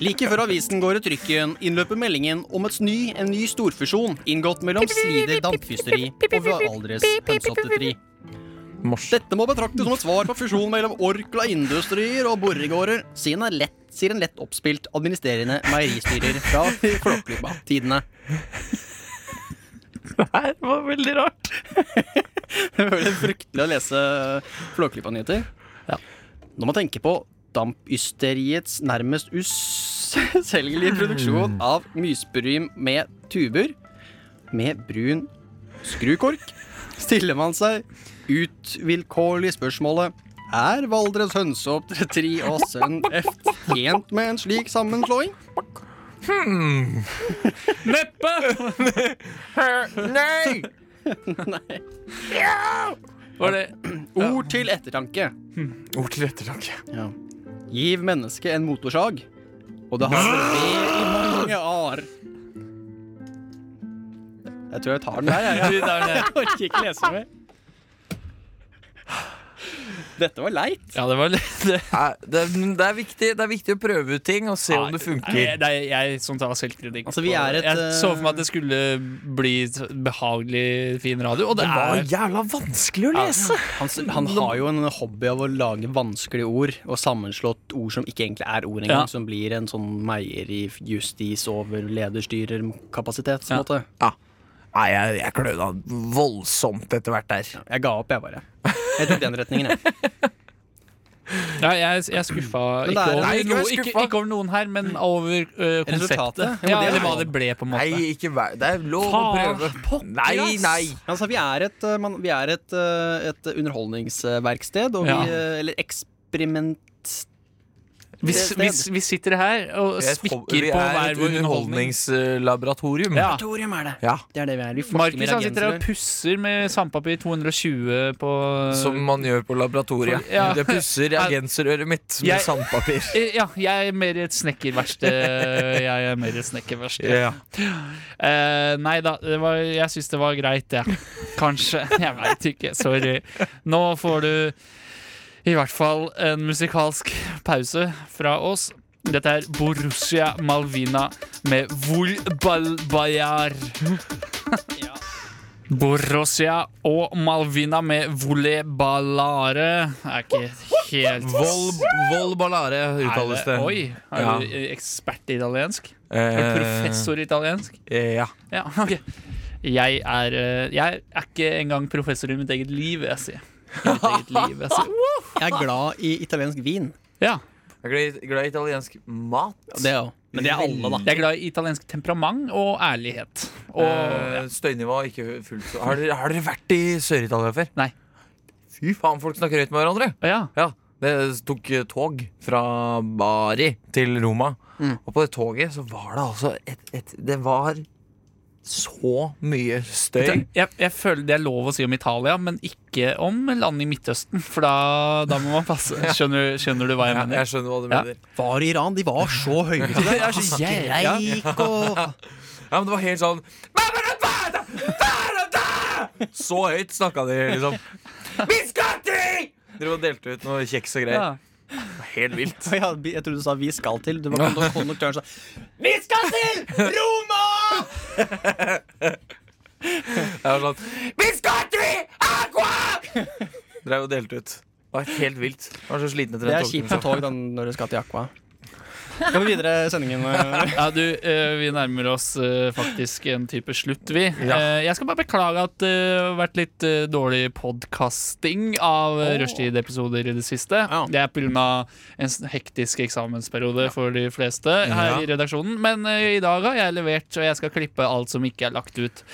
C: Like før avisen går i trykken, innløper meldingen om et ny, en ny storfusjon inngått mellom Slider damphysteri og Valdres hønseoppdretteri. Dette må betraktes som et svar på fusjonen mellom Orkla Industrier og Borregaarder, siden er lett sier en lett oppspilt administrerende meieristyrer fra Flåklypa-tidene.
D: Det her var veldig rart.
C: Det var veldig fryktelig å lese Flåklypa-nyheter. Når man tenker på dampysteriets nærmest uselgelige produksjon
D: Mm.
C: av mysbrym med tuber med brun skrukork, stiller man seg utvilkårlig spørsmålet er Valdres hønseoppdretteri og sønn F tjent med en slik sammenslåing?
D: Hmm.
B: Neppe!
D: Nei!
C: Nei. Ja!
B: Var det
C: Ord til ettertanke.
D: Ord til ettertanke.
C: Ja. Giv mennesket en motorsag, og det har vært ved i mange år. Jeg tror jeg tar den der, jeg.
M: Du tar den der.
C: Jeg orker ikke lese mer. Dette var leit.
B: Ja, det var det.
D: Det, er viktig, det er viktig å prøve ut ting og se om det funker.
B: Nei, det er jeg som tar selvkritikk.
D: Altså, vi er et,
B: jeg
D: eh,
B: så for meg at det skulle bli så behagelig fin radio, og det, er
D: jævla vanskelig
C: Han, han har jo en hobby av å lage vanskelige ord, og sammenslått ord som ikke egentlig er ord engang,
B: Ja.
C: som blir en sånn meier i justis over lederstyrerkapasitet.
D: Ja.
C: Ja. Måte.
D: Ja. Nei, jeg, jeg kløna voldsomt etter hvert der.
C: Jeg ga opp, jeg bare. Jeg tok den retningen, jeg.
B: Nei, jeg, jeg er skuffa.
C: Men det
B: Ikke
C: er-
B: over,
C: Nei, ikke vær
B: noe, ikke, ikke over noen her, men over eh, konseptet.
C: Resultatet?
B: Ja, eller hva det ble, på en måte.
D: Nei, ikke vær Det er lov
B: Faen,
D: å prøve. Nei, nei.
C: Altså, vi er et, uh, man, vi er et, uh, et underholdningsverksted, og
D: Ja.
C: vi, uh, eller eksperiment...
B: Vi, s- vi, s- vi sitter her og
D: Vi er et
B: spikker
D: ho-
B: på hver vår underholdning.
D: underholdningslaboratorium.
B: Ja.
C: er det.
D: Ja.
C: Det er det vi er. Vi
B: Markus han sitter her og pusser med sandpapir 220 på
D: Som man gjør på laboratoriet.
B: For- ja.
D: Det pusser reagenserøret mitt med
B: Jeg-
D: sandpapir.
B: Eh, Ja, jeg er mer i et snekkerverksted. Jeg er mer i et snekkerverksted.
D: Ja.
B: Eh, nei da, det var, jeg syns det var greit, jeg. Kanskje. Jeg veit ikke. Sorry. Nå får du i hvert fall en musikalsk pause fra oss. Dette er Borussia Malvina med Vol Balbayar. Borussia og Malvina med Vole Ballare er ikke helt
D: Vol, vol ballare uttales det.
B: Er Oi, er
D: Ja.
B: du ekspert i italiensk? Er
D: Eh,
B: du professor i italiensk?
D: Eh, ja.
B: Ja, ok jeg er, eh, jeg er ikke engang professor i mitt eget liv, vil jeg si. I mitt eget liv, jeg si.
C: Jeg er glad i italiensk vin.
B: Ja.
D: Jeg er glad i- glad i italiensk mat.
C: Det òg. Men det er alle, da.
B: Jeg er glad i italiensk temperament og ærlighet. Og
D: Eh, Støynivå er ikke fullt så Har dere, har dere vært i Sør-Italia før?
B: Nei.
D: Fy faen, folk snakker høyt med hverandre.
B: Ja.
D: Det tok eh, tog fra Bari til Roma. Og på det toget så var det altså et, et Det var så mye støy.
B: jeg, jeg føler det er lov å si om Italia, men ikke om land i Midtøsten. For da, da må man passe. Skjønner, skjønner du hva jeg
D: Ja,
B: mener?
D: jeg skjønner hva du mener.
C: Var i Iran, de var så høylytte der.
D: Det er så jævlig
C: Skreik og
D: Ja, men det var helt sånn Så høyt snakka de, liksom. Biscotti! Dere var delt ut noe kjeks og greier. Helt vilt.
C: Ja, jeg trodde du sa 'vi skal til'. Du var konduk- konduktøren som sa 'vi skal til Roma'!
D: Jeg var sånn Dere er jo delt ut. Det var helt vilt. Jeg var så sliten etter
C: Det
D: den
C: er kjipt med tog da, når du skal til Aqua. Skal vi videre i sendingen?
B: Ja, du, eh, vi nærmer oss eh, faktisk en type slutt, vi. Eh, Jeg skal bare beklage at det har vært litt eh, dårlig podkasting av oh. rushtid-episoder i det siste. Det er pga. en s- hektisk eksamensperiode for de fleste her
D: Ja.
B: i redaksjonen. Men eh, i dag har jeg levert, og jeg skal klippe alt som ikke er lagt ut.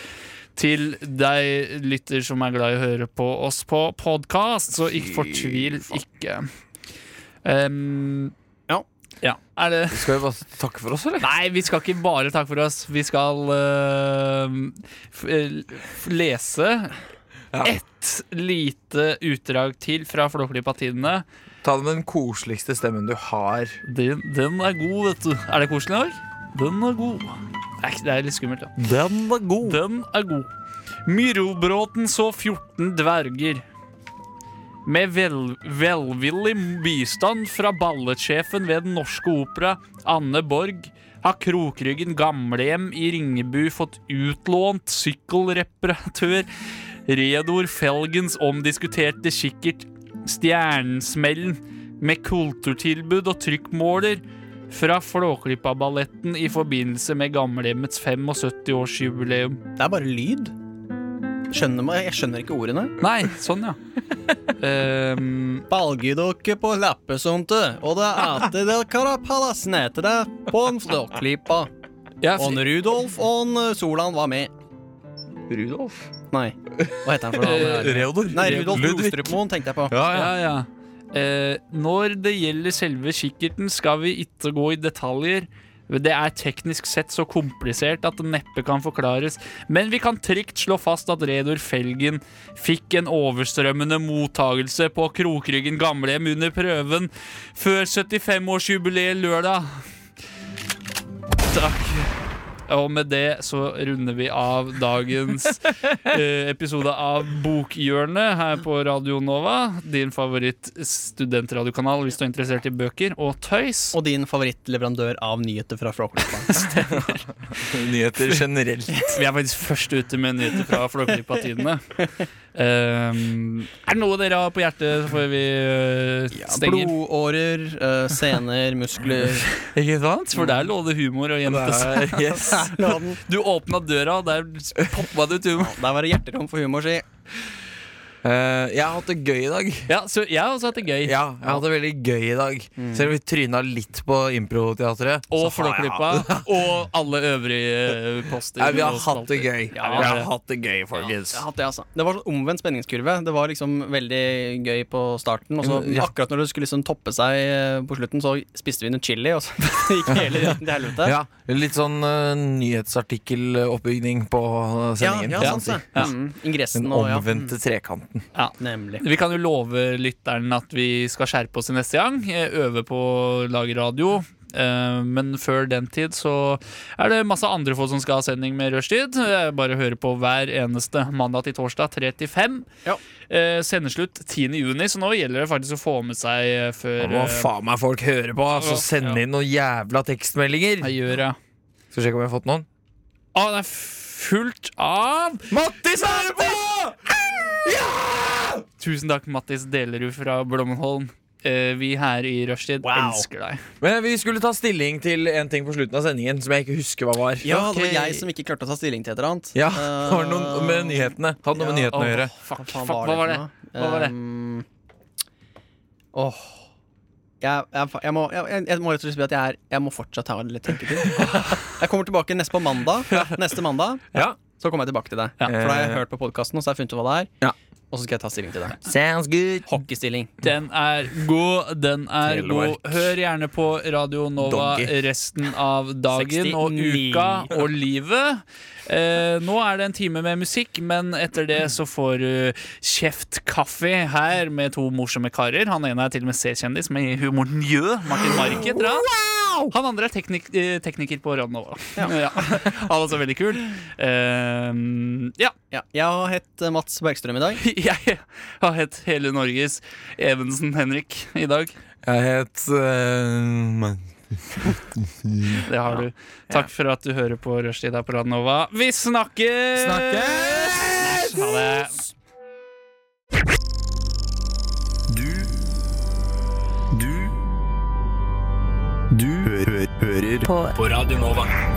B: Til deg lytter som er glad i å høre på oss på podkast, så ikke fortvil ikke. Em, ja. Er det
D: Skal vi bare takke for oss, eller?
B: Nei, vi skal ikke bare takke for oss. Vi skal øh, f eh, f lese ett lite utdrag til fra Flåklypa-tidene.
D: Ta det med den koseligste stemmen du har.
B: Den, den er god, vet du. Er det koselig i dag? Den er god. Det er, ikke- det er litt skummelt, da.
D: Den var god.
B: Den er god. Myrobråten så 14 dverger. Med vel, velvillig bistand fra balletsjefen ved Den norske opera, Anne Borg, har Krokryggen gamlehjem i Ringebu fått utlånt sykkelreparatør Redor Felgens omdiskuterte kikkert Stjernesmellen med kulturtilbud og trykkmåler fra Flåklypa-balletten i forbindelse med gamlehjemmets 75-årsjubileum.
C: Det er bare lyd. Skjønner man, jeg skjønner ikke ordene.
B: Nei, sånn, ja. Ehm,
C: Balgedokke på lappesunte, og det ate del karapalasnete på en flåklypa.
B: Ja, for-
C: Og Rudolf og en eh, Solan var med. Rudolf? Nei, hva heter han for noe?
D: Eh, Reodor.
C: Nei, Rudolf
D: Ludvig.
C: Ostrupmoen tenkte jeg på.
B: Ja, ja. Eh, når det gjelder selve kikkerten, skal vi ikke gå i detaljer. Det er teknisk sett så komplisert at det neppe kan forklares, men vi kan trygt slå fast at Reodor Felgen fikk en overstrømmende mottagelse på Krokryggen gamlehjem under prøven før 75-årsjubileet lørdag. Takk. Og med det så runder vi av dagens eh, episode av Bokhjørnet her på Radio Nova. Din favoritt studentradiokanal hvis du er interessert i bøker og tøys.
C: Og din favorittleverandør av nyheter fra Flåklypa.
D: Nyheter generelt.
B: Vi er faktisk først ute med nyheter fra Flåklypa-tidene. Ehm, er det noe dere har på hjertet før vi eh, stenger?
C: Blodårer, eh, sener, muskler
B: Ikke sant? For der lå det humor og gjemte
C: Der,
B: seg.
C: yes.
B: Du åpna døra, og der poppa det ut humor.
C: Der var det hjerterom for humor, si.
D: Eh, jeg har hatt det gøy i dag.
B: Ja, jeg har også hatt det gøy.
D: Ja, jeg har hatt det veldig gøy i dag.
C: Mm.
D: Selv om vi tryna litt på improteatret.
B: Og
D: så har jeg hatt
B: Flåklypa. Og alle øvrige eh, poster.
D: Nei, vi har hatt det gøy.
B: Ja,
D: vi har
B: det.
D: hatt det gøy, folkens.
C: Jeg har hatt det, altså. Det var sånn omvendt spenningskurve. Det var liksom veldig gøy på starten, og så
D: Ja.
C: akkurat når det skulle liksom toppe seg eh, på slutten, så spiste vi noe chili, og så gikk hele retten til helvete.
D: Ja, litt sånn uh, nyhetsartikkeloppbygning på eh, sendingen.
C: Ja, ja,
D: kan man
C: sant
D: si.
C: det. Mm, ingressen
D: Den
C: og- ja. Mm.
D: omvendte trekanten.
B: Ja.
C: Nemlig.
B: Vi kan jo love lytteren at vi skal skjerpe oss til neste gang. eh, Øve på å lage radio. Eh, Men før den tid så er det masse andre folk som skal ha sending med rushtid. Eh, Bare høre på hver eneste mandag til torsdag 3 til 5. Eh, Sendeslutt 10. juni, så nå gjelder det faktisk å få med seg eh,
D: Nå
B: før
D: må
B: eh,
D: faen meg folk høre på, altså.
B: Ja.
D: Send inn noen jævla tekstmeldinger.
B: Jeg gjør det.
D: Skal vi sjekke om jeg har fått noen?
B: Å, det er fullt av
D: Mattis er det på!
B: Tusen takk, Mattis Delerud fra Blommenholm. Eh, Vi her i rushtid elsker deg.
D: Men vi skulle ta stilling til en ting på slutten av sendingen som jeg ikke husker hva var.
C: Ja, det var jeg som ikke klarte å ta stilling til et eller annet. Eh,
D: Ja, det var noe med nyhetene. Hadde noe med
C: Ja.
D: nyhetene å gjøre.
B: Fuck,
C: faen
B: fuck, hva var det?
C: for noe?
B: Hva var det?
C: Um, åh. Jeg, jeg, jeg, må, jeg, jeg må rett og slett si at jeg, er, jeg må fortsatt ha litt tenketid. Jeg kommer tilbake neste på mandag. Neste mandag Så kommer jeg tilbake til deg. For da har jeg hørt på podkasten, og så har jeg funnet ut hva det er. Og så skal jeg ta stilling til det.
D: Sounds good
C: Hockeystilling.
B: Den er god, den er
C: Telemark.
B: god. Hør gjerne på Radio Nova
C: Doggy.
B: resten av dagen
C: 69.
B: og uka og livet. Eh, nå er det en time med musikk, men etter det så får du Kjeft kaffe her med to morsomme karer. Han ene er til og med C-kjendis med humor njø. Martin Mark heter han. Han andre er teknik eh, tekniker på Radio Nova. Ja. Han er også veldig kul. Eh, ja.
C: Jeg har hett eh, Mats Bergstrøm i dag.
B: Jeg har hett hele Norges Evensen Henrik i dag.
D: Jeg het eh,
B: Det har du. Takk for at du hører på Rushtid her på Radnova. Vi snakkes! Snakkes! Ha det.
O: Du Du Du hø hø hører på. på Radio Nova.